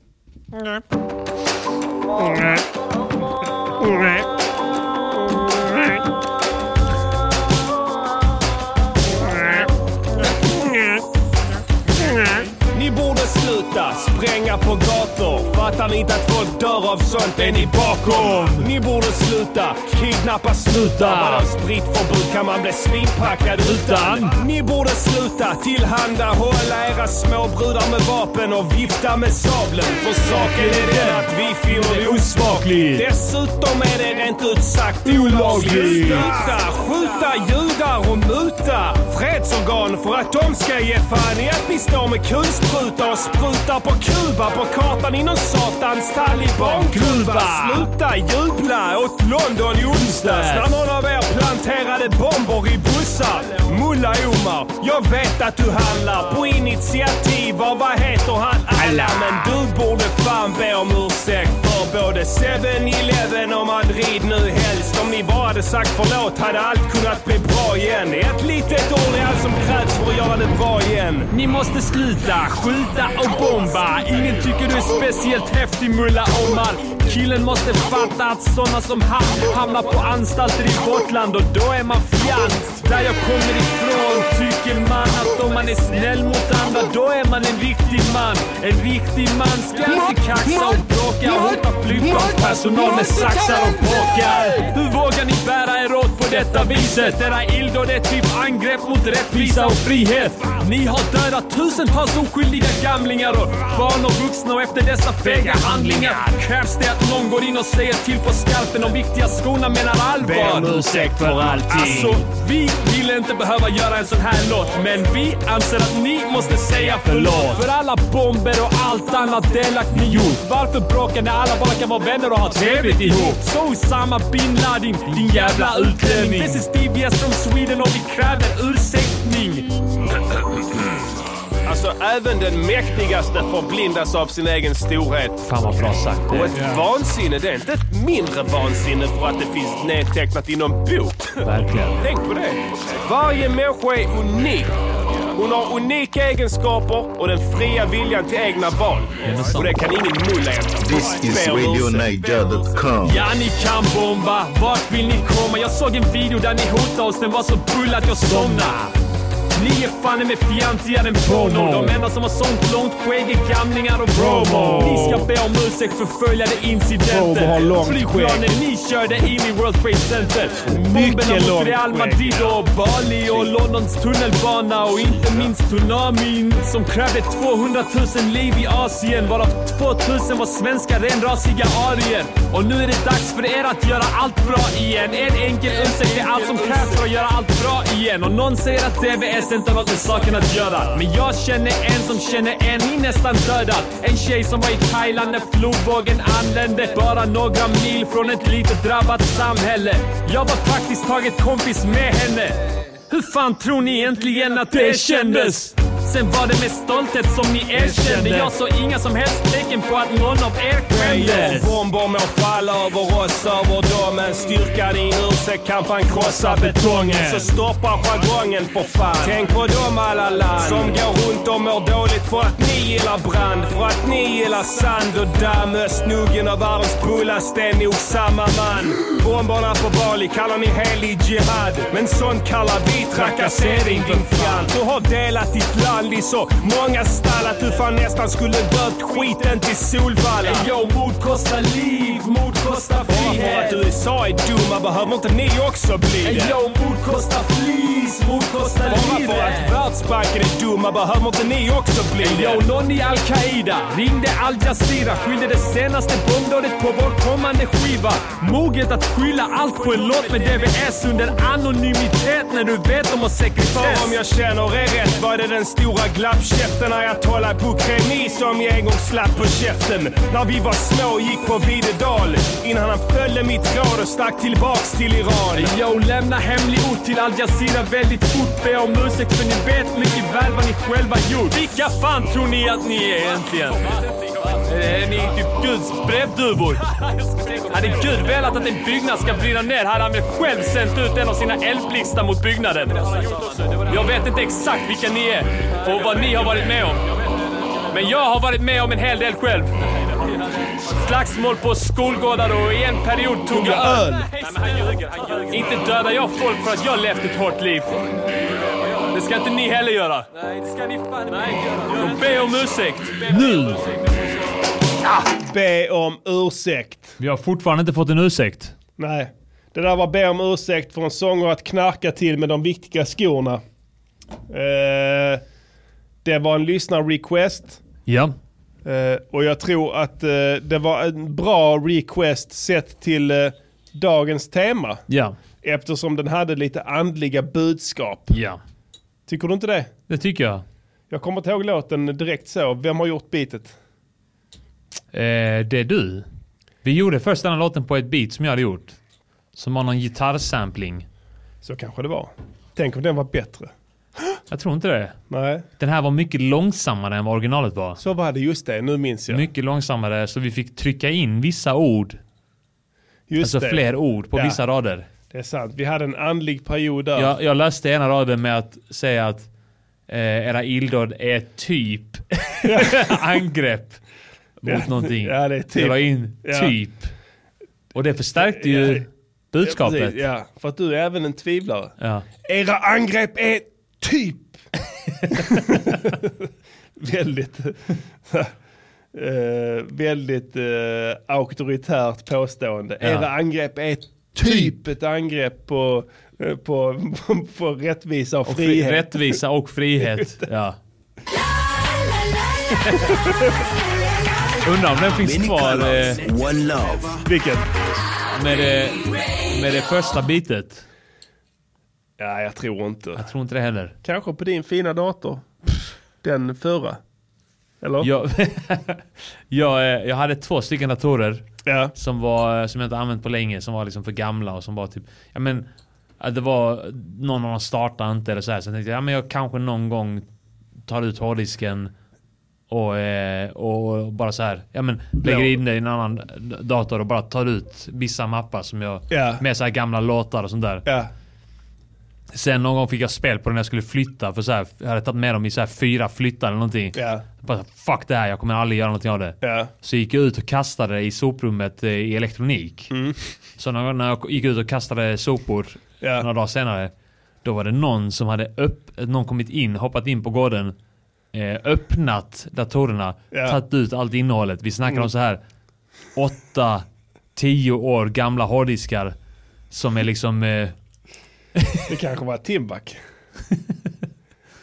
S2: Ni borde sluta spränga på gator. Fattar ni inte att folk dör av sånt? Är ni bakom? Ni borde sluta kidnappa snutar. Av spritförbud kan man bli svinpackad utan. Ni borde sluta tillhandahålla era småbrudar med vapen och vifta med sablen. För saken är den att vi finner det osmakligt. Dessutom är det rent ut sagt olagligt. Sluta skjuta judar och muta fredsorgan för att de ska ge fan i att ni står med kulspruta och sprutar på Kuba på kartan i någon satans talibankluva. Sluta jubla åt London i onsdags när någon av er planterade bomber i bussar. Mulla Omar, jag vet att du handlar på initiativ av vad heter han? Alla. Men du borde fan be om ursäkt för både 7-Eleven och Madrid nu helst. Om ni bara hade sagt förlåt hade allt kunnat bli bra igen. Ett litet ord är allt som krävs för att göra det bra igen.
S5: Ni måste sluta skjuta och bomba. Ingen tycker du är speciellt häftig Mulla Omar. Killen måste fatta att såna som han hamnar på anstalter i vårt land och då är man fjant. Där jag kommer ifrån tycker man att om man är snäll mot andra då är man en riktig man. En riktig man ska inte kaxa och bråka och hota flygplanspersonal med saxar och påkar. Hur vågar ni bära er åt på detta viset? Era illdåd är typ angrepp mot rättvisa och frihet. Ni har dödat tusentals oskyldiga gamlingar och barn och vuxna och efter dessa fega handlingar krävs det att någon går in och säger till på skarpen om viktiga skorna menar allvar.
S2: Be om ursäkt för allting.
S5: Alltså, vi ville inte behöva göra en sån här låt, men vi anser att ni måste säga förlåt. För alla bomber och allt annat delakt ni gjort. Varför bråka när alla bara kan vara vänner och ha trevligt ihop? Så Osama bin Laden, din jävla utlänning. This is Steve Yes from Sweden och vi kräver ursäktning.
S2: Alltså även den mäktigaste förblindas av sin egen storhet.
S18: Fan vad bra sagt det är.
S2: Och ett vansinne, det är inte ett mindre vansinne för att det finns nedtecknat i någon bok.
S18: Verkligen.
S2: Tänk på det. Varje människa är unik. Hon har unika egenskaper och den fria viljan till egna val. Och det kan ingen mulla efter.
S8: This is RadioNiger.com.
S5: Ja, ni kan bomba. Vart vill ni komma? Jag såg en video där ni hotade oss. Den var så full att jag somnade. Ni är fan med fjantigare än Bono. De enda som har sånt långt skägg är gamlingar och
S1: Promo.
S5: promo. Ni ska be om ursäkt för följande
S1: Promo har
S5: incidenter.
S1: långt
S5: Flygplanen
S1: skägg.
S5: ni körde in i World Trade Center.
S1: Mycket långt
S5: Bomberna mot Real
S1: skägg.
S5: Madrid och Bali och Londons tunnelbana och inte minst tsunamin som krävde 200 000 liv i Asien varav 2000 var svenska renrasiga arier. Och nu är det dags för er att göra allt bra igen. En enkel ursäkt är allt som krävs för att göra allt bra igen. Och någon säger att DVS inte har något med saken att göra. Men jag känner en som känner en ni nästan dödat. En tjej som var i Thailand när flodvågen anlände. Bara några mil från ett litet drabbat samhälle. Jag var praktiskt taget kompis med henne. Hur fan tror ni egentligen att det kändes? Sen var det med stolthet som ni erkände. Jag såg inga som helst tecken på att någon av er skämdes.
S2: Bomber må falla över oss, över dem. Men styrkan i en ursäkt kan fan krossa betongen. Så stoppa jargongen för fan. Tänk på dem alla land som går runt och mår dåligt för att ni gillar brand. För att ni gillar sand och damm. Östnuggen och världens bullaste är nog samma man. Bomberna på Bali kallar ni helig jihad. Men sånt kallar vi trakassering din fjant. Du har delat ditt land fall i så många stall att du fan nästan skulle dött skiten till Solvalla.
S13: Ey, yo, mord kostar liv, mord kostar
S2: Bara
S13: frihet.
S2: för att USA är dumma behöver inte ni också bli det.
S13: Ey, yo, mord kostar flis, mord kostar
S2: Bara
S13: livet.
S2: för att Världsbanken är dumma behöver inte ni också bli
S13: Ey,
S2: det.
S13: yo, någon i Al-Qaida ringde Al Jazeera skyllde det senaste bombdådet på vår kommande skiva. Moget att skylla allt på en låt med DVS under anonymitet när du vet om har sekretess.
S2: För om jag känner er rätt var det den stora glappkäften när jag talade Bukremi som jag en gång slapp på käften. När vi var små gick på Videdal innan han följde mitt råd och stack tillbaks till Iran.
S13: Yo, lämna hemlig ort till Al Jazeera väldigt fort. Be om ursäkt för ni vet mycket väl vad ni själva gjort. Vilka fan tror ni att ni är egentligen? Är ni typ Guds brevduvor? Hade Gud velat att en byggnad ska brinna ner hade han väl själv sänt ut en av sina eldblixtar mot byggnaden. Jag vet inte exakt vilka ni är och vad ni har varit med om. Men jag har varit med om en hel del själv. Slagsmål på skolgårdar och i en period tog jag öl. Inte dödar jag folk för att jag levt ett hårt liv. Det ska inte ni heller göra. Nej, det ska ni fan inte göra. Be om ursäkt.
S1: Nu! Be om ursäkt.
S5: Vi har fortfarande inte fått en ursäkt.
S1: Nej. Det där var be om ursäkt för en sång och att knarka till med de viktiga skorna. Eh, det var en lyssnarrequest.
S5: Ja.
S1: Eh, och jag tror att eh, det var en bra request sett till eh, dagens tema.
S5: Ja.
S1: Eftersom den hade lite andliga budskap.
S5: Ja.
S1: Tycker du inte det?
S5: Det tycker jag.
S1: Jag kommer inte ihåg låten direkt så. Vem har gjort beatet?
S5: Eh, det är du. Vi gjorde först den här låten på ett beat som jag hade gjort. Som har någon gitarrsampling.
S1: Så kanske det var. Tänk om den var bättre.
S5: Jag tror inte det.
S1: Nej.
S5: Den här var mycket långsammare än vad originalet var.
S1: Så var det, just det. Nu minns jag.
S5: Mycket långsammare, så vi fick trycka in vissa ord.
S1: Just
S5: alltså
S1: det.
S5: fler ord på
S1: Ja.
S5: vissa rader.
S1: Det är sant. Vi hade en andlig period där.
S5: Jag, jag löste ena raden med att säga att eh, era illdåd är typ angrepp mot
S1: Ja,
S5: någonting.
S1: ja, det är typ.
S5: Jag la in
S1: Ja.
S5: typ. Och det förstärkte ju budskapet.
S1: Ja, precis. Ja, för att du är även en tvivlare.
S5: Ja.
S1: Era angrepp är typ... väldigt... eh, väldigt eh, auktoritärt påstående.
S5: Ja.
S1: Era angrepp är typ ett angrepp på, eh, på, på, på rättvisa och,
S5: Och fri,
S1: frihet.
S5: rättvisa och frihet. ja. Undrar om den finns kvar eh,
S8: One love.
S1: Vilken?
S5: med det, med det första bitet.
S1: Ja, jag tror inte.
S5: Jag tror inte det heller.
S1: Kanske på din fina dator. Den förra. Eller?
S5: Jag, jag, eh, jag hade två stycken datorer som, var, eh, som jag inte använt på länge, som var liksom för gamla och som var typ... Ja men, att det var någon av dem startade inte eller så här. Så jag tänkte ja, men jag kanske någon gång tar ut hårddisken och, eh, och bara så här. Ja men lägger in det i en annan dator och bara tar ut vissa mappar som jag...
S1: Ja.
S5: Med så här gamla låtar och sånt där. Sen någon gång fick jag spel på den när jag skulle flytta. För så här, jag hade tagit med dem i så här fyra flyttar eller någonting.
S1: Ja.
S5: Bara, fuck det här, jag kommer aldrig göra någonting av det.
S1: Ja.
S5: Så gick jag ut och kastade det i soprummet eh, i elektronik.
S1: Mm.
S5: Så när, när jag gick ut och kastade sopor
S1: Ja.
S5: några dagar senare. Då var det någon som hade upp, någon kommit in, hoppat in på gården. Eh, öppnat datorerna,
S1: Ja. Mm.
S5: tagit ut allt innehållet. Vi snackar om så här 8, 10 år gamla hårddiskar. Som är liksom... Eh,
S1: Det kanske var Timbuk.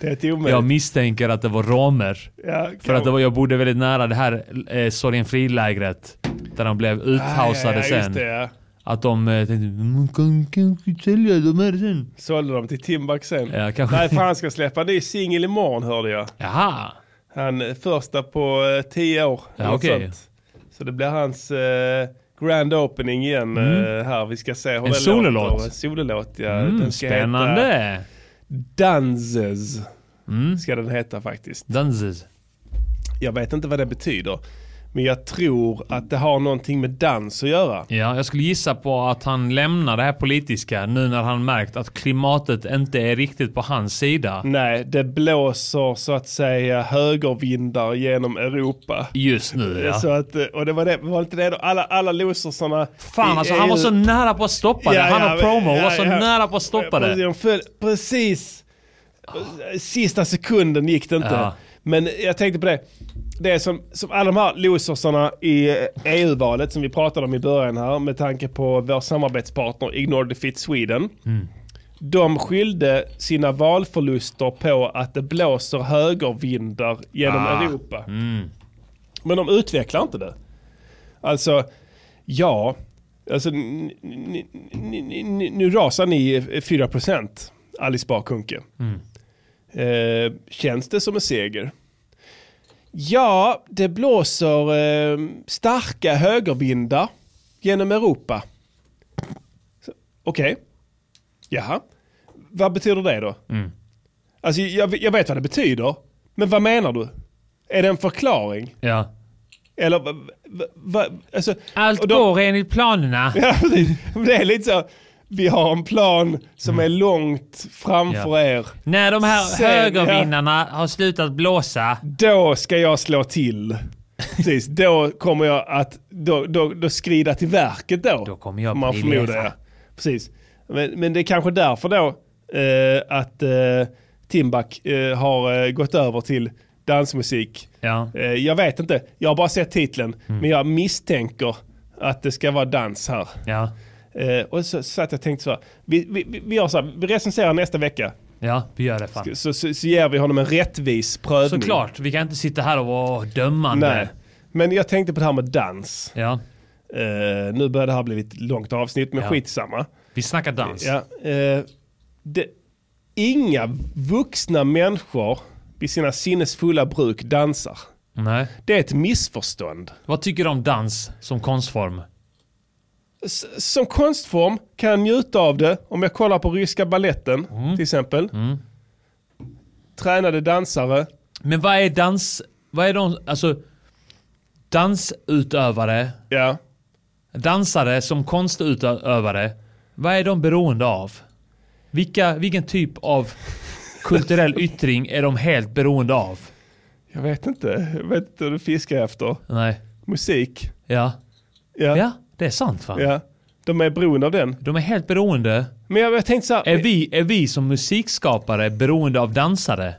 S1: det är ett omöjligt.
S5: Jag misstänker att det var romer.
S1: Ja,
S5: för att det var, jag bodde väldigt nära det här eh, Sorgenfri-lägret. Där de blev uthausade
S1: Ah, ja, ja, just
S5: sen.
S1: det, ja.
S5: Att de eh, tänkte man kan kanske sälja de här sen.
S1: Sålde dem till Timbuk sen.
S5: Ja, kanske.
S1: Nej, för han ska släppa en ny singel imorgon hörde jag.
S5: Jaha.
S1: Han eh, första på eh, tio år.
S5: Ja,
S1: eller något
S5: okej.
S1: sånt. Så det blir hans eh, grand opening igen
S5: Mm.
S1: eh, här. Vi ska se hur
S5: En
S1: det
S5: sololåt.
S1: låter. En sololåt. Ja.
S5: Mm,
S1: Den ska
S5: spännande. Mm.
S1: Heta Danzes. Ska den heta faktiskt.
S5: Danzes.
S1: Jag vet inte vad det betyder. Men jag tror att det har någonting med dans att göra.
S5: Ja, jag skulle gissa på att han lämnar det här politiska nu när han märkt att klimatet inte är riktigt på hans sida.
S1: Nej, det blåser så att säga högervindar genom Europa.
S5: Just nu ja.
S1: Så att, eh, och det var, det, var inte det då? Alla, alla losersarna
S5: Fan
S1: i
S5: alltså, han var
S1: EU
S5: så nära på att stoppa det.
S1: Ja,
S5: Han
S1: ja,
S5: och Promo
S1: ja,
S5: var så
S1: ja.
S5: nära på att stoppa det.
S1: De föll, precis. Sista sekunden gick det inte.
S5: Ja.
S1: Men jag tänkte på det. Det är som, som alla de här losersarna i EU-valet som vi pratade om i början här med tanke på vår samarbetspartner Ignore Defeat Sweden.
S5: Mm.
S1: De skyllde sina valförluster på att det blåser högervindar genom
S5: Ah.
S1: Europa. Men de utvecklar inte det. Alltså, ja. Alltså, n- n- n- n- nu rasar ni eh, 4% Alice Bah Kuhnke.
S5: Mm.
S1: Eh, känns det som en seger? Ja, det blåser eh, starka högervindar genom Europa. Så, Okej. Jaha. Vad betyder det då?
S5: Mm.
S1: Alltså, jag, jag vet vad det betyder. Men vad menar du? Är det en förklaring?
S5: Ja.
S1: Eller va, va, va, alltså,
S5: Allt
S1: och de-
S5: går enligt planerna.
S1: Ja, precis. det är lite så. Vi har en plan som är långt framför
S5: Mm. Ja.
S1: er.
S5: När de här
S1: Sen-
S5: högervinnarna har slutat blåsa.
S1: Då ska jag slå till. Precis, då kommer jag att då, då, då skrida till verket då. Då
S5: kommer jag
S1: Man
S5: briljera.
S1: förmodar, ja. Precis. Men, men det är kanske därför då eh, att eh, Timbuk eh, har eh, gått över till dansmusik. Eh, jag vet inte, jag har bara sett titeln.
S5: Mm.
S1: Men jag misstänker att det ska vara dans här. Eh, och så satt jag och tänkte så här, vi, vi, vi- vi gör så här, vi recenserar nästa vecka.
S5: Ja, vi gör det fan.
S1: Så, så, så ger vi honom en rättvis prövning.
S5: Såklart, vi kan inte sitta här och vara dömande.
S1: Nej. Men jag tänkte på det här med dans.
S5: Ja.
S1: Eh, nu börjar det här bli ett långt avsnitt, men
S5: Ja.
S1: skitsamma.
S5: Vi snackar dans.
S1: Ja, eh, det, inga vuxna människor vid sina sinnesfulla bruk dansar.
S5: Nej.
S1: Det är ett missförstånd.
S5: Vad tycker du om dans som konstform?
S1: S- som konstform kan jag njuta av det om jag kollar på ryska balletten till exempel. Tränade dansare.
S5: Men vad är dans... Vad är de... Alltså... Dansutövare.
S1: Ja.
S5: Dansare som konstutövare. Vad är de beroende av? Vilka, vilken typ av kulturell yttring är de helt beroende av?
S1: Jag vet inte. Jag vet inte vad du fiskar efter.
S5: Nej.
S1: Musik.
S5: Ja.
S1: Ja.
S5: det är sant fan.
S1: Ja. De är beroende av den.
S5: De är helt beroende.
S1: Men jag, jag tänkte så här,
S5: Är vi, är vi som musikskapare beroende av dansare?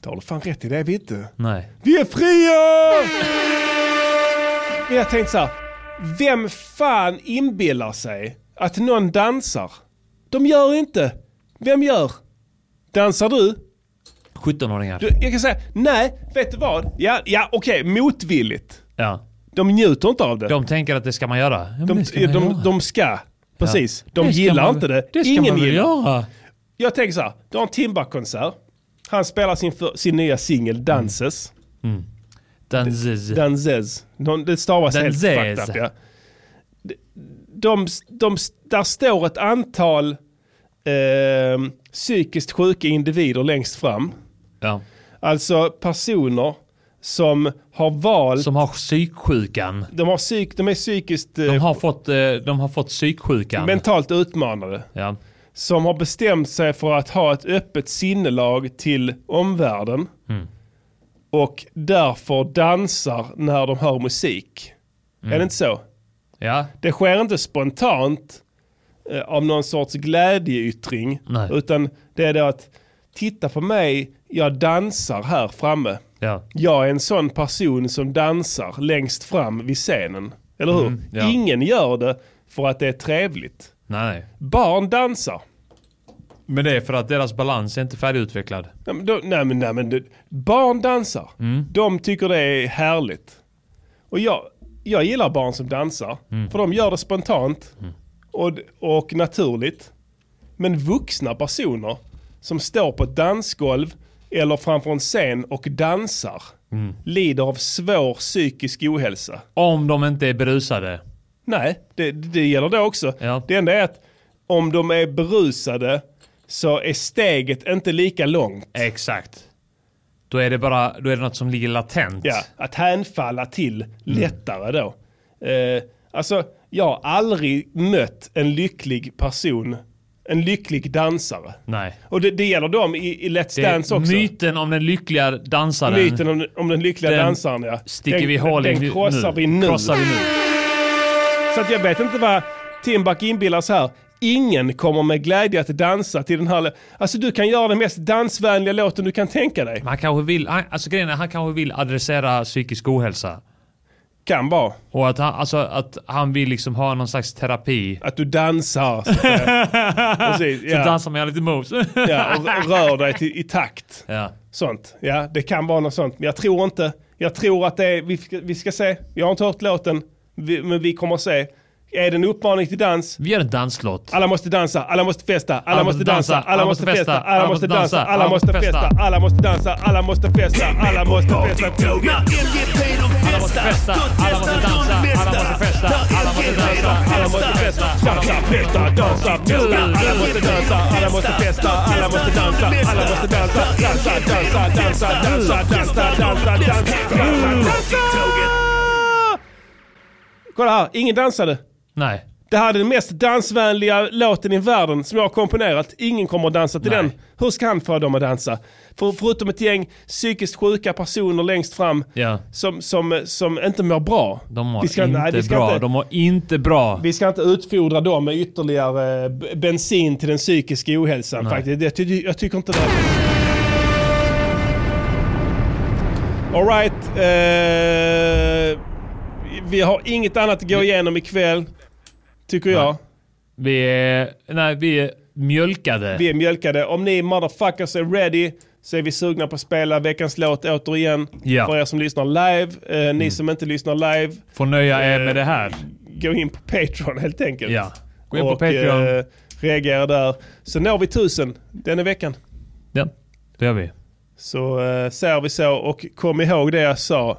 S1: Det har du fan rätt i, det är vi inte.
S5: Nej.
S1: Vi är fria! Men jag tänkte så här. Vem fan inbillar sig att någon dansar? De gör inte. Vem gör? Dansar du?
S5: 17-åringar.
S1: du jag kan säga, nej, vet du vad? Ja, ja okej, motvilligt.
S5: Ja.
S1: De njuter inte av det.
S5: De tänker att det ska man göra. Ja, men
S1: De,
S5: det ska man
S1: de,
S5: göra.
S1: de ska. Precis.
S5: Ja.
S1: De
S5: Det ska
S1: gillar
S5: man-
S1: inte det.
S5: det ska
S1: Ingen
S5: man väl
S1: gillar.
S5: göra.
S1: Jag tänker så här. Du har en Timbuk-konsert. Han spelar sin, för, sin nya singel Dances.
S5: Mm. Danzes.
S1: Danzes. De, det stavas helt
S5: Danzes.
S1: fucked up, ja. De, de, där står ett antal eh, psykiskt sjuka individer längst fram.
S5: Ja.
S1: Alltså personer som har valt...
S5: Som har psyksjukan.
S1: De, har psyk, de är psykiskt... eh,
S5: De har fått, eh, de har fått psyksjukan.
S1: Mentalt utmanade.
S5: Ja.
S1: Som har bestämt sig för att ha ett öppet sinnelag till omvärlden.
S5: Mm.
S1: Och därför dansar när de hör musik.
S5: Mm.
S1: Är det inte så?
S5: Ja.
S1: Det sker inte spontant eh, av någon sorts glädjeyttring.
S5: Nej.
S1: Utan det är då att titta på mig, jag dansar här framme.
S5: Ja.
S1: Jag är en sån person som dansar längst fram vid scenen. Eller hur?
S5: Mm, ja.
S1: Ingen gör det för att det är trevligt.
S5: Nej.
S1: Barn dansar.
S5: Men det är för att deras balans är inte färdigutvecklad.
S1: Nej men, då, nej, men, nej, men det, barn dansar. De tycker det är härligt. Och jag, jag gillar barn som dansar. För de gör det spontant och, och naturligt. Men vuxna personer som står på ett dansgolv eller framför en scen och dansar lider av svår psykisk ohälsa.
S5: Om de inte är berusade.
S1: Nej, det, det gäller det också. Det enda är att om de är berusade så är steget inte lika långt.
S5: Exakt. Då är det bara då är det något som ligger latent.
S1: Ja, att hänfalla till
S5: Mm.
S1: lättare då. Eh, alltså, jag har aldrig mött en lycklig person, en lycklig dansare.
S5: Nej.
S1: Och det, det gäller dem i, i Let's
S5: Det är
S1: Dance också.
S5: myten om den lyckliga dansaren.
S1: Myten om, om den lyckliga
S5: Den
S1: dansaren ja.
S5: sticker
S1: den,
S5: vi hål i
S1: den
S5: nu-
S1: krossar vi nu.
S5: Krossar vi nu.
S1: Så att jag vet inte vad Timbuk inbillar så här. Ingen kommer med glädje att dansa till den här lå- Alltså du kan göra den mest dansvänliga låten du kan tänka dig.
S5: Han kanske vill, han, alltså grejen är, han kanske vill adressera psykisk ohälsa.
S1: Kan vara.
S5: Och att han, alltså, att han vill liksom ha någon slags terapi.
S1: Att du dansar. Så, att säga. Precis,
S5: så
S1: ja.
S5: dansar man lite moves.
S1: ja, och och rör dig till, i takt.
S5: Ja.
S1: Sånt. Ja, det kan vara något sånt. Men jag tror inte. Jag tror att det är, vi, ska- vi ska se. Jag har inte hört låten, vi, men vi kommer att se. Är det en uppmaning till dans?
S5: Vi gör en danslåt.
S1: Alla måste dansa, alla måste festa, alla måste dansa, alla måste festa, alla måste dansa, alla måste festa, alla måste dansa, alla måste festa, alla måste festa.
S4: Alla måste festa, alla måste dansa, alla måste festa, alla måste dansa, alla måste festa. Dansa, festa, dansa, festa. Alla måste dansa, alla måste festa, alla måste dansa, alla måste dansa, dansa, dansa, dansa, dansa, dansa, dansa, dansa, dansa.
S1: Kolla här, ingen dansade.
S5: Nej.
S1: Det här är den mest dansvänliga låten i världen som jag har komponerat. Ingen kommer att dansa till den. Hur ska han få dem att dansa? För, förutom ett gäng psykiskt sjuka personer längst fram
S5: Ja.
S1: som, som, som inte mår bra.
S5: De mår
S1: Vi ska-
S5: inte
S1: nej, vi ska
S5: bra.
S1: inte-
S5: De mår inte bra.
S1: Vi ska inte utfodra dem med ytterligare eh, b- bensin till den psykiska ohälsan faktiskt. Jag, ty- jag tycker inte det. Alright. Eh, vi har inget annat att gå igenom ikväll. Tycker jag.
S5: Vi är, nej, vi är mjölkade.
S1: Vi är mjölkade. Om ni motherfuckers är ready så är vi sugna på att spela veckans låt återigen.
S5: Ja. Mm.
S1: För er som lyssnar live. Eh, ni som inte lyssnar live.
S5: Får nöja er med det här.
S1: Gå in på Patreon helt enkelt.
S5: Ja. Gå in på
S1: Och,
S5: Patreon.
S1: eh, reagera där. Så når vi tusen denna veckan.
S5: Ja, det gör vi.
S1: Så eh, säger vi så. Och kom ihåg det jag sa.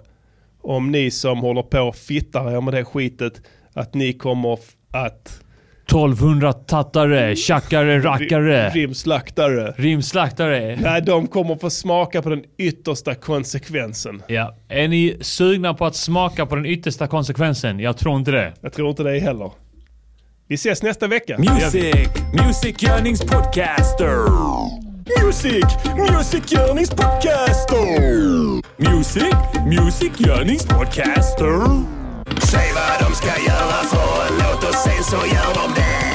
S1: Om ni som håller på och fittar er med det skitet. Att ni kommer f- att...
S5: 1200 tattare, tjackare, rackare.
S1: Rimslaktare.
S5: Rimslaktare.
S1: Nej, de kommer få smaka på den yttersta konsekvensen.
S5: Ja. Är ni sugna på att smaka på den yttersta konsekvensen? Jag tror inte det.
S1: Jag tror inte det heller. Vi ses nästa vecka.
S15: Music, Music Yearnings Podcaster. Music, Music Yearnings Podcaster. Music, Music Yearnings Podcaster.
S4: Säg vad de ska göra för en låt och sen så gör de det.